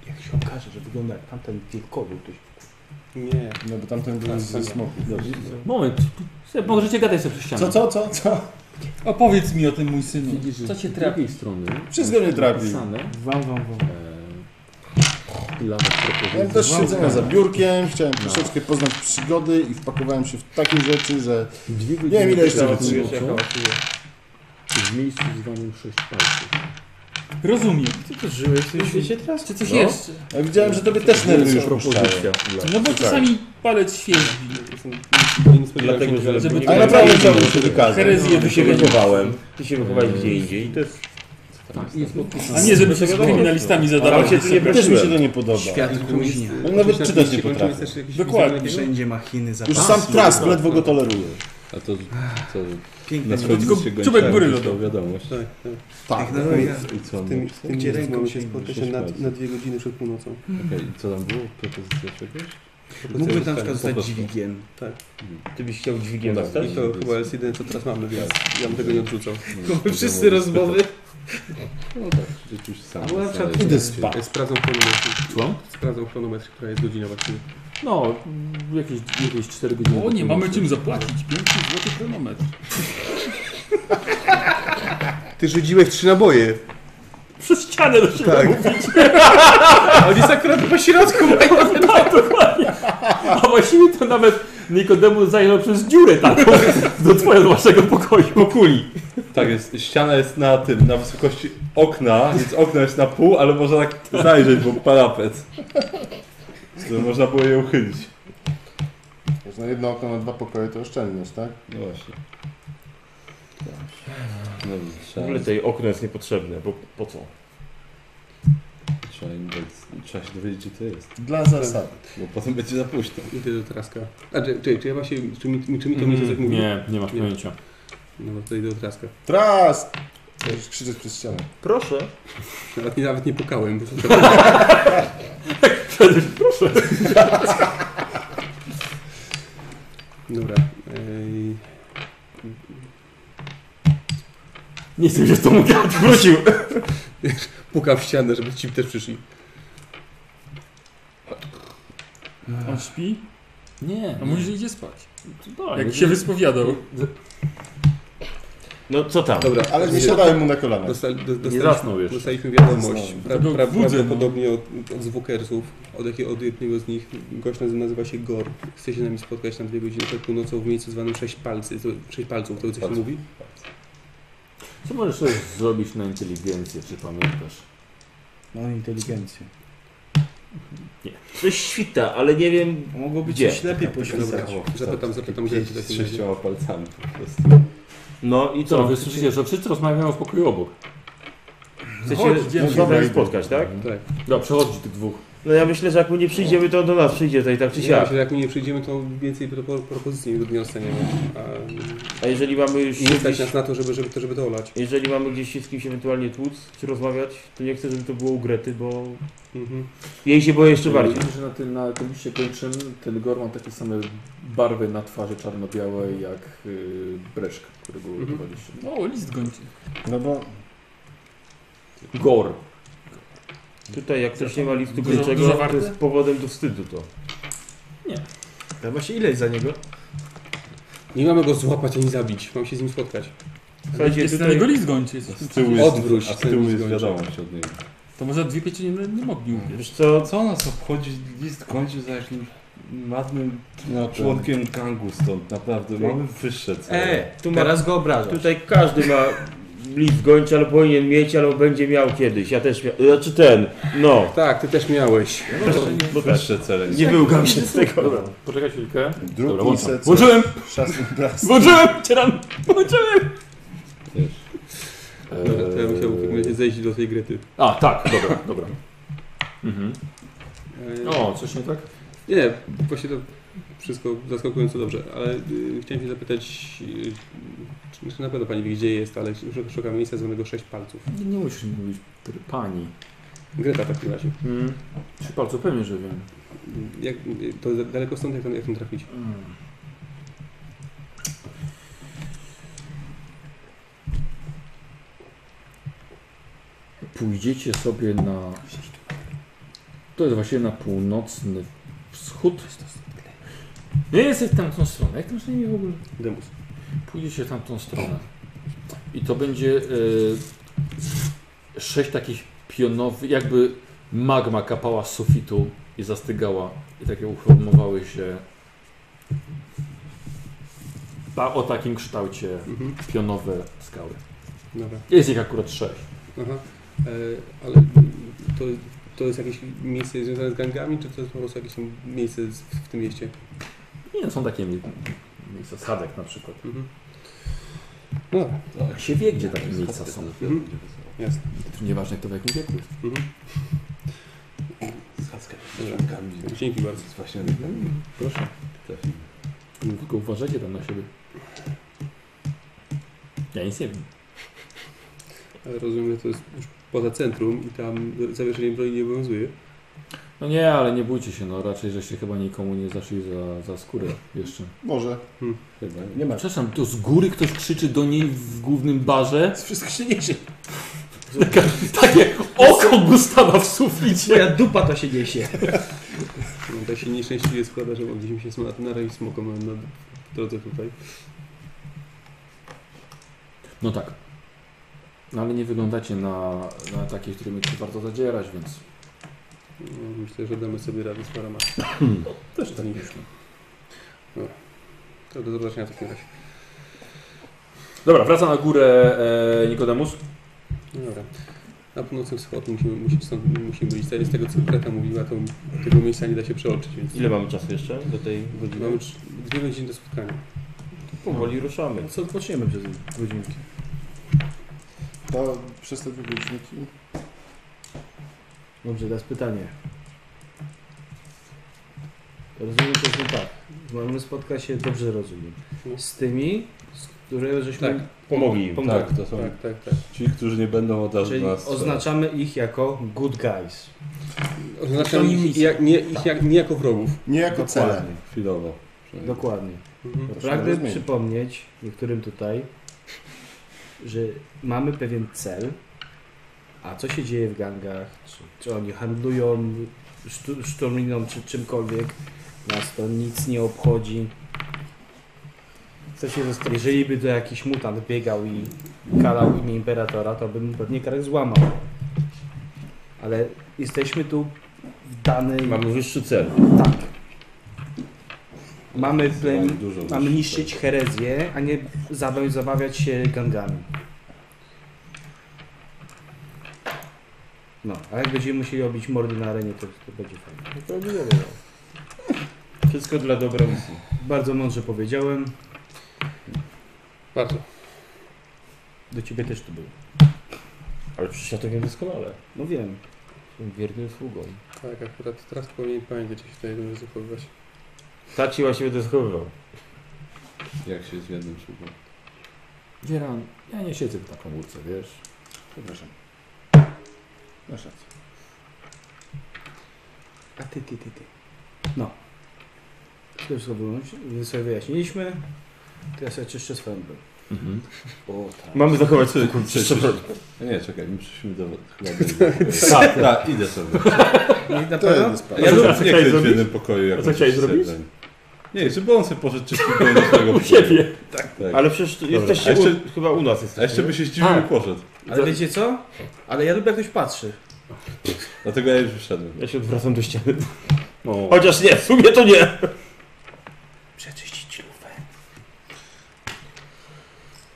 Speaker 2: Jak się okaże, że wygląda jak tamten wielkowy ktoś.
Speaker 8: Nie.
Speaker 9: No bo tamten był ze smoku.
Speaker 1: Tak. Moment, se- możecie gadać sobie przez
Speaker 12: Tak.
Speaker 1: ścianę.
Speaker 9: Co, co, co, co?
Speaker 4: Opowiedz mi o tym, mój synu.
Speaker 1: Widzisz, że
Speaker 4: Co cię
Speaker 1: z
Speaker 4: trapi?
Speaker 1: drugiej strony
Speaker 9: Wszystko mnie trapi.
Speaker 1: napisane
Speaker 2: Wam, wam, wam.
Speaker 1: e, dla was propozycja.
Speaker 9: Ja też siedzę za biurkiem, chciałem
Speaker 12: No.
Speaker 9: troszeczkę poznać przygody i wpakowałem się w takie rzeczy, że
Speaker 1: Dwie
Speaker 9: nie
Speaker 1: godziny
Speaker 9: wiem ile jeszcze
Speaker 1: pracy
Speaker 9: wytrzymuję.
Speaker 1: nocą w miejscu zwanym Sześć Palców.
Speaker 4: Rozumiem.
Speaker 2: Ty też żyłeś w tym świecie teraz?
Speaker 4: Czy coś
Speaker 9: No.
Speaker 4: jeszcze?
Speaker 9: Ja widziałem, że tobie też nerwy już
Speaker 1: propozycja.
Speaker 9: puszczają.
Speaker 4: No bo
Speaker 9: Tak.
Speaker 4: czasami palec świeżbi.
Speaker 8: Nie spodziewałem
Speaker 12: Dlatego,
Speaker 8: się,
Speaker 12: że
Speaker 8: ale
Speaker 12: żeby
Speaker 9: Ale naprawdę chciałbym się wykazać.
Speaker 4: Herezję
Speaker 12: Ty się
Speaker 4: wysiewali.
Speaker 12: wychowałem. Ty się wychowałeś gdzie indziej i to jest...
Speaker 1: Tak, jest
Speaker 4: A
Speaker 1: podpisane.
Speaker 4: nie, żeby się z kryminalistami zadawać.
Speaker 12: się tu nie
Speaker 9: Też mi się
Speaker 12: prosiłem.
Speaker 9: to nie podoba.
Speaker 2: Świat gruźnia.
Speaker 9: Ja nawet czytać nie potrafię.
Speaker 4: Dokładnie.
Speaker 2: Wszędzie machiny za
Speaker 9: Już sam trust ledwo go toleruję.
Speaker 6: A to, to
Speaker 2: Piękne
Speaker 6: na
Speaker 4: tylko
Speaker 6: słonnicy się
Speaker 4: czubek góry
Speaker 6: gończałem,
Speaker 4: lodowej.
Speaker 6: wiadomość.
Speaker 9: Tak.
Speaker 8: Technologia.
Speaker 6: I co
Speaker 8: W
Speaker 6: on
Speaker 8: tym,
Speaker 6: mówił?
Speaker 8: w tym
Speaker 2: Gdzie
Speaker 8: miejscu
Speaker 2: ręką
Speaker 8: mogę się
Speaker 2: sięgniesz?
Speaker 8: spotkać na, na dwie godziny przed północą.
Speaker 6: Okej, i co tam było? Propozycja czegoś?
Speaker 10: tak.
Speaker 2: Mógłby tam
Speaker 6: Po
Speaker 2: przykład zostać
Speaker 6: prostu.
Speaker 2: dźwigiem. Hmm.
Speaker 12: Ty byś chciał dźwigiem
Speaker 6: Tak.
Speaker 12: zostać?
Speaker 8: I to chyba jest jedyne, co teraz mamy, więc ja bym tego nie odrzucał.
Speaker 6: Nie,
Speaker 2: Wszyscy rozmowy.
Speaker 6: No tak, rzeczywiście sam.
Speaker 2: Albo na przykład
Speaker 6: sam-
Speaker 9: Idę spać.
Speaker 8: Ja Sprawdzam chronometr.
Speaker 1: Co?
Speaker 8: Sprawdzam chronometr, która jest godzina właśnie.
Speaker 1: No, jakieś, jakieś 4 godziny.
Speaker 4: O nie, mamy czym zapłacić. 500 zł chronometr.
Speaker 8: Ty rzuciłeś trzy naboje.
Speaker 1: Przez ścianę do siebie mówić.
Speaker 2: A on jest akurat po środku.
Speaker 1: A właściwie to nawet Nikodemus zajrzał przez dziurę taką. do twojego waszego pokoju.
Speaker 6: Po kuli. Tak jest, ściana jest na tym, na wysokości okna, więc okno jest na pół, ale można tak zajrzeć, bo parapet. Żeby można było je uchylić.
Speaker 9: Można jedno okno na dwa pokoje to oszczędność, tak?
Speaker 6: No właśnie. No,
Speaker 12: W ogóle tutaj okno jest niepotrzebne, bo po co?
Speaker 6: Trzeba, im dać- trzeba się dowiedzieć, gdzie to jest.
Speaker 9: Dla zasad.
Speaker 6: Bo potem będzie za późno.
Speaker 8: Idę do Traska. A, czy, czy, czy ja właśnie, czy mi, mi- czy mi to
Speaker 1: Mhm.
Speaker 8: mi to coś mówi?
Speaker 1: Nie, nie masz pojęcia.
Speaker 8: No bo to idę do Traska.
Speaker 9: Tras! Możesz krzyczeć przez ścianę.
Speaker 12: Proszę.
Speaker 8: Nawet nie, nawet nie pukałem. Bo
Speaker 1: Proszę.
Speaker 8: Dobra. Ej.
Speaker 1: Nie chcę się z tobą gadać, wrócił.
Speaker 8: Puka w ścianę, żeby ci też przyszli.
Speaker 4: On śpi?
Speaker 1: Nie.
Speaker 4: A mówi, że idzie spać.
Speaker 1: daj,
Speaker 4: Jak
Speaker 1: nie-
Speaker 4: się wyspowiadał.
Speaker 12: No co tam?
Speaker 8: Dobra,
Speaker 9: Ale nie
Speaker 8: dostali-
Speaker 9: siadałem mu na kolana.
Speaker 8: Dostali, do, dostaliśmy,
Speaker 1: zasnął jeszcze.
Speaker 8: dostaliśmy wiadomość.
Speaker 9: Zasnąłem.
Speaker 8: Pra,
Speaker 4: To był
Speaker 8: pra,
Speaker 4: budzę, no.
Speaker 8: prawdopodobnie od, od zwukersów, od, jakiego- od jednego z nich. Gość naz- nazywa się Gor. Chce się z nami spotkać na dwie godziny przed północą w miejscu zwanym Sześć Palcy. To, sześć palców, to coś się
Speaker 6: Palców.
Speaker 8: mówi?
Speaker 1: Co możesz sobie zrobić na inteligencję, czy pamiętasz?
Speaker 10: Mam inteligencję.
Speaker 12: Coś świta, ale nie wiem
Speaker 10: Mogło być
Speaker 12: gdzie.
Speaker 10: coś
Speaker 2: Tak,
Speaker 10: lepiej poświęcać.
Speaker 6: Zapytam,
Speaker 8: Zapytam, zapytam, gdzie ci
Speaker 6: Z
Speaker 8: tak
Speaker 6: sześcioma palcami po prostu.
Speaker 12: No i
Speaker 1: Co,
Speaker 12: co?
Speaker 1: wy słyszycie, że wszyscy rozmawiają w pokoju obok.
Speaker 12: Chcecie
Speaker 9: no
Speaker 1: Chodź,
Speaker 12: się
Speaker 1: idziemy.
Speaker 12: z nami spotkać, tak?
Speaker 8: Tak.
Speaker 1: Dobra, przechodzi tych dwóch.
Speaker 12: No ja myślę, że jak my nie przyjdziemy, to on do nas przyjdzie tutaj tak czy
Speaker 8: Nie,
Speaker 12: siak.
Speaker 8: myślę, że jak my nie przyjdziemy, to więcej pro, pro, propozycji nie dostaniemy. A,
Speaker 12: A jeżeli mamy już...
Speaker 8: I nie stać
Speaker 12: gdzieś-
Speaker 8: nas na to, żeby, żeby, to, żeby to olać.
Speaker 12: Jeżeli mamy gdzieś się z kimś ewentualnie tłuc, czy rozmawiać, to nie chcę, żeby to było u Grety, bo
Speaker 8: Mhm.
Speaker 12: jej się boję jeszcze bardziej.
Speaker 1: Widzę, że na tym, na tym liście kończym ten gor ma takie same barwy na twarzy czarno-białe jak yy, breszk, którego
Speaker 4: Mhm.
Speaker 1: używaliście.
Speaker 4: O, list gończy.
Speaker 9: No bo
Speaker 1: Gor.
Speaker 12: Tutaj jak ktoś nie ma listu
Speaker 4: Dużo-
Speaker 12: kończego,
Speaker 4: dużo
Speaker 12: to
Speaker 4: warte?
Speaker 12: jest powodem do wstydu to.
Speaker 10: Ja właśnie ileś za niego?
Speaker 8: Nie mamy go złapać ani zabić. Mam się z nim spotkać.
Speaker 12: Słuchajcie,
Speaker 4: Jest na niego
Speaker 12: tutaj...
Speaker 4: list gończy.
Speaker 6: Z tyłu jest,
Speaker 8: Odwróć
Speaker 6: a z
Speaker 8: ten
Speaker 6: tyłu
Speaker 8: list
Speaker 6: jest
Speaker 8: gończy.
Speaker 6: wiadomość od niego.
Speaker 4: To może dwie pieczenie nie mogli ubiec.
Speaker 12: Wiesz co,
Speaker 6: Co nas obchodzi list kończy za jakimś madnym
Speaker 9: no, to,
Speaker 6: członkiem gangu stąd, naprawdę, mamy wyższe cele.
Speaker 2: E, tu teraz go obrażasz.
Speaker 12: Tutaj każdy ma list gończy, ale powinien mieć, albo będzie miał kiedyś. Ja też miał. Znaczy ten, no.
Speaker 8: Tak, ty też miałeś.
Speaker 12: Bo tak.
Speaker 6: Wyższe cele.
Speaker 12: Nie wyłgam się z tego.
Speaker 1: Dobra, poczekaj chwilkę.
Speaker 9: drugi
Speaker 1: Dobra, włączam.
Speaker 9: set
Speaker 1: Włączyłem!
Speaker 9: szasny blas.
Speaker 1: Włączyłem! Cieram! Włączyłem!
Speaker 6: Wiesz.
Speaker 8: Dobra, to ja musiałbym w takim razie zejść do tej Grety.
Speaker 1: A, tak, dobra, dobra. Mhm.
Speaker 8: Eee,
Speaker 1: O, coś nie tak?
Speaker 8: Nie, właśnie to wszystko zaskakująco dobrze, ale y, chciałem się zapytać, y, czy, czy na pewno Pani wie, gdzie jest, ale sz- szukam miejsca zwanego Sześć Palców.
Speaker 1: Nie, nie musisz mi mówić pr- pani.
Speaker 8: Greta w takim razie.
Speaker 1: Mm. Trzy palce pewnie, że wiem.
Speaker 8: Jak, y, to za- daleko stąd, jak tam, jak tam trafić?
Speaker 1: Mm. Pójdziecie sobie na. To jest właśnie na północny wschód. Nie jesteś w tamtą stronę. Jak tam się nie w ogóle?
Speaker 8: Demus.
Speaker 1: Pójdziecie w tamtą stronę. I to będzie e, sześć takich pionowych, jakby magma kapała z sufitu i zastygała. I tak takie uformowały się ta, o takim kształcie
Speaker 8: Mhm.
Speaker 1: pionowe skały.
Speaker 8: Dobra.
Speaker 1: Jest ich akurat sześć.
Speaker 8: Aha. Eee, ale y, to, to jest jakieś miejsce związane z gangami, czy to jest po prostu jakieś tam miejsce z, w tym mieście?
Speaker 1: Nie, są takie mi- miejsca, schadek na przykład.
Speaker 8: Mhm. No dobra.
Speaker 1: Jak się wie, gdzie takie miejsca są.
Speaker 8: Mhm. Jasne.
Speaker 1: To nieważne, kto w jakim wieku jest.
Speaker 8: Mhm.
Speaker 6: Schadzka z członkami.
Speaker 8: Dzięki bardzo.
Speaker 6: Jest właśnie
Speaker 1: Proszę.
Speaker 6: trafił.
Speaker 10: Mhm.
Speaker 1: Tylko uważajcie tam na siebie. Ja nic nie wiem.
Speaker 8: Ale rozumiem, że to jest już poza centrum i tam zawieszenie broni nie obowiązuje.
Speaker 1: No nie, ale nie bójcie się, no raczej, żeście chyba nikomu nie zaszli za, za skórę jeszcze.
Speaker 9: Może.
Speaker 6: Chyba nie.
Speaker 10: Nie ma.
Speaker 1: Przepraszam, to z góry ktoś krzyczy do niej w głównym barze?
Speaker 10: Wszystko się niesie.
Speaker 1: Taka, takie oko Gustawa w suficie.
Speaker 10: Twoja dupa to się niesie.
Speaker 8: No, tak się nieszczęśliwie składa, że mogliśmy się sma- narobić smokom na no, drodze tutaj.
Speaker 1: No tak. No ale nie wyglądacie na, na takich, którymi się warto zadzierać, więc...
Speaker 8: No, myślę, że damy sobie radę z paroma. No. Też tak myślę. Dobra. To do zobaczenia w takim razie.
Speaker 1: Dobra, wraca na górę e, Nikodemus.
Speaker 8: No Dobra. Na północny wschód musimy, musimy, stąd, musimy iść. Z tego, co Greta mówiła, to tego miejsca nie da się przeoczyć. Więc
Speaker 12: Ile mamy czasu jeszcze do tej godziny?
Speaker 8: Mamy trz- dwie godziny do spotkania.
Speaker 12: Powoli ruszamy.
Speaker 10: No
Speaker 2: Co odpoczniemy przez godzinki?
Speaker 9: To przez te dwie godzinki.
Speaker 2: Dobrze, teraz pytanie. Rozumiem to, że tak. Mamy spotkać się, dobrze rozumiem, z tymi, z którymi żeśmy
Speaker 8: Tak, pomogli im.
Speaker 2: pomogli.
Speaker 6: Tak, to są
Speaker 8: Tak, tak, tak.
Speaker 6: ci, którzy nie będą od razu
Speaker 2: Czyli
Speaker 6: nas...
Speaker 2: oznaczamy ich jako good guys.
Speaker 8: Oznaczam ich, jak, nie, ich jak, nie jako wrogów.
Speaker 9: Nie jako cele.
Speaker 2: Dokładnie.
Speaker 6: Chwilowo.
Speaker 2: Dokładnie.
Speaker 8: Mhm.
Speaker 9: To się
Speaker 2: Pragnę
Speaker 9: rozumie.
Speaker 2: przypomnieć niektórym tutaj, że mamy pewien cel, a co się dzieje w gangach, czy, czy oni handlują sztu, szturminą, czy czymkolwiek, nas to nic nie obchodzi. Co się zostawi? Jeżeli by to jakiś mutant biegał i kalał imię Imperatora, to bym pewnie karek złamał. Ale jesteśmy tu w danej...
Speaker 12: Mamy wyższy cel.
Speaker 2: Tak. Mamy, plemi-
Speaker 6: dużo
Speaker 2: mamy
Speaker 6: wyższy
Speaker 2: niszczyć herezję, a nie zabawiać, zabawiać się gangami. No, a jak będziemy musieli obić mordy na arenie, to, No to no. będzie fajnie.
Speaker 12: Wszystko dla dobra misji.
Speaker 2: Bardzo mądrze powiedziałem.
Speaker 8: Bardzo.
Speaker 2: Do ciebie też to było.
Speaker 12: Ale przecież ja to wiem doskonale.
Speaker 2: No wiem.
Speaker 12: Jestem wiernym sługą.
Speaker 8: Tak, akurat teraz powinien pamiętać, jak się tutaj dobrze zachowywać.
Speaker 12: Tak się właśnie będę zachowywał.
Speaker 6: Jak się z jednym szybą.
Speaker 1: Dzieran, ja nie siedzę w taką łódce, wiesz.
Speaker 9: Przepraszam. Masz rację.
Speaker 2: A ty, ty, ty, ty. No. To wszystko wyłączy- sobie wyjaśniliśmy. Teraz ja czyszczę swoją broń.
Speaker 1: Mhm.
Speaker 2: O tak.
Speaker 12: Mamy zachować sobie kurczę.
Speaker 6: Nie, czekaj, my przyszliśmy do... Chyba do...
Speaker 12: Tak.
Speaker 6: Tak, idę sobie.
Speaker 2: Nie, na
Speaker 9: To
Speaker 2: pewno?
Speaker 9: jest sprawa.
Speaker 6: Ja
Speaker 1: co-
Speaker 6: lubię
Speaker 1: a co
Speaker 6: nie
Speaker 1: chciałeś
Speaker 6: kryć w
Speaker 1: zrobić?
Speaker 6: jednym pokoju jak
Speaker 1: A co chciałeś zrobić?
Speaker 6: Nie, żeby on sobie pożyczył wszystkiego do swojego
Speaker 1: U siebie.
Speaker 6: Tak.
Speaker 12: Ale przecież jesteście
Speaker 6: A jeszcze-
Speaker 12: u, chyba u nas
Speaker 6: A
Speaker 12: jesteście.
Speaker 6: jeszcze by się zdziwił
Speaker 1: A.
Speaker 6: i poszedł.
Speaker 2: Ale wiecie co? Ale ja lubię jak ktoś patrzy.
Speaker 6: Dlatego ja już wyszedłem.
Speaker 12: Ja się odwracam do ściany.
Speaker 1: O.
Speaker 12: Chociaż nie, w sumie to nie.
Speaker 2: Przeczyścić lufę.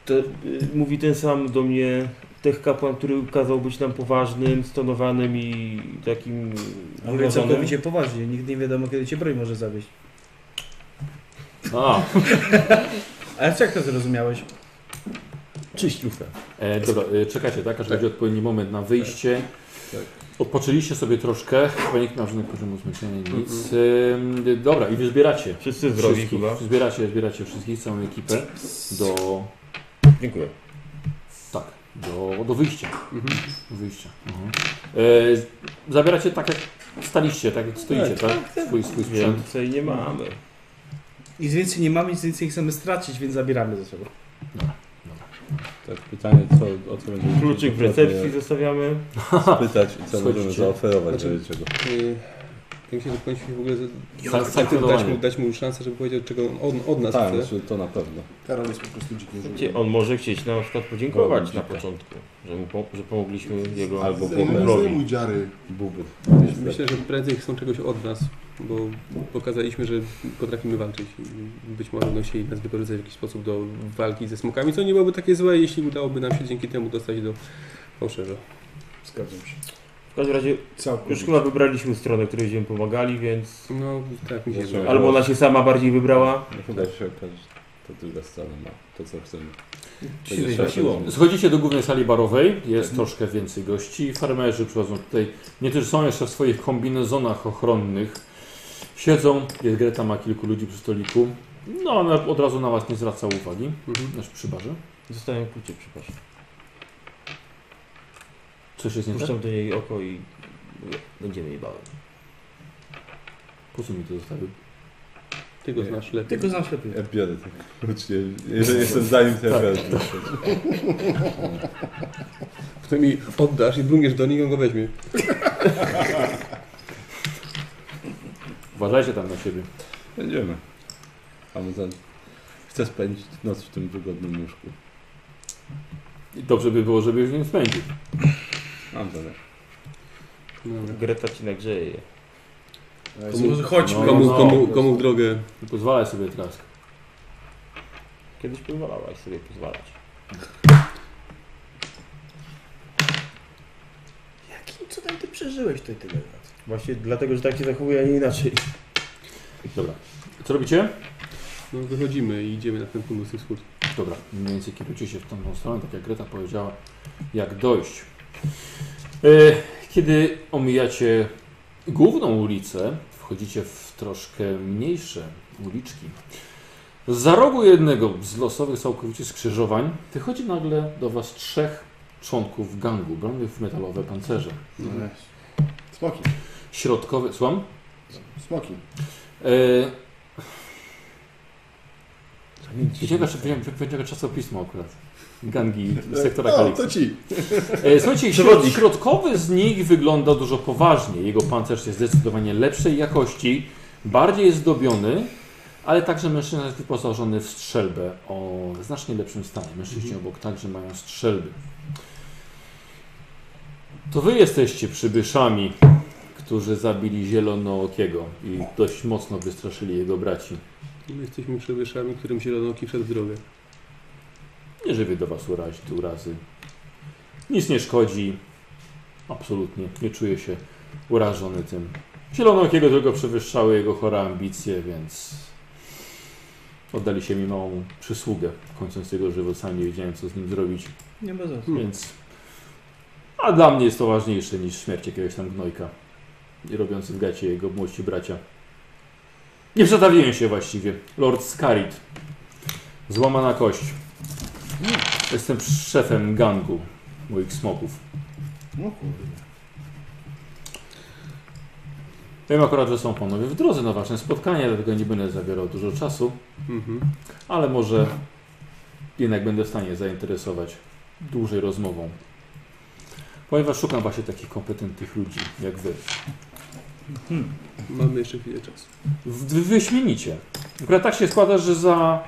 Speaker 12: To, y, mówi ten sam do mnie tech kapłan, który kazał być nam poważnym, stonowanym i takim
Speaker 2: Mówię
Speaker 12: wyrodzonym.
Speaker 2: całkowicie poważnie. Nigdy nie wiadomo, kiedy cię broń może zawieść.
Speaker 1: A,
Speaker 2: Ale jak to zrozumiałeś?
Speaker 12: Czyść lufę.
Speaker 1: e, dobra, e, czekacie, tak? Aż będzie odpowiedni moment na wyjście.
Speaker 6: Tak.
Speaker 1: Odpoczęliście sobie troszkę, chyba nikt nie ma żadnego poziomu zmęczenia, nic. Ym, e, dobra, i wy zbieracie.
Speaker 12: Wszyscy zdrowi
Speaker 1: Wszystkich.
Speaker 12: chyba.
Speaker 1: Zbieracie, zbieracie wszystkich, całą ekipę do...
Speaker 12: Dziękuję.
Speaker 1: Tak, do, do wyjścia. Do wyjścia. Mhm. E, z- zabieracie tak jak staliście, tak jak stoicie, tak? Swój, swój sprzęt.
Speaker 12: Więcej nie mamy.
Speaker 2: Nic więcej nie mamy, nic więcej nie chcemy stracić, więc zabieramy ze sobą.
Speaker 6: Tak, pytanie co, o co będziemy...
Speaker 12: Kluczyk w recepcji zostawiamy.
Speaker 6: Spytać i co
Speaker 1: Schodzicie.
Speaker 6: możemy zaoferować
Speaker 8: Znaczy-
Speaker 6: do niczego.
Speaker 8: Yy, Ja myślę, że powinniśmy w ogóle za-
Speaker 1: Sa-
Speaker 8: tak dać,
Speaker 1: sankcjonowanie.
Speaker 8: mu, dać mu szansę, żeby powiedział, czego on od, od nas
Speaker 6: Tak,
Speaker 8: chce.
Speaker 6: znaczy, to na pewno.
Speaker 9: Karol jest po prostu dzikim żółwiem.
Speaker 12: Gdzie On może chcieć na przykład podziękować
Speaker 6: Robić
Speaker 12: No na
Speaker 6: dzikę.
Speaker 12: początku, że, mu po, że pomogliśmy jego
Speaker 6: Albo
Speaker 9: Zdejmuj
Speaker 12: robi.
Speaker 9: zdejmuj dziary.
Speaker 6: Buby.
Speaker 8: Myślę, że prędzej chcą czegoś od nas, bo pokazaliśmy, że potrafimy walczyć i być może będą chcieli nas wykorzystać w jakiś sposób do walki ze smokami, co nie byłoby takie złe, jeśli udałoby nam się dzięki temu dostać do fałszerza.
Speaker 2: Zgadzam się.
Speaker 12: W każdym razie
Speaker 2: Całkiem.
Speaker 12: już chyba wybraliśmy stronę, której będziemy pomagali, więc
Speaker 8: No tak, mi się
Speaker 6: Znaczy,
Speaker 8: wydaje.
Speaker 12: albo ona się sama bardziej wybrała.
Speaker 6: No chyba się okaże, że to druga strona ma to, co chcemy.
Speaker 2: Ci
Speaker 6: Będzie
Speaker 2: się
Speaker 6: trzeba
Speaker 2: siłą.
Speaker 6: zrozumieć.
Speaker 1: Schodzicie do głównej sali barowej, jest
Speaker 8: Tak.
Speaker 1: troszkę więcej gości. Farmerzy przychodzą tutaj. Niektórzy są jeszcze w swoich kombinezonach ochronnych. Siedzą, jest Greta ma kilku ludzi przy stoliku. No, ona od razu na was nie zwraca uwagi,
Speaker 8: Mhm.
Speaker 1: nasz przybarze.
Speaker 12: Zostawiam klucie, przepraszam.
Speaker 1: Coś jest nie tak?
Speaker 12: Puszczam do niej oko i będziemy jej bały.
Speaker 1: tak? Po co mi to zostawił?
Speaker 8: Ty go znasz lepiej.
Speaker 2: Tylko znam ślepy.
Speaker 6: Ja biorę tak. Klucznie, jeżeli jestem za nim, to ja biorę. ten klucz.
Speaker 8: Potem mi oddasz i bruniesz do nich, on go weźmie.
Speaker 1: Uważajcie tam na siebie.
Speaker 6: Będziemy. Amazon. Chcę spędzić noc w tym wygodnym łóżku.
Speaker 1: I dobrze by było, żeby już nie spędził.
Speaker 6: Mam zamiar.
Speaker 8: Dobra.
Speaker 12: Greta ci nagrzeje je.
Speaker 8: Komu,
Speaker 1: chodźmy.
Speaker 8: komu,
Speaker 1: No,
Speaker 8: komu, komu w drogę?
Speaker 1: Nie pozwalaj sobie teraz.
Speaker 12: Kiedyś pozwalałaś sobie pozwalać.
Speaker 7: Jakim cudem ty przeżyłeś tutaj tyle lat? Właśnie dlatego, że tak się zachowuje, a nie inaczej.
Speaker 1: Dobra. Co robicie?
Speaker 8: No wychodzimy i idziemy na ten północny wschód.
Speaker 1: Dobra, mniej więcej kierujcie się w tą stronę, tak jak Greta powiedziała, jak dojść. E, Kiedy omijacie główną ulicę, wchodzicie w troszkę mniejsze uliczki. Za rogu jednego z losowych całkowicie skrzyżowań wychodzi nagle do Was trzech członków gangu, bronią w metalowe pancerze.
Speaker 9: Mhm. Smoki.
Speaker 1: Środkowy, słucham?
Speaker 9: Smoki.
Speaker 1: Wyciągasz, wyciągasz, wyciągasz czasopismo akurat. Gangi z sektora
Speaker 9: O,
Speaker 1: Kalix.
Speaker 9: No, to ci.
Speaker 1: E, Słuchajcie, środ-
Speaker 9: Przewodnik.
Speaker 1: środkowy z nich wygląda dużo poważniej. Jego pancerz jest zdecydowanie lepszej jakości, bardziej jest zdobiony, ale także mężczyzna jest wyposażony w strzelbę o znacznie lepszym stanie. Mężczyźni obok także mają strzelby. To wy jesteście przybyszami, którzy zabili Zielonookiego i dość mocno wystraszyli jego braci.
Speaker 8: My jesteśmy przybyszami, którym zielonoki wszedł w drogę.
Speaker 1: Nie żywię do was uraź, urazy. Nic nie szkodzi. Absolutnie. Nie czuję się urażony tym. Zielonokiego tylko przewyższały jego chore ambicje, więc oddali się mi małą przysługę. Kończąc jego żywot, sam nie wiedziałem, co z nim zrobić.
Speaker 2: Nie ma sensu.
Speaker 1: Hmm. Więc... A dla mnie jest to ważniejsze niż śmierć jakiegoś tam gnojka. I robiący w gacie jego młodsi bracia. Nie przedawiłem się właściwie. Lord Scarit. Złamana kość. Jestem szefem gangu moich smoków.
Speaker 9: No kurde.
Speaker 1: Wiem akurat, że są panowie w drodze na wasze spotkanie, dlatego nie będę zabierał dużo czasu,
Speaker 8: Mhm.
Speaker 1: ale może jednak będę w stanie zainteresować dłużej rozmową. Ponieważ szukam właśnie takich kompetentnych ludzi jak wy.
Speaker 8: Mamy jeszcze chwilę czasu.
Speaker 1: W- Wy wyśmienicie. Akurat tak się składa, że za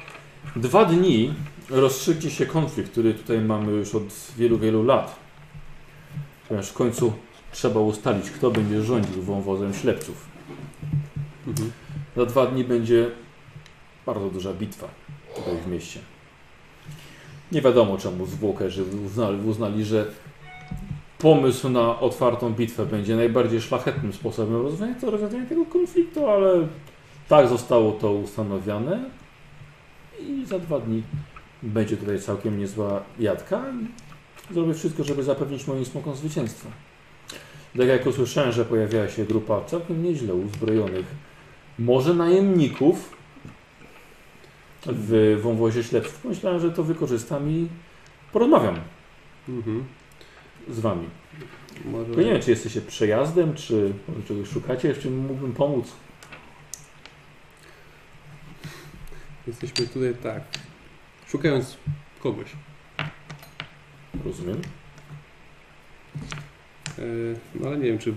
Speaker 1: dwa dni rozstrzygnie się konflikt, który tutaj mamy już od wielu, wielu lat. Ponieważ w końcu trzeba ustalić, kto będzie rządził wąwozem ślepców.
Speaker 8: Mhm.
Speaker 1: Za dwa dni będzie bardzo duża bitwa tutaj w mieście. Nie wiadomo czemu zwłokerzy uznali, uznali, że pomysł na otwartą bitwę będzie najbardziej szlachetnym sposobem rozwiązania, to rozwiązania tego konfliktu, ale tak zostało to ustanowione i za dwa dni będzie tutaj całkiem niezła jadka i zrobię wszystko, żeby zapewnić moim smokom zwycięstwo. Tak jak usłyszałem, że pojawiała się grupa całkiem nieźle uzbrojonych, może najemników w wąwozie śledztw. Myślałem, że to wykorzystam i porozmawiam
Speaker 8: Mhm.
Speaker 1: z wami.
Speaker 8: Może...
Speaker 1: Tylko nie wiem, czy jesteście przejazdem, czy może czegoś szukacie, w czym mógłbym pomóc.
Speaker 8: Jesteśmy tutaj tak, szukając kogoś.
Speaker 1: Rozumiem.
Speaker 8: E, No ale nie wiem, czy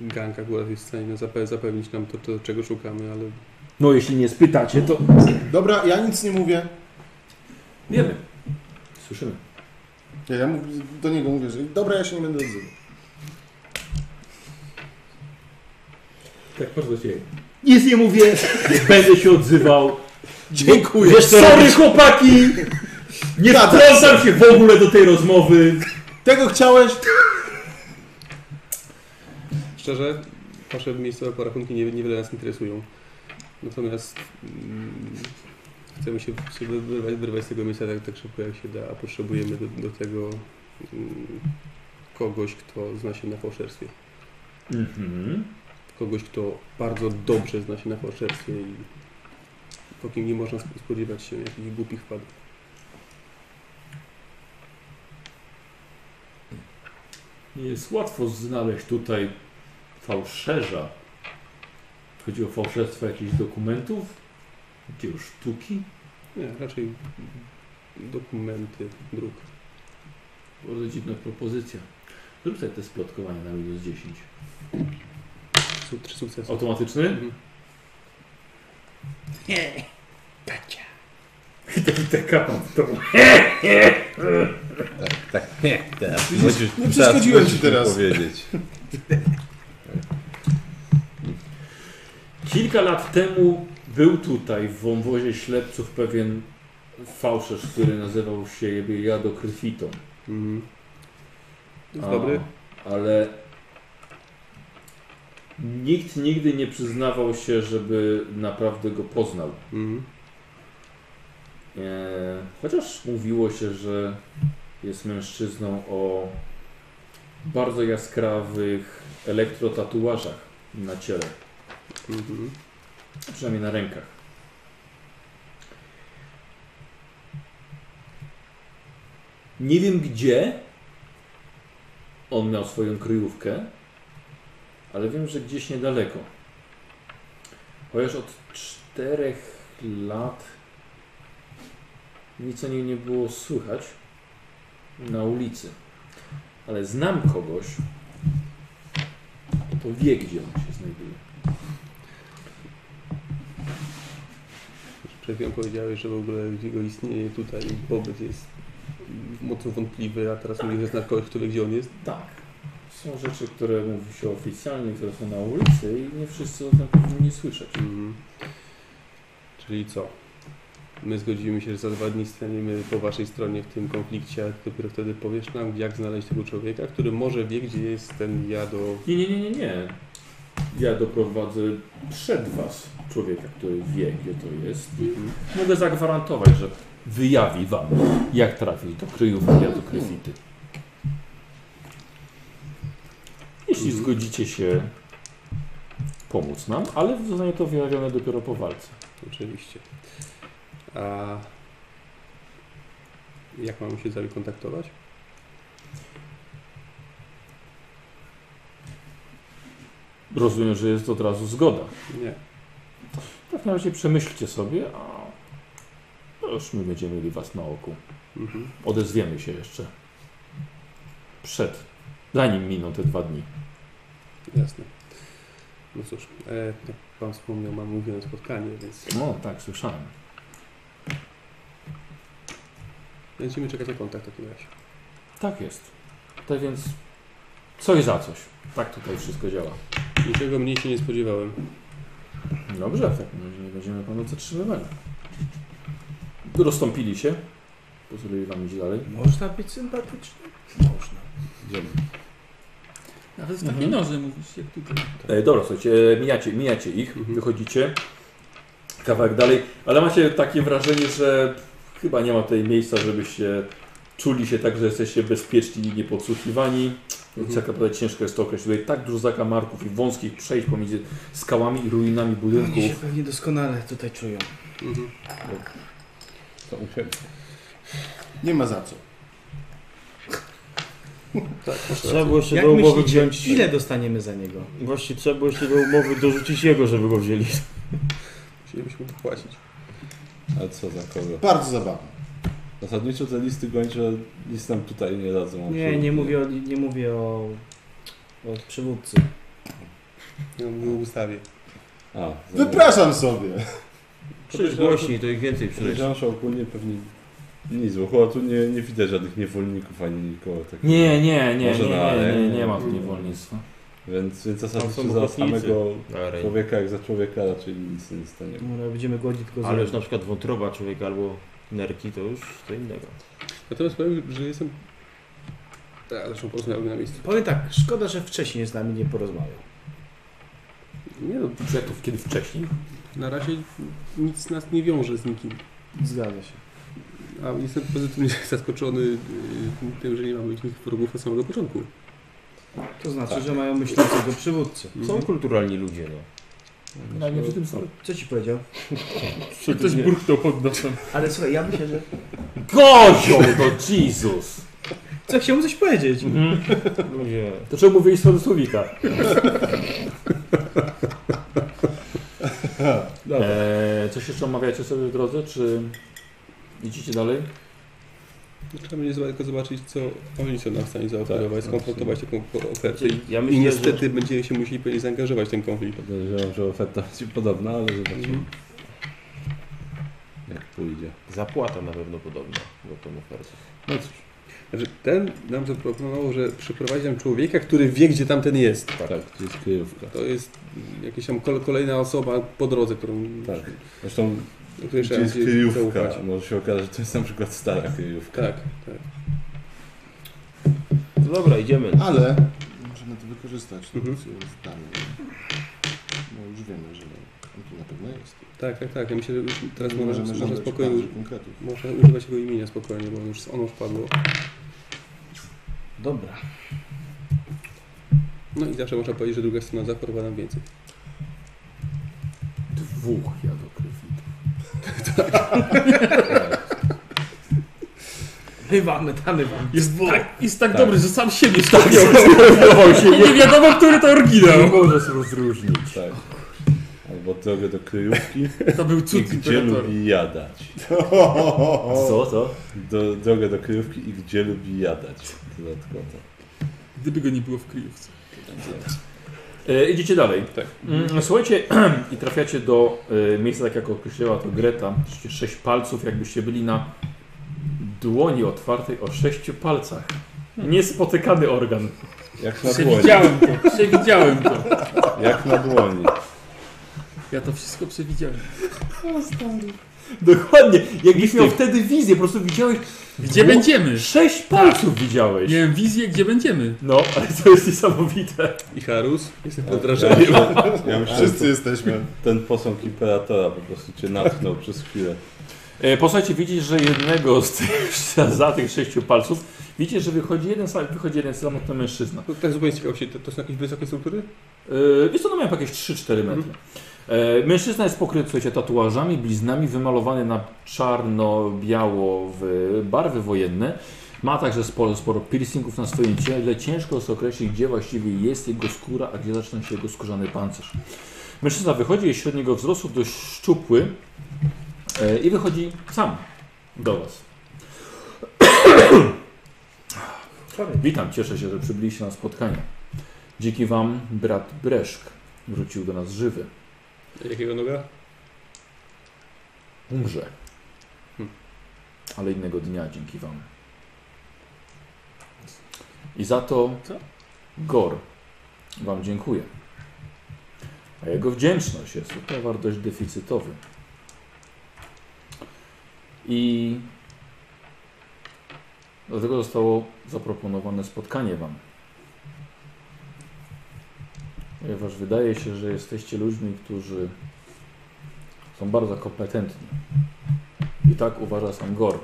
Speaker 8: gang akurat jest w stanie zape- zapewnić nam to, to, czego szukamy, ale
Speaker 1: No jeśli nie spytacie, to
Speaker 9: Dobra, ja nic nie mówię.
Speaker 1: wiemy. Słyszymy.
Speaker 9: Ja, ja mów- do niego mówię, że dobra, ja się nie będę odzywał.
Speaker 1: Tak, proszę do ciebie. Nic nie mówię, będę się odzywał. Dziękuję. Sorry chłopaki! Nie wtrącam się w ogóle do tej rozmowy.
Speaker 9: Tego chciałeś?
Speaker 8: szczerze, wasze miejscowe porachunki nie, niewiele nas interesują. Natomiast mm, chcemy się, się wy- wyrwać, wyrwać z tego miejsca tak, tak szybko jak się da, a potrzebujemy do, do tego mm, kogoś, kto zna się na fałszerstwie.
Speaker 1: Mhm.
Speaker 8: kogoś, kto bardzo dobrze zna się na fałszerstwie i po kim nie można sp- spodziewać się jakichś głupich wpadów.
Speaker 1: Nie jest łatwo znaleźć tutaj fałszerza. Chodzi o fałszerstwo jakichś dokumentów, dzieł sztuki.
Speaker 8: Nie, raczej dokumenty, druk.
Speaker 1: Bardzo dziwna propozycja. Zrób sobie te splotkowania na minus 10.
Speaker 8: Su- Trzy sukcesy.
Speaker 1: Automatyczny?
Speaker 8: Mhm.
Speaker 6: Tak.
Speaker 9: Nie- nie przeszkodziłem ci teraz.
Speaker 6: powiedzieć.
Speaker 1: Kilka lat temu był tutaj w wąwozie ślepców pewien fałszerz, który nazywał się Jado Kryfitą.
Speaker 8: Mhm. Jest dobry.
Speaker 1: Ale nikt nigdy nie przyznawał się, żeby naprawdę go poznał.
Speaker 8: Mhm,
Speaker 1: E, chociaż mówiło się, że jest mężczyzną o bardzo jaskrawych elektrotatuażach na ciele. Przynajmniej na rękach. Nie wiem gdzie on miał swoją kryjówkę, ale wiem, że gdzieś niedaleko. Chociaż od czterech lat nic o nim nie było słychać na ulicy. Ale znam kogoś, kto wie, gdzie on się znajduje.
Speaker 8: Przed chwilą powiedziałeś, że w ogóle jego istnienie tutaj, pobyt jest mocno wątpliwy, a teraz mówisz, że znasz kogoś, kto wie, gdzie on jest?
Speaker 1: Tak. Są rzeczy, które mówi się oficjalnie, które są na ulicy i nie wszyscy o tym powinni słyszeć.
Speaker 8: mhm. Czyli co? My zgodzimy się, że za dwa dni staniemy po waszej stronie w tym konflikcie, a dopiero wtedy powiesz nam, jak znaleźć tego człowieka, który może wie, gdzie jest ten jado...
Speaker 1: Nie, nie, nie, nie, nie. Ja doprowadzę przed Was człowieka, który wie, gdzie to jest i mogę zagwarantować, że wyjawi Wam, jak trafić do kryjówki, jak do kryfity. Jeśli zgodzicie się pomóc nam, ale zostanie to wyjawione dopiero po walce.
Speaker 8: Oczywiście. A jak mamy się z nami kontaktować?
Speaker 1: Rozumiem, że jest od razu zgoda.
Speaker 8: Nie.
Speaker 1: W takim razie przemyślcie sobie, a to już my będziemy mieli Was na oku.
Speaker 8: Mhm.
Speaker 1: Odezwiemy się jeszcze. Przed. Zanim miną te dwa dni.
Speaker 8: Jasne. No cóż, e, jak Pan wspomniał, mam umówione spotkanie, więc
Speaker 1: No tak, słyszałem.
Speaker 8: będziemy czekać na kontakt w takim razie.
Speaker 1: Tak jest. Tak więc coś za coś. Tak tutaj wszystko działa.
Speaker 8: Niczego mniej się nie spodziewałem.
Speaker 1: Dobrze, w takim razie nie będziemy panu zatrzymywali. Rozstąpili się. Pozwolili wam iść dalej.
Speaker 2: Można być sympatyczny? Można.
Speaker 1: Idziemy.
Speaker 4: Nawet w takiej
Speaker 1: Mhm.
Speaker 4: noży mówisz, jak tutaj.
Speaker 1: E, dobra, słuchajcie, e, mijacie, mijacie ich, wychodzicie kawałek dalej, ale macie takie wrażenie, że chyba nie ma tutaj miejsca, żebyście czuli się tak, że jesteście bezpieczni i niepodsłuchiwani. Więc jak naprawdę ciężko jest to określić. Tutaj tak dużo zakamarków i wąskich przejść pomiędzy skałami i ruinami budynków.
Speaker 2: Oni się pewnie doskonale tutaj czują.
Speaker 8: Mhm. To uprzedzę.
Speaker 9: Nie ma za co.
Speaker 12: Trzeba było jeszcze
Speaker 2: Jak
Speaker 12: do umowy
Speaker 2: myślicie,
Speaker 12: wziąć...
Speaker 2: ile dostaniemy za niego?
Speaker 12: Właśnie trzeba było jeszcze do umowy dorzucić jego, żeby go wzięli.
Speaker 8: Musielibyśmy mu płacić.
Speaker 6: Ale co za kogo?
Speaker 9: Bardzo zabawne.
Speaker 6: Zasadniczo te listy gończe nic nam tutaj nie dadzą.
Speaker 10: Nie,
Speaker 6: absolutnie.
Speaker 10: nie mówię o, nie mówię o, o przywódcy.
Speaker 8: Ja mówię o ustawie.
Speaker 6: A,
Speaker 9: Wypraszam sobie.
Speaker 12: Krzycz głośniej, to ich więcej przyleży.
Speaker 6: Podejrzewam, że ogólnie pewnie nic, bo chyba tu nie, nie widać żadnych niewolników ani nikogo takiego.
Speaker 1: Nie, nie, nie,
Speaker 6: Może
Speaker 1: nie,
Speaker 6: na
Speaker 1: nie,
Speaker 6: arenie.
Speaker 1: nie, nie ma tu niewolnictwa.
Speaker 6: Więc, więc
Speaker 12: Tam
Speaker 6: zasadniczo
Speaker 12: są
Speaker 6: za
Speaker 12: ochotnicy
Speaker 6: samego
Speaker 12: na arenie.
Speaker 6: człowieka jak za człowieka raczej nic nie dostaniemy.
Speaker 10: No, będziemy głodzić tylko za
Speaker 12: Ale
Speaker 1: no-
Speaker 12: już na przykład wątroba człowieka albo nerki to już co innego.
Speaker 8: Natomiast powiem, że jestem... Tak, zresztą porozmawiałbym na miejscu.
Speaker 10: Powiem tak, szkoda, że wcześniej z nami nie porozmawiał.
Speaker 8: Nie no,
Speaker 1: Budżetów kiedy wcześniej?
Speaker 8: na razie nic nas nie wiąże z nikim.
Speaker 10: Zgadza się.
Speaker 8: A jestem pozytywnie zaskoczony y, tym, że nie mamy ich wrogów od samego początku.
Speaker 10: To znaczy,
Speaker 1: Tak.
Speaker 10: że mają myślącego przywódcę.
Speaker 12: Są kulturalni ludzie, no.
Speaker 1: No nie przy tym sorry.
Speaker 10: Co ci powiedział?
Speaker 4: Czy ktoś burknął pod nosem?
Speaker 2: Ale słuchaj, ja myślę, że...
Speaker 1: Kozioł, to Jezus!
Speaker 2: Co, chciałbym coś powiedzieć.
Speaker 12: Ludzie.
Speaker 1: To czemu mówiłeś słowo słowika? Eee, coś jeszcze omawiacie sobie w drodze, czy idziecie dalej?
Speaker 8: Trzeba będzie zobaczyć- tylko zobaczyć, co oni są nam w stanie zaoferować, skonfrontować taką ofertę. I
Speaker 12: Znaczy, Ja myślę,
Speaker 8: i niestety będziemy się musieli pewnie zaangażować w ten konflikt.
Speaker 6: Podejrzewam, że oferta będzie podobna, ale zobaczymy jak pójdzie.
Speaker 12: Zapłata na pewno podobna do tą ofertę.
Speaker 8: No cóż. Znaczy, ten nam zaproponował, że przyprowadzi nam człowieka, który wie, gdzie tamten jest.
Speaker 6: Tak, to jest kryjówka.
Speaker 8: To jest jakaś tam kol- kolejna osoba po drodze, którą...
Speaker 6: Tak. Zresztą
Speaker 8: której
Speaker 6: Gdzie
Speaker 8: trzeba
Speaker 6: jest
Speaker 8: będzie
Speaker 6: kryjówka?
Speaker 8: zaufać.
Speaker 6: Może się okaże, że to jest na przykład stara kryjówka.
Speaker 8: Tak, tak.
Speaker 6: No dobra, idziemy.
Speaker 9: Ale możemy to wykorzystać.
Speaker 1: Mhm.
Speaker 9: to jest zdanie. No już wiemy, że on tu na pewno jest.
Speaker 1: No,
Speaker 8: Tak, tak, tak. Ja myślę, że już teraz
Speaker 9: Nie
Speaker 8: może,
Speaker 9: możemy
Speaker 8: może
Speaker 9: żądać
Speaker 8: spokojnie
Speaker 9: bardzo konkretów.
Speaker 8: może używać jego imienia spokojnie, bo on już, ono już padło.
Speaker 10: Dobra.
Speaker 8: No i zawsze można powiedzieć, że druga strona zachorowała nam więcej.
Speaker 1: Dwóch jadokrywitów.
Speaker 10: Dywamy, damy wam.
Speaker 4: Jest tak, jest tak,
Speaker 1: Tak.
Speaker 4: dobry, że sam siebie stawiał.
Speaker 1: Zdecydował się.
Speaker 4: I nie wiadomo, który to oryginał.
Speaker 6: Nie
Speaker 1: może się rozróżnić.
Speaker 6: Tak. Albo drogę do kryjówki.
Speaker 4: To był cud
Speaker 6: I gdzie
Speaker 4: imperatora.
Speaker 6: lubi jadać.
Speaker 1: Co, co?
Speaker 6: Do, drogę do kryjówki i gdzie lubi jadać. Dodatkowo.
Speaker 4: Gdyby go nie było w kryjówce.
Speaker 1: E, idziecie dalej.
Speaker 8: Tak.
Speaker 1: Mm, Słuchajcie, i trafiacie do e, miejsca, tak jak określiła to Greta, Przecież sześć palców, jakbyście byli na dłoni otwartej o sześciu palcach. Niespotykany organ.
Speaker 6: Jak
Speaker 4: na dłoni. Przewidziałem to, przewidziałem to. Jak na dłoni. Ja to wszystko przewidziałem.
Speaker 1: Dokładnie, jakbyś miał wtedy wizję, po prostu widziałeś... no.
Speaker 4: Gdzie będziemy?
Speaker 1: Sześć palców widziałeś.
Speaker 4: Miałem wizję, gdzie będziemy.
Speaker 1: No, ale to jest niesamowite.
Speaker 8: I Harus? Jestem pod
Speaker 6: Ja,
Speaker 8: wrażeniem.
Speaker 6: ja, ja,
Speaker 9: Wszyscy
Speaker 6: to-
Speaker 9: jesteśmy.
Speaker 6: Ten posąg imperatora po prostu cię natknął przez chwilę.
Speaker 1: E, Posłuchajcie, widzisz, że jednego z tych, za tych sześciu palców, widzicie, że wychodzi jeden, sam- wychodzi jeden samotny mężczyzna.
Speaker 8: To tak zupełnie z ciekawości, to, to są jakieś wysokie struktury?
Speaker 1: Yy, wiesz co, no miałem jakieś 3-4 metry. E, Mężczyzna jest pokryty, słuchajcie, tatuażami, bliznami, wymalowany na czarno-biało w barwy wojenne. Ma także sporo, sporo piercingów na swoim ciele. Ciężko jest określić, gdzie właściwie jest jego skóra, a gdzie zaczyna się jego skórzany pancerz. Mężczyzna wychodzi, jest średniego wzrostu, dość szczupły e, i wychodzi sam do Was. Witam, cieszę się, że przybyliście na spotkanie. Dzięki Wam brat Breszk wrócił do nas żywy.
Speaker 8: Jakiego noga?
Speaker 1: Umrze. Ale innego dnia dzięki Wam. I za to Gor Wam dziękuję. A jego wdzięczność jest to towar dość deficytowy. I dlatego zostało zaproponowane spotkanie Wam. Ponieważ wydaje się, że jesteście ludźmi, którzy są bardzo kompetentni. I tak uważa sam Gor.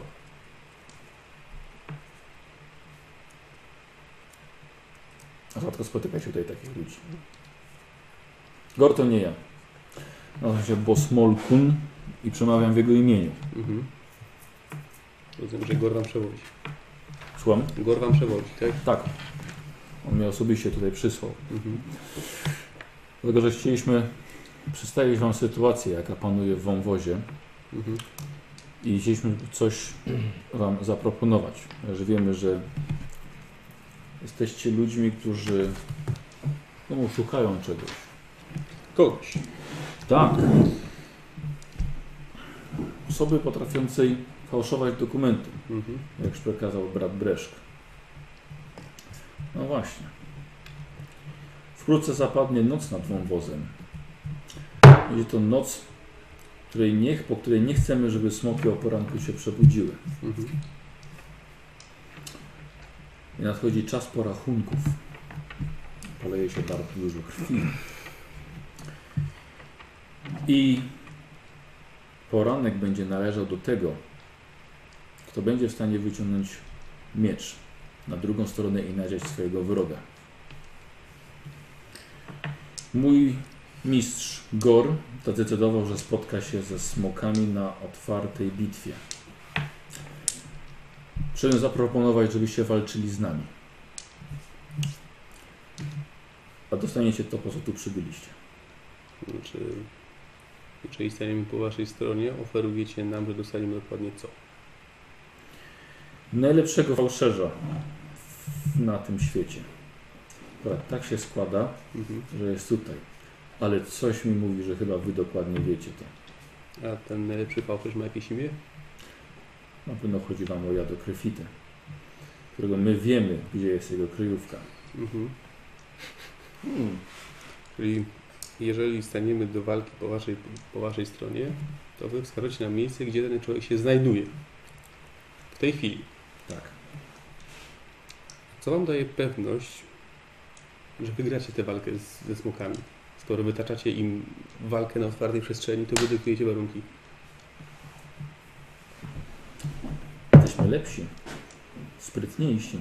Speaker 1: Rzadko spotyka się tutaj takich ludzi. Gor to nie ja. Nazywam się Bosmolkun i przemawiam w jego imieniu.
Speaker 8: Mhm. Rozumiem, że Gor wam przewodzi.
Speaker 1: Słucham?
Speaker 8: Gor wam przewodzi, tak?
Speaker 1: Tak. On mnie osobiście tutaj przysłał.
Speaker 8: Mhm.
Speaker 1: Dlatego, że chcieliśmy przedstawić Wam sytuację, jaka panuje w wąwozie.
Speaker 8: Mhm.
Speaker 1: I chcieliśmy coś Wam zaproponować, że wiemy, że jesteście ludźmi, którzy no, szukają czegoś.
Speaker 8: Kogoś.
Speaker 1: Tak. Osoby potrafiącej fałszować dokumenty,
Speaker 8: Mhm.
Speaker 1: jak już przekazał brat Breszk. No właśnie. Wkrótce zapadnie noc nad wąwozem. Będzie to noc, której nie, po której nie chcemy, żeby smoki o poranku się przebudziły.
Speaker 8: Mhm.
Speaker 1: I nadchodzi czas porachunków. Poleje się bardzo dużo krwi. I poranek będzie należał do tego, kto będzie w stanie wyciągnąć miecz na drugą stronę i nadziać swojego wroga. Mój mistrz Gor zadecydował, że spotka się ze smokami na otwartej bitwie. Chciałem zaproponować, żebyście walczyli z nami. A dostaniecie to, po co tu przybyliście.
Speaker 8: Czy, jeżeli staniemy znaczy, po waszej stronie, oferujecie nam, że dostaniemy dokładnie co?
Speaker 1: Najlepszego fałszerza w- na tym świecie. Akurat tak się składa,
Speaker 8: Mhm.
Speaker 1: że jest tutaj. Ale coś mi mówi, że chyba wy dokładnie wiecie to.
Speaker 8: A ten najlepszy fałszerz ma jakieś imię?
Speaker 1: Na pewno chodzi wam o jadokryfitę, którego my wiemy, gdzie jest jego kryjówka.
Speaker 8: Mhm.
Speaker 9: Hmm.
Speaker 8: Czyli jeżeli staniemy do walki po waszej, po waszej stronie, to wy wskażecie na miejsce, gdzie ten człowiek się znajduje. W tej chwili.
Speaker 9: Tak.
Speaker 8: Co wam daje pewność, że wygracie tę walkę z, ze smokami? Skoro wytaczacie im walkę na otwartej przestrzeni, to wy dyktujecie warunki.
Speaker 1: Jesteśmy lepsi, sprytniejsi.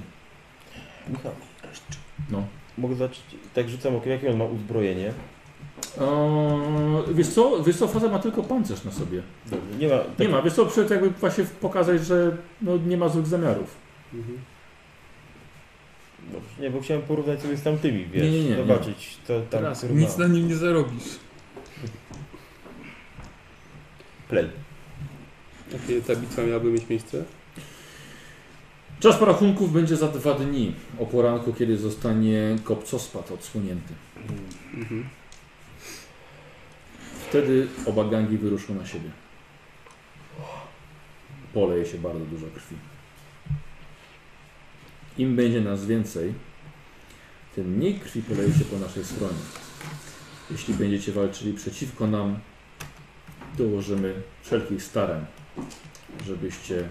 Speaker 1: No.
Speaker 12: Mogę zacząć, tak rzucam okiem, jakie on ma uzbrojenie.
Speaker 1: Eee, wiesz co, wiesz co, faza ma tylko pancerz na sobie.
Speaker 12: Dobrze, nie ma-
Speaker 1: nie ma, wiesz co, przed jakby właśnie pokazać, że no, nie ma złych zamiarów.
Speaker 12: Dobrze, nie, bo chciałem porównać sobie z tamtymi, wiesz,
Speaker 1: Nie, nie, nie,
Speaker 12: zobaczyć,
Speaker 1: nie.
Speaker 12: co
Speaker 4: Tak,
Speaker 12: tam
Speaker 1: Teraz
Speaker 12: który
Speaker 4: Nic
Speaker 12: ma.
Speaker 4: na nim nie zarobisz.
Speaker 12: Play.
Speaker 8: Jakie ta bitwa miałaby mieć miejsce?
Speaker 1: Czas porachunków będzie za dwa dni, o poranku, kiedy zostanie kopcospad odsłonięty.
Speaker 8: Mhm.
Speaker 1: Wtedy oba gangi wyruszą na siebie. Poleje się bardzo dużo krwi. Im będzie nas więcej, tym mniej krwi poleje się po naszej stronie. Jeśli będziecie walczyli przeciwko nam, dołożymy wszelkich starań, żebyście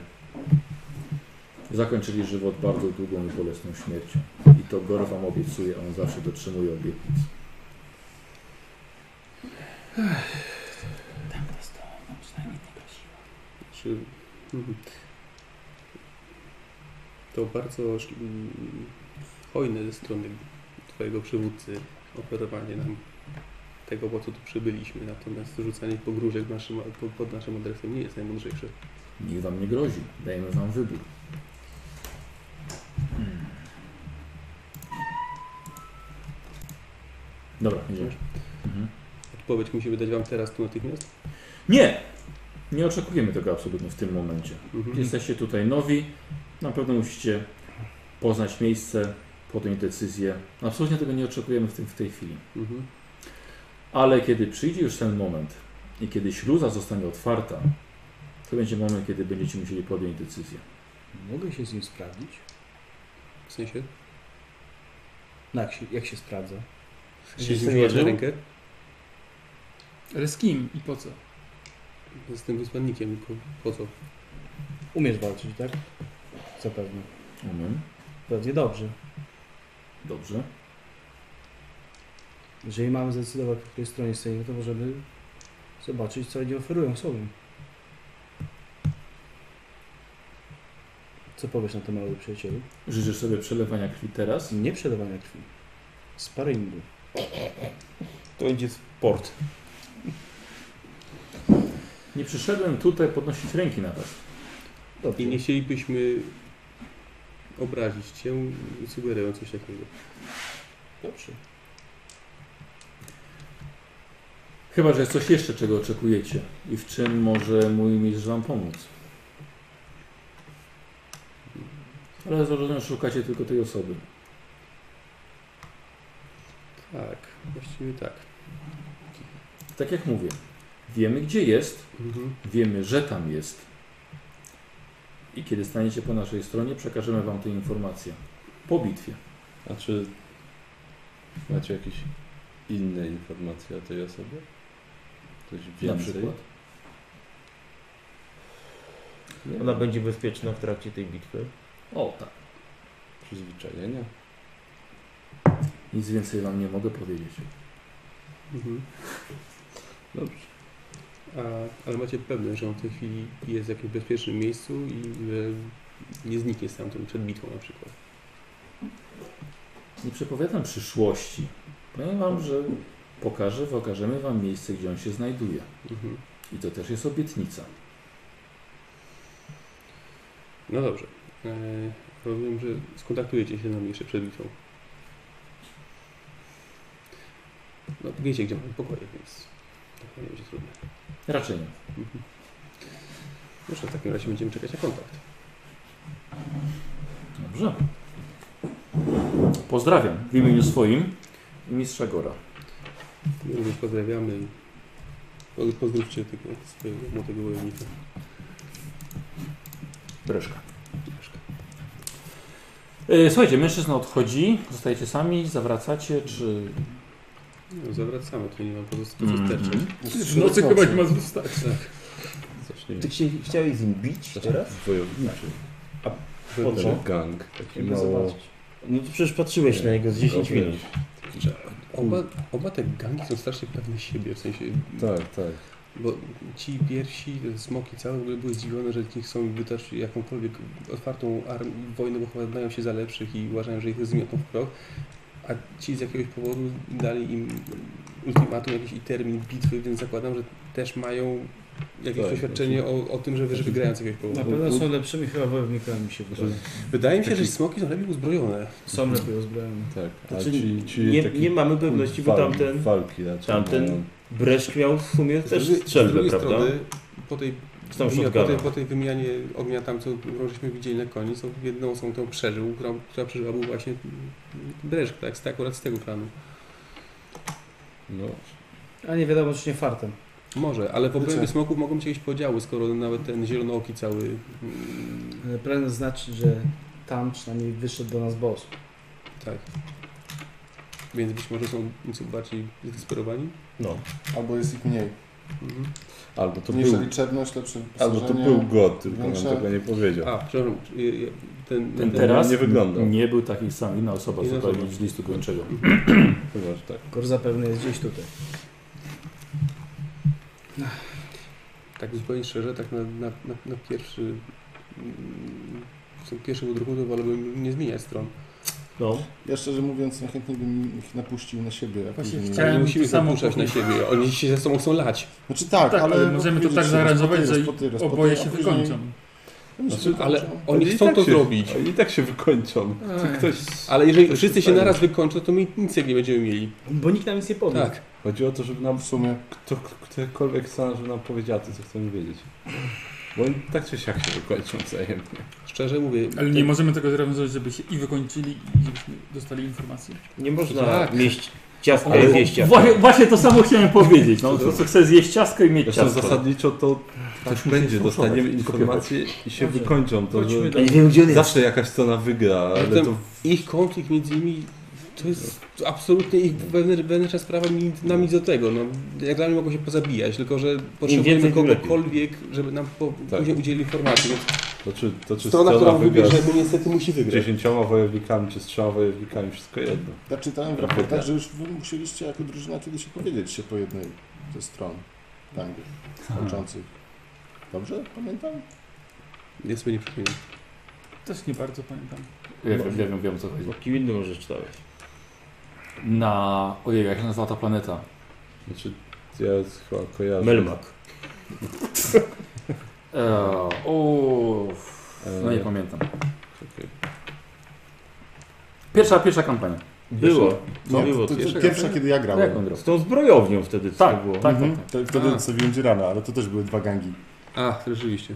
Speaker 1: zakończyli żywot bardzo długą i bolesną śmiercią. I to Gor wam obiecuje, on zawsze dotrzymuje obietnic.
Speaker 8: Czy... Mhm. To bardzo sz- mm, hojne ze strony Twojego przywódcy oferowanie nam tego, po co tu przybyliśmy. Natomiast rzucanie pogróżek naszym, po- pod naszym adresem nie jest najmądrzejsze.
Speaker 1: Nikt wam nie grozi, dajemy wam wybór. Hmm. Dobra, idziemy. Mhm.
Speaker 8: Odpowiedź musimy dać Wam teraz tu natychmiast.
Speaker 1: Nie! Nie oczekujemy tego absolutnie w tym momencie.
Speaker 8: Mhm.
Speaker 1: Jesteście tutaj nowi, na pewno musicie poznać miejsce, podjąć decyzję. Absolutnie tego nie oczekujemy w, tym, w tej chwili.
Speaker 8: Mhm.
Speaker 1: Ale kiedy przyjdzie już ten moment i kiedy śluza zostanie otwarta, to będzie moment, kiedy będziecie musieli podjąć decyzję.
Speaker 10: Mogę się z nim sprawdzić?
Speaker 8: W sensie?
Speaker 10: No jak się, jak się sprawdza?
Speaker 8: Czy z nim macie rękę?
Speaker 4: Ale z kim i po co?
Speaker 8: Z tym wysłannikiem, po, po co?
Speaker 10: Umiesz walczyć, tak? Zapewne.
Speaker 1: Umiem.
Speaker 10: Pewnie dobrze.
Speaker 1: Dobrze.
Speaker 10: Jeżeli mamy zdecydować, po której stronie stoimy, to możemy zobaczyć, co oni oferują sobie. Co powiesz na to, mały przyjacielu?
Speaker 1: Życzysz sobie przelewania krwi teraz?
Speaker 10: Nie przelewania krwi. Sparingu.
Speaker 12: To będzie sport.
Speaker 1: Nie przyszedłem tutaj podnosić ręki na was.
Speaker 8: I nie chcielibyśmy obrazić Cię, sugerując coś takiego.
Speaker 10: Dobrze.
Speaker 1: Chyba, że jest coś jeszcze, czego oczekujecie i w czym może mój mistrz wam pomóc. Ale zrozumiem, że szukacie tylko tej osoby.
Speaker 8: Tak, właściwie tak.
Speaker 1: Tak jak mówię, wiemy gdzie jest,
Speaker 8: Mhm.
Speaker 1: wiemy, że tam jest. I kiedy staniecie po naszej stronie, przekażemy wam te informacje. Po bitwie.
Speaker 6: A czy Znaczy, macie jakieś inne informacje o tej osobie? Coś
Speaker 1: Na
Speaker 6: więcej?
Speaker 1: przykład.
Speaker 12: Ona będzie bezpieczna w trakcie tej bitwy.
Speaker 1: O, tak.
Speaker 6: Przyzwyczajenia?
Speaker 1: Nic więcej wam nie mogę powiedzieć.
Speaker 8: Mhm. Dobrze. A, ale macie pewność, że on w tej chwili jest w jakimś bezpiecznym miejscu i że nie zniknie stamtąd przed bitwą na przykład.
Speaker 1: Nie przepowiadam przyszłości. Powiem wam, że pokażę, pokażemy wam miejsce, gdzie on się znajduje.
Speaker 8: Mhm.
Speaker 1: I to też jest obietnica.
Speaker 8: No dobrze. E, rozumiem, że skontaktujecie się z nami jeszcze przed bitwą. No, wiecie, gdzie mamy pokoje, więc to nie będzie trudne.
Speaker 1: Raczej nie.
Speaker 8: Mhm. Dobrze, w takim razie będziemy czekać na kontakt.
Speaker 1: Dobrze. Pozdrawiam w imieniu swoim i mistrza Gora.
Speaker 8: My również pozdrawiamy i po- pozdrówcie tego swojego młodego wojownika.
Speaker 1: Breszka. E, Słuchajcie, mężczyzna odchodzi, zostajecie sami, zawracacie, czy...
Speaker 8: No, zawracamy, to nie mam po prostu
Speaker 1: Mhm.
Speaker 8: co sterczeć.
Speaker 4: W nocy chyba nie ma zostać.
Speaker 8: Tak.
Speaker 6: Zacznijmy.
Speaker 12: Ty chcie- chciałeś z nim bić teraz?
Speaker 6: Wojowniczy.
Speaker 12: A
Speaker 6: Że
Speaker 12: po
Speaker 6: ten
Speaker 12: co?
Speaker 6: gang taki
Speaker 12: Żeby
Speaker 6: mało-
Speaker 12: zobaczyć. No to przecież patrzyłeś na niego z 10
Speaker 6: Dobry.
Speaker 12: minut.
Speaker 8: Oba, oba te gangi są strasznie pewne siebie, w sensie...
Speaker 6: Tak, tak.
Speaker 8: Bo ci piersi, te smoki całe w ogóle były zdziwione, że ich chcą wytać jakąkolwiek otwartą arm- wojnę, bo chyba znają się za lepszych i uważają, że ich zmiotą w proch. A ci z jakiegoś powodu dali im ultimatum jakiś i termin bitwy, więc zakładam, że też mają jakieś
Speaker 6: Tak,
Speaker 8: doświadczenie o, o tym, że, że wygrają z jakiegoś powodu.
Speaker 10: Na pewno są lepszymi chyba wojownikami się wydaje.
Speaker 8: Wydaje mi się, że smoki są lepiej uzbrojone.
Speaker 10: Są lepiej uzbrojone.
Speaker 6: Tak, a
Speaker 12: Znaczy,
Speaker 6: ci, ci
Speaker 12: nie,
Speaker 6: taki
Speaker 12: nie mamy pewności, bo
Speaker 6: wal-
Speaker 12: tamten,
Speaker 6: Walki raczej mają.
Speaker 12: tamten Breszcz miał w sumie
Speaker 8: Z
Speaker 12: też
Speaker 8: drugiej- z
Speaker 12: strzelbę,
Speaker 8: drugiej
Speaker 12: prawda?
Speaker 8: Strony, po, tej,
Speaker 12: Z tą
Speaker 8: wymi- po, tej,
Speaker 12: shotgunem.
Speaker 8: po tej wymianie ognia tam, co żeśmy widzieli na koniec, to jedną osobą tą przeżył, która, która przeżyła był właśnie Breszk, tak, z, akurat z tego planu.
Speaker 6: No,
Speaker 2: A nie wiadomo, czy nie fartem.
Speaker 8: Może, ale w
Speaker 2: Znaczy-
Speaker 8: obrębie smoków mogą być jakieś podziały, skoro nawet ten zielonooki cały... mm,
Speaker 2: Ale Pragnę znaczy, że tam przynajmniej wyszedł do nas boss.
Speaker 8: Tak. Więc być może są nieco bardziej zdesperowani?
Speaker 12: No.
Speaker 9: Albo jest ich mniej.
Speaker 8: Mhm.
Speaker 6: albo to
Speaker 9: Mniejsza
Speaker 6: był...
Speaker 9: liczebność, lepsze
Speaker 6: Albo to
Speaker 9: wyposażenie,
Speaker 6: był god, tylko
Speaker 9: większe-
Speaker 6: nam tego nie powiedział.
Speaker 8: A, przepraszam, y, y, ten...
Speaker 1: Ten teraz
Speaker 6: nie wyglądał.
Speaker 1: nie był taki sam, inna osoba
Speaker 8: Inna
Speaker 1: zupełnie
Speaker 8: osoba.
Speaker 1: z listu gończego.
Speaker 6: Chyba, że tak.
Speaker 10: Kor zapewne jest gdzieś tutaj.
Speaker 8: Tak zupełnie szczerze, tak na, na, na, na pierwszy... mm, Co pierwszy był drugi, to wolałbym nie zmieniać stron.
Speaker 12: No.
Speaker 9: Ja szczerze mówiąc, najchętniej bym ich napuścił na siebie. a
Speaker 4: Właśnie
Speaker 9: później-
Speaker 4: chciałem-
Speaker 8: Nie musimy
Speaker 4: to
Speaker 8: się
Speaker 4: samo
Speaker 8: napuszczać na
Speaker 4: powiedzieć.
Speaker 8: siebie, oni się ze sobą chcą lać.
Speaker 9: Znaczy tak,
Speaker 4: Tak,
Speaker 9: ale
Speaker 4: ale możemy to
Speaker 9: powiedzieć
Speaker 4: tak
Speaker 9: się,
Speaker 4: zaranżować,
Speaker 9: po
Speaker 4: że
Speaker 9: tyras, po tyras, po
Speaker 4: oboje
Speaker 9: tyras,
Speaker 4: się
Speaker 9: a później-
Speaker 4: wykończą.
Speaker 10: No
Speaker 8: Znaczy, ale
Speaker 6: Oni
Speaker 8: oni
Speaker 6: i
Speaker 8: chcą
Speaker 6: tak
Speaker 8: to
Speaker 6: się-
Speaker 8: zrobić.
Speaker 6: Oni i tak się wykończą.
Speaker 8: Ech.
Speaker 6: Czy ktoś...
Speaker 8: Ale jeżeli
Speaker 6: ktoś
Speaker 8: wszyscy się
Speaker 6: tutaj-
Speaker 8: naraz wykończą, to my nic nie będziemy mieli.
Speaker 10: Bo nikt nam nic nie powie.
Speaker 8: Tak.
Speaker 6: Chodzi o to, żeby nam
Speaker 9: W sumie
Speaker 6: kto, ktokolwiek sam, żeby nam powiedziała to, co chcemy wiedzieć. Bo oni tak czy siak się wykończą wzajemnie.
Speaker 8: Szczerze mówię.
Speaker 4: Ale
Speaker 8: ten-
Speaker 4: nie możemy tego zrealizować, żeby się i wykończyli, i żebyśmy dostali informacje.
Speaker 12: Nie można
Speaker 8: Tak.
Speaker 12: mieć ciastka
Speaker 1: Ale
Speaker 12: i zjeść ciastka.
Speaker 1: właśnie, właśnie to samo chciałem powiedzieć. No, to, co chce zjeść ciasto i mieć
Speaker 6: Zresztą
Speaker 1: ciasto.
Speaker 6: zasadniczo to tak
Speaker 1: musimy
Speaker 6: będzie,
Speaker 1: słuchać,
Speaker 6: dostaniemy
Speaker 1: kopiować.
Speaker 6: informacje i się wykończą. To, że
Speaker 10: Chodźmy
Speaker 12: Ja nie wiem gdzie on jest.
Speaker 6: zawsze jakaś strona wygra, ale
Speaker 8: Zatem
Speaker 6: to
Speaker 8: Ich konflikt między nimi to jest absolutnie ich wewnętrzna wewnętrzna sprawa mi- nami do tego. No, jak dla mnie mogą się pozabijać, tylko że potrzebujemy
Speaker 12: więcej, tym lepiej.
Speaker 8: kogokolwiek, żeby nam po,
Speaker 6: Tak.
Speaker 8: później udzielił informacji. Więc
Speaker 6: To czy, to czy
Speaker 8: strona,
Speaker 6: strona,
Speaker 8: którą
Speaker 6: wygra
Speaker 8: wybierzemy,
Speaker 6: z
Speaker 8: niestety musi wygrać.
Speaker 6: dziesięcioma wojownikami, czy z trzema wojownikami, wszystko jedno.
Speaker 9: ja tak czytałem w raportach,
Speaker 6: Tak.
Speaker 9: że już wy musieliście jako drużyna kiedyś powiedzieć się po jednej ze stron gangów
Speaker 1: Tak.
Speaker 9: walczących. Dobrze? Pamiętam?
Speaker 8: Nie sobie nie przypominam.
Speaker 4: Też nie bardzo pamiętam.
Speaker 1: Ja wiem, ja wiem, wiem o co chodzi.
Speaker 12: O kim innym możesz czytałeś.
Speaker 1: Na... Ojej, jak się nazywa ta planeta?
Speaker 6: Znaczy, ja chyba kojarzę.
Speaker 12: Melmak.
Speaker 1: Eee, o, no nie
Speaker 6: Eee.
Speaker 1: pamiętam.
Speaker 6: Czekaj.
Speaker 1: Pierwsza, pierwsza kampania.
Speaker 12: Było.
Speaker 9: Nie,
Speaker 12: było
Speaker 9: to, to,
Speaker 12: pierwsze.
Speaker 9: pierwsza, kiedy ja
Speaker 1: Tak, jak on
Speaker 9: grałem.
Speaker 1: robi?
Speaker 12: Z tą zbrojownią wtedy co
Speaker 1: Tak,
Speaker 12: to było.
Speaker 1: tak,
Speaker 9: Mhm.
Speaker 1: tak, tak.
Speaker 9: To- Wtedy
Speaker 8: A.
Speaker 9: sobie dzierana, ale to też były dwa gangi.
Speaker 8: A, rzeczywiście.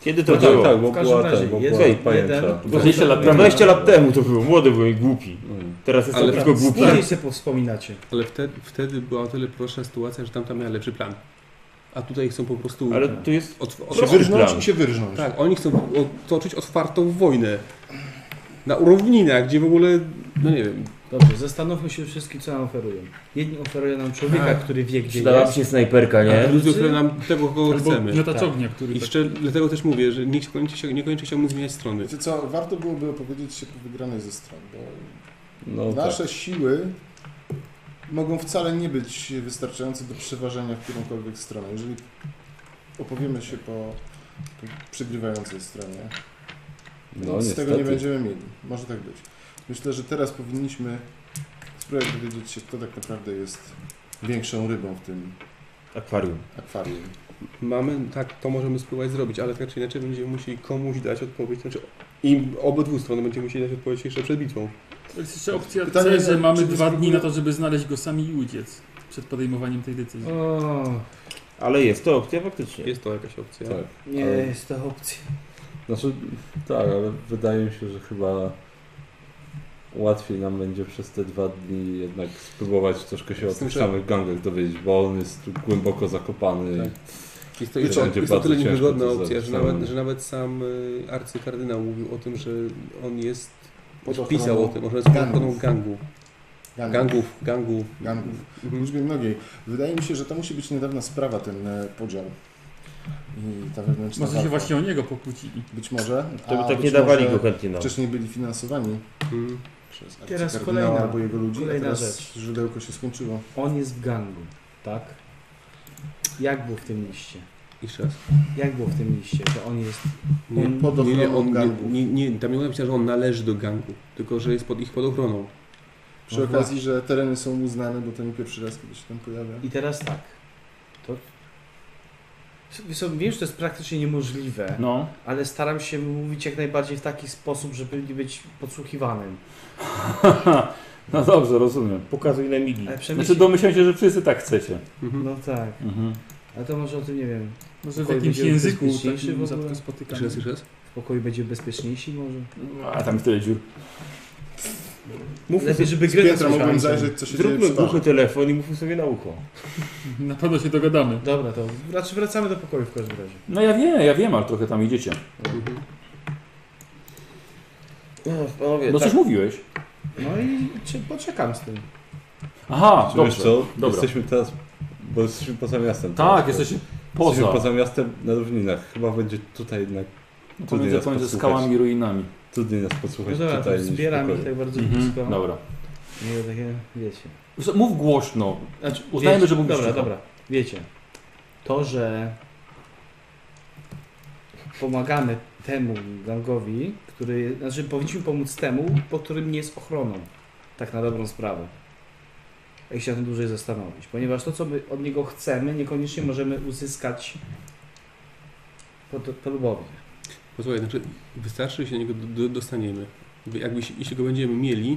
Speaker 12: Kiedy to
Speaker 6: No tak,
Speaker 12: było?
Speaker 6: tak, bo
Speaker 10: W każdym
Speaker 6: była
Speaker 10: razie
Speaker 6: tak, bo
Speaker 10: jest
Speaker 6: była
Speaker 12: jeden,
Speaker 6: pajęcza.
Speaker 1: Bo 20 tak. lat temu.
Speaker 12: 20 lat temu to było. Młody byłem i głupi. Teraz jestem
Speaker 8: Ale
Speaker 12: tylko głupi.
Speaker 10: Później sobie wspominacie.
Speaker 8: Ale wtedy, wtedy była o tyle prostsza sytuacja, że tamta miała lepszy plan. A tutaj chcą po prostu.
Speaker 12: Ale tu jest
Speaker 8: Od,
Speaker 9: Się
Speaker 8: od,
Speaker 12: Prosty
Speaker 9: wyrżnąć
Speaker 12: plan.
Speaker 9: i No, się wyrżnąć.
Speaker 8: tak, oni chcą toczyć otwartą wojnę. Na równinach, gdzie w ogóle, no nie wiem,
Speaker 10: Dobrze, zastanówmy się wszystkim, co nam oferują. Jedni oferują nam człowieka,
Speaker 8: Tak.
Speaker 10: który wie, gdzie
Speaker 12: Przydała
Speaker 10: jest.
Speaker 12: się snajperka, nie?
Speaker 8: ludzie, które nam tego kogo
Speaker 4: Albo
Speaker 8: chcemy.
Speaker 4: miotacz
Speaker 10: Tak.
Speaker 4: ognia, który...
Speaker 8: I
Speaker 4: tak-
Speaker 8: jeszcze dlatego też mówię, że nikt niekoniecznie niekoniecznie chciałbym zmieniać strony.
Speaker 9: Wiecie co, warto byłoby opowiedzieć się po wygranej ze stron, bo
Speaker 6: No tak.
Speaker 9: Nasze siły mogą wcale nie być wystarczające do przeważenia w którąkolwiek stronę. Jeżeli opowiemy się po po przegrywającej stronie,
Speaker 6: No
Speaker 9: nic z
Speaker 6: niestety.
Speaker 9: tego nie będziemy mieli. Może tak być. Myślę, że teraz powinniśmy spróbować dowiedzieć się, kto tak naprawdę jest większą rybą w tym
Speaker 12: Akwarium.
Speaker 9: akwarium.
Speaker 8: Mamy, tak, to możemy spróbować zrobić, ale tak czy inaczej będziemy musieli komuś dać odpowiedź, znaczy im obydwu stronom będziemy musieli dać odpowiedź jeszcze przed bitwą.
Speaker 4: To jest jeszcze opcja
Speaker 9: Pytanie,
Speaker 4: C, że mamy
Speaker 9: czy
Speaker 4: dwa dni na
Speaker 9: spróbują-
Speaker 4: to, żeby znaleźć go sami i uciec przed podejmowaniem tej decyzji.
Speaker 10: O,
Speaker 12: Ale jest to opcja faktycznie.
Speaker 8: Jest to jakaś opcja.
Speaker 6: Tak.
Speaker 10: nie
Speaker 6: Ale-
Speaker 10: jest to opcja.
Speaker 6: Znaczy, tak, ale wydaje mi się, że chyba łatwiej nam będzie przez te dwa dni jednak spróbować troszkę się o
Speaker 8: Z tym,
Speaker 6: tych
Speaker 8: że-
Speaker 6: samych gangach dowiedzieć, bo on jest tu głęboko zakopany.
Speaker 8: Tak. Jest
Speaker 6: Wiecie,
Speaker 8: to, jest to,
Speaker 6: będzie
Speaker 8: jest to
Speaker 6: bardzo
Speaker 8: tyle
Speaker 6: ciężko
Speaker 8: niewygodna
Speaker 6: to
Speaker 8: opcja,
Speaker 6: zrobić
Speaker 8: że
Speaker 6: samemu.
Speaker 8: nawet, że nawet sam y, arcykardynał mówił o tym, że on jest,
Speaker 9: Pod ochroną
Speaker 8: pisał o tym, że jest pod
Speaker 9: gangów. Tak.
Speaker 8: ochroną gangu. Gangów, gangu.
Speaker 9: Gangów. Liczbie mnogiej. Wydaje mi się, że to musi być niedawna sprawa, ten e, podział. I ta wewnętrzna
Speaker 4: Może się
Speaker 9: walka.
Speaker 4: właśnie o niego pokłócili.
Speaker 9: Być może.
Speaker 4: To by
Speaker 9: a
Speaker 4: tak
Speaker 9: być
Speaker 4: nie dawali
Speaker 9: może
Speaker 4: go chętnie nawet.
Speaker 9: Wcześniej byli finansowani
Speaker 4: Hmm.
Speaker 9: przez
Speaker 2: Teraz
Speaker 9: teraz
Speaker 2: kolejna-
Speaker 9: albo jego ludzi,
Speaker 2: kolejna
Speaker 9: a teraz
Speaker 2: rzecz.
Speaker 9: źródełko się skończyło.
Speaker 2: On jest w gangu, tak? Jak był w tym liście?
Speaker 8: Jeszcze raz.
Speaker 2: Jak było w tym liście, że on jest...
Speaker 8: Nie,
Speaker 2: on-
Speaker 8: nie, nie, on, nie, nie, nie, tam nie było napisane, że on należy do gangu, tylko że jest pod ich pod ochroną.
Speaker 9: Przy okazji, że tereny są mu znane, bo to nie pierwszy raz, kiedy się tam pojawia.
Speaker 2: I teraz tak. To... Wiesz co, Wiem, że to jest praktycznie niemożliwe,
Speaker 1: No.
Speaker 2: ale staram się mówić jak najbardziej w taki sposób, żeby nie być podsłuchiwanym.
Speaker 1: No dobrze, rozumiem.
Speaker 12: Pokazuj na migi.
Speaker 2: Ale przemyśl-
Speaker 1: Znaczy domyślam się, że wszyscy tak chcecie.
Speaker 2: No tak.
Speaker 1: Mhm.
Speaker 2: Ale to może o tym nie wiem.
Speaker 4: Może w
Speaker 2: Pokój
Speaker 4: jakimś
Speaker 2: będzie
Speaker 4: języku
Speaker 2: bezpieczniejszy
Speaker 4: takim
Speaker 2: w ogóle?
Speaker 4: rzadko spotykanym.
Speaker 9: Tak.
Speaker 8: Jeszcze raz, jeszcze raz.
Speaker 2: W pokoju będzie bezpieczniejsi może?
Speaker 1: No, A tam tyle dziur.
Speaker 2: Mów Lepiej, żeby
Speaker 9: z Piotra mógłbym zajrzeć, co się dzieje
Speaker 12: Zróbmy
Speaker 9: przy parze.
Speaker 12: głuchy telefon i mówmy sobie na ucho.
Speaker 4: Na pewno się dogadamy.
Speaker 2: Dobra, to raczej wracamy do pokoju w każdym razie.
Speaker 1: No ja wiem, ja wiem, ale trochę tam idziecie.
Speaker 12: Ach, panowie,
Speaker 1: No
Speaker 12: tak.
Speaker 1: coś mówiłeś.
Speaker 2: No i czy, poczekam z tym.
Speaker 1: Aha,
Speaker 2: Tak.
Speaker 6: Czy wiesz
Speaker 1: dobrze.
Speaker 6: co?
Speaker 1: Dobra.
Speaker 6: Jesteśmy teraz, bo jesteśmy poza miastem.
Speaker 1: Tak,
Speaker 6: teraz.
Speaker 1: jesteśmy poza.
Speaker 6: Jesteśmy poza miastem na równinach. Chyba będzie tutaj jednak
Speaker 1: No to
Speaker 6: trudniej
Speaker 1: między,
Speaker 6: nas
Speaker 1: pomiędzy
Speaker 6: podsłuchać.
Speaker 1: skałami i ruinami.
Speaker 6: Trudniej nas podsłuchać
Speaker 2: No dobra,
Speaker 6: tutaj
Speaker 2: to
Speaker 6: niż w
Speaker 2: zbieram ich
Speaker 6: pokoju.
Speaker 2: tak bardzo
Speaker 1: Mhm,
Speaker 2: blisko.
Speaker 1: dobra.
Speaker 2: Nie wiem, takie, wiecie.
Speaker 1: Z- Mów głośno.
Speaker 2: Znaczy,
Speaker 1: Uznajmy,
Speaker 2: wiecie,
Speaker 1: że mówisz
Speaker 2: Dobra,
Speaker 1: cicho.
Speaker 2: dobra. Wiecie, to, że pomagamy temu gangowi, który, znaczy powinniśmy pomóc temu, po którym nie jest ochroną. Tak na dobrą sprawę. Jak się na tym dłużej zastanowić. Ponieważ to, co my od niego chcemy, niekoniecznie możemy uzyskać po- polubowie.
Speaker 8: Posłuchaj, znaczy wystarczy, że się do niego do, do, dostaniemy. Jakby- Jakby, się- jeśli go będziemy mieli,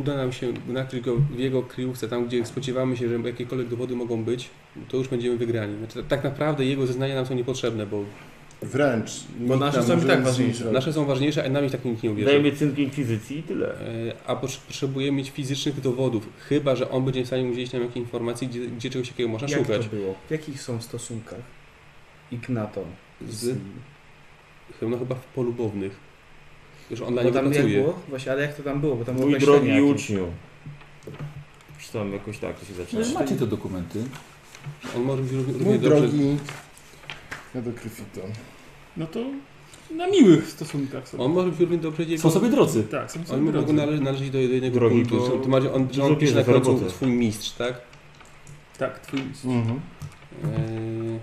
Speaker 8: uda nam się nakryć go w jego kryjówce, tam gdzie spodziewamy się, że jakiekolwiek dowody mogą być, to już będziemy wygrani. Znaczy, tak naprawdę jego zeznania nam są niepotrzebne, bo...
Speaker 9: Wręcz.
Speaker 8: Bo
Speaker 9: Nikt
Speaker 8: nasze
Speaker 9: nam
Speaker 8: są i
Speaker 9: może
Speaker 8: tak
Speaker 9: nic nie
Speaker 8: ważniejsze.
Speaker 9: zrobi.
Speaker 8: Nasze są ważniejsze, a nami tak nikt nie uwierzy.
Speaker 12: Dajemy cynk inkwizycji i tyle.
Speaker 8: E, A potrz- potrzebujemy mieć fizycznych dowodów, chyba że on będzie w stanie udzielić nam jakiejś informacji, gdzie, gdzie czegoś takiego można
Speaker 2: Jak
Speaker 8: szukać.
Speaker 2: to było? W jakich są stosunkach Ignato z,
Speaker 8: Z, no chyba w polubownych. Już on dla
Speaker 2: bo
Speaker 8: niego
Speaker 2: tam jak
Speaker 8: pracuje.
Speaker 2: było? Właśnie, ale jak to tam było? Bo tam
Speaker 9: No
Speaker 2: było
Speaker 12: Mój
Speaker 2: określenie
Speaker 12: drogi
Speaker 2: jakieś.
Speaker 12: uczniu. Czy tam jakoś tak to się zaczyna.
Speaker 1: No, macie te dokumenty.
Speaker 8: On może być równie,
Speaker 9: Mój
Speaker 8: równie dobrze.
Speaker 9: drogi... Ja do kryfito.
Speaker 4: No to na miłych stosunkach sobie.
Speaker 8: On może być równie dobrze.
Speaker 1: Są sobie drodzy.
Speaker 4: Tak, są
Speaker 8: On
Speaker 4: sobie
Speaker 8: mógł
Speaker 4: drodzy.
Speaker 8: nale- należeć do do jednego
Speaker 12: Drogi
Speaker 8: kultu.
Speaker 12: tu są-
Speaker 8: To macie- on, że
Speaker 12: dużo
Speaker 8: on pisze na
Speaker 12: pieniędzy za
Speaker 8: końcu
Speaker 12: robotę.
Speaker 8: twój mistrz, tak?
Speaker 4: Tak, twój list.
Speaker 9: Mhm.
Speaker 8: Eee,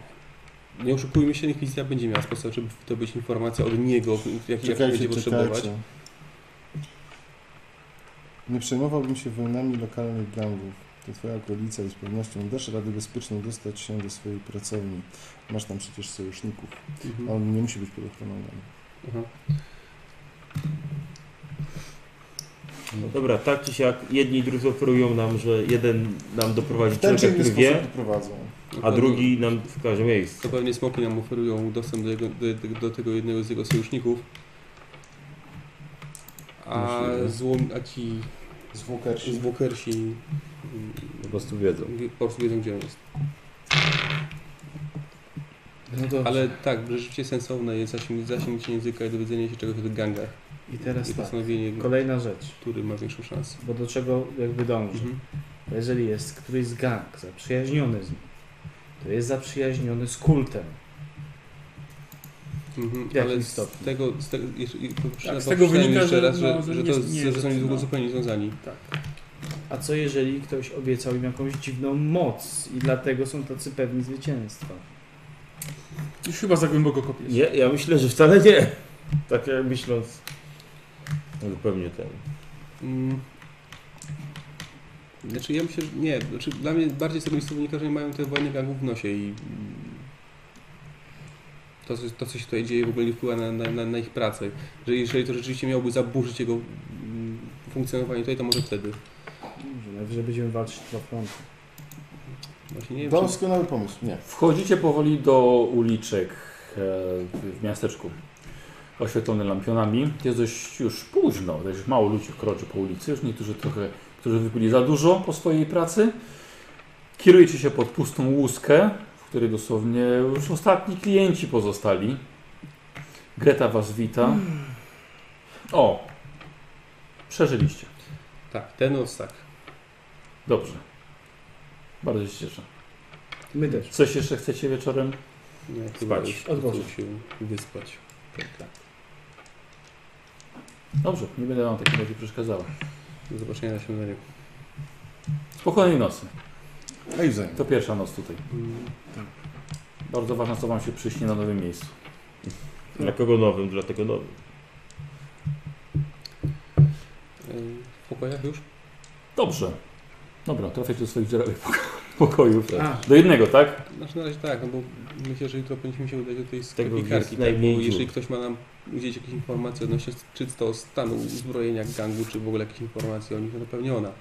Speaker 8: Nie oszukujmy się, Inkwizycja będzie miała sposób, żeby to być informacja od niego, jak, jak będzie
Speaker 9: Czekajcie,
Speaker 8: potrzebować.
Speaker 9: czekajcie. Nie przejmowałbym się wojnami lokalnych gangów. To twoja okolica i z pewnością dasz radę bezpiecznie dostać się do swojej pracowni. Masz tam przecież sojuszników.
Speaker 8: Mhm.
Speaker 9: A On nie musi być pod ochroną gangu.
Speaker 8: Aha.
Speaker 12: No dobra, tak czy siak, jedni i drudzy oferują nam, że jeden nam doprowadzi
Speaker 9: W ten czy
Speaker 12: człowieka,
Speaker 9: inny
Speaker 12: który
Speaker 9: sposób
Speaker 12: wie,
Speaker 9: doprowadzą.
Speaker 12: a drugi nam wkaże miejsce.
Speaker 8: To pewnie smoki nam oferują dostęp do, jego, do, do tego jednego z jego sojuszników. A
Speaker 6: Myślę, że-
Speaker 8: złom, a ci
Speaker 9: Zwłokersi.
Speaker 8: zwłokersi mm,
Speaker 6: Po prostu wiedzą.
Speaker 8: po prostu wiedzą gdzie on jest.
Speaker 2: No dobrze.
Speaker 8: Ale tak, że rzeczywiście sensowne jest zasięg- zasięgnięcie języka i dowiedzenie się czegoś o tych gangach.
Speaker 2: I teraz
Speaker 8: I
Speaker 2: tak.
Speaker 8: postanowienie,
Speaker 2: Kolejna rzecz,
Speaker 8: który ma większą szansę.
Speaker 2: bo do czego jakby dążę.
Speaker 8: Mhm.
Speaker 2: Bo Jeżeli jest któryś z gang zaprzyjaźniony z nim, to jest zaprzyjaźniony z kultem.
Speaker 8: Mhm.
Speaker 2: W jakim
Speaker 8: Ale z
Speaker 2: stopniu?
Speaker 8: tego, z tego, jeszcze, i- przyznam-
Speaker 4: Tak, z tego
Speaker 8: przyznajmy
Speaker 4: wynika,
Speaker 8: jeszcze
Speaker 4: że-
Speaker 8: raz, że,
Speaker 4: no, że
Speaker 8: że,
Speaker 4: nie-
Speaker 8: to,
Speaker 4: nie
Speaker 8: że są
Speaker 4: zaczyna.
Speaker 8: niedługo zupełnie związani.
Speaker 4: Tak.
Speaker 2: A co jeżeli ktoś obiecał im jakąś dziwną moc i dlatego są tacy pewni zwycięstwa?
Speaker 4: Już chyba za głęboko kopiesz.
Speaker 12: Nie, ja myślę, że wcale nie. Tak jak myśląc. No zupełnie ten.
Speaker 8: Mm. Znaczy ja myślę, że nie. Znaczy, dla mnie bardziej z tego miejsca wynika, że mają te wojny gangów w nosie i mm, to, co- to co się tutaj dzieje w ogóle nie wpływa na, na, na, na ich pracę. Że jeżeli to rzeczywiście miałoby zaburzyć jego mm, funkcjonowanie tutaj, to może wtedy.
Speaker 2: Dobrze, Najwyżej będziemy walczyć dwa fronty.
Speaker 8: Właśnie nie wiem, czy...
Speaker 9: Doskonały pomysł. Nie.
Speaker 1: Wchodzicie powoli do uliczek e, w miasteczku oświetlone lampionami. Jest dość już późno, dość mało ludzi kroczy po ulicy, już niektórzy trochę, którzy wypili za dużo po swojej pracy. Kierujecie się pod pustą łuskę, w której dosłownie już ostatni klienci pozostali. Greta was wita. O! Przeżyliście.
Speaker 8: Tak, ten nos tak.
Speaker 1: Dobrze. Bardzo się cieszę.
Speaker 2: My też.
Speaker 1: Coś jeszcze chcecie wieczorem?
Speaker 8: Nie, chyba
Speaker 1: Spać.
Speaker 8: już
Speaker 2: Odłożyć.
Speaker 8: się wyspać.
Speaker 1: Dobrze, nie będę wam w takim razie przeszkadzała.
Speaker 8: Do zobaczenia na śniadaniu.
Speaker 1: Spokojnej nocy.
Speaker 9: No i wzajemnie.
Speaker 1: To pierwsza noc tutaj. Bardzo ważne, co wam się przyśnie na nowym miejscu.
Speaker 12: Dla kogo nowym, dla tego nowym.
Speaker 8: Ym, W pokojach już?
Speaker 1: Dobrze. Dobra, trafiacie do swoich dziurawych poko- pokojów.
Speaker 8: Tak.
Speaker 1: Do jednego, tak?
Speaker 8: Znaczy na razie tak, no bo myślę, że jutro powinniśmy się udać do tej
Speaker 12: Tego jest
Speaker 8: sklepikarki, tak, bo
Speaker 12: najmniej dziur.
Speaker 8: jeżeli ktoś ma nam udzielić jakieś informacje odnośnie czy to stanu uzbrojenia gangu, czy w ogóle jakieś informacje o nich, no to pewnie ona.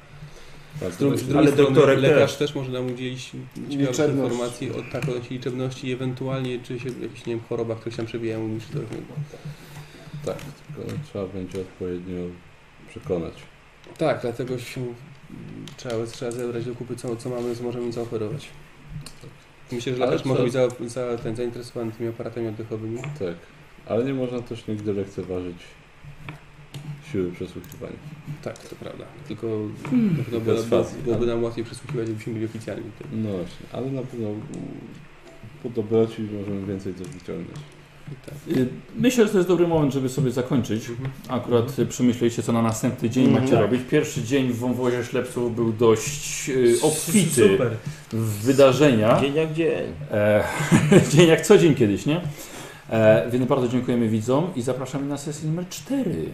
Speaker 6: Tak,
Speaker 8: Z drugiej, z drugiej
Speaker 12: Ale
Speaker 8: strony
Speaker 12: doktorek
Speaker 8: lekarz też.
Speaker 12: też.
Speaker 8: może nam udzielić
Speaker 9: Liczebność.
Speaker 8: ciekawych informacji o tak, odnośnie liczebności i ewentualnie czy się jakieś, nie wiem, chorobach, które się tam przebijają niż to
Speaker 6: Tak, tylko trzeba będzie odpowiednio przekonać.
Speaker 8: Tak, dlatego się trzeba, trzeba zebrać do kupy co, co mamy, co możemy im zaoferować. Myślę, że
Speaker 6: Ale
Speaker 8: lekarz może
Speaker 6: co-
Speaker 8: być za, za, ten, zainteresowany tymi aparatami oddechowymi.
Speaker 6: Tak, ale nie można też nigdy lekceważyć siły przesłuchiwania.
Speaker 8: Tak, to prawda. Tylko
Speaker 6: Hmm.
Speaker 8: na pewno
Speaker 6: Bez
Speaker 8: byłoby,
Speaker 6: fazy,
Speaker 8: byłoby
Speaker 6: ale-
Speaker 8: nam łatwiej przesłuchiwać, gdybyśmy byli oficjalni. tutaj.
Speaker 6: No właśnie, ale na pewno mm, po dobroci możemy więcej to wyciągnąć.
Speaker 8: Tak.
Speaker 1: Y, Myślę, że to jest dobry moment, żeby sobie zakończyć. Akurat y, przemyśleliście, co na następny dzień
Speaker 9: Mhm.
Speaker 1: macie
Speaker 9: Tak.
Speaker 1: robić. Pierwszy dzień w wąwozie ślepców był dość y, obfity
Speaker 12: Super.
Speaker 1: w wydarzenia.
Speaker 12: Dzień jak dzień.
Speaker 1: E, dzień jak co dzień kiedyś, nie? E, więc bardzo dziękujemy widzom i zapraszamy na sesję numer 4.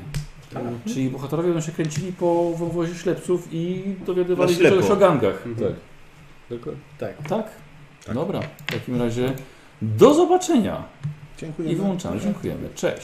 Speaker 1: Czyli bohaterowie będą się kręcili po wąwozie ślepców i dowiadywali
Speaker 12: Na
Speaker 1: się
Speaker 12: ślepo.
Speaker 1: czegoś o gangach.
Speaker 6: Tak. Tylko
Speaker 2: Tak.
Speaker 1: Tak? Dobra, w takim razie do zobaczenia
Speaker 9: Dziękujemy.
Speaker 1: i wyłączamy. Dziękujemy. Cześć.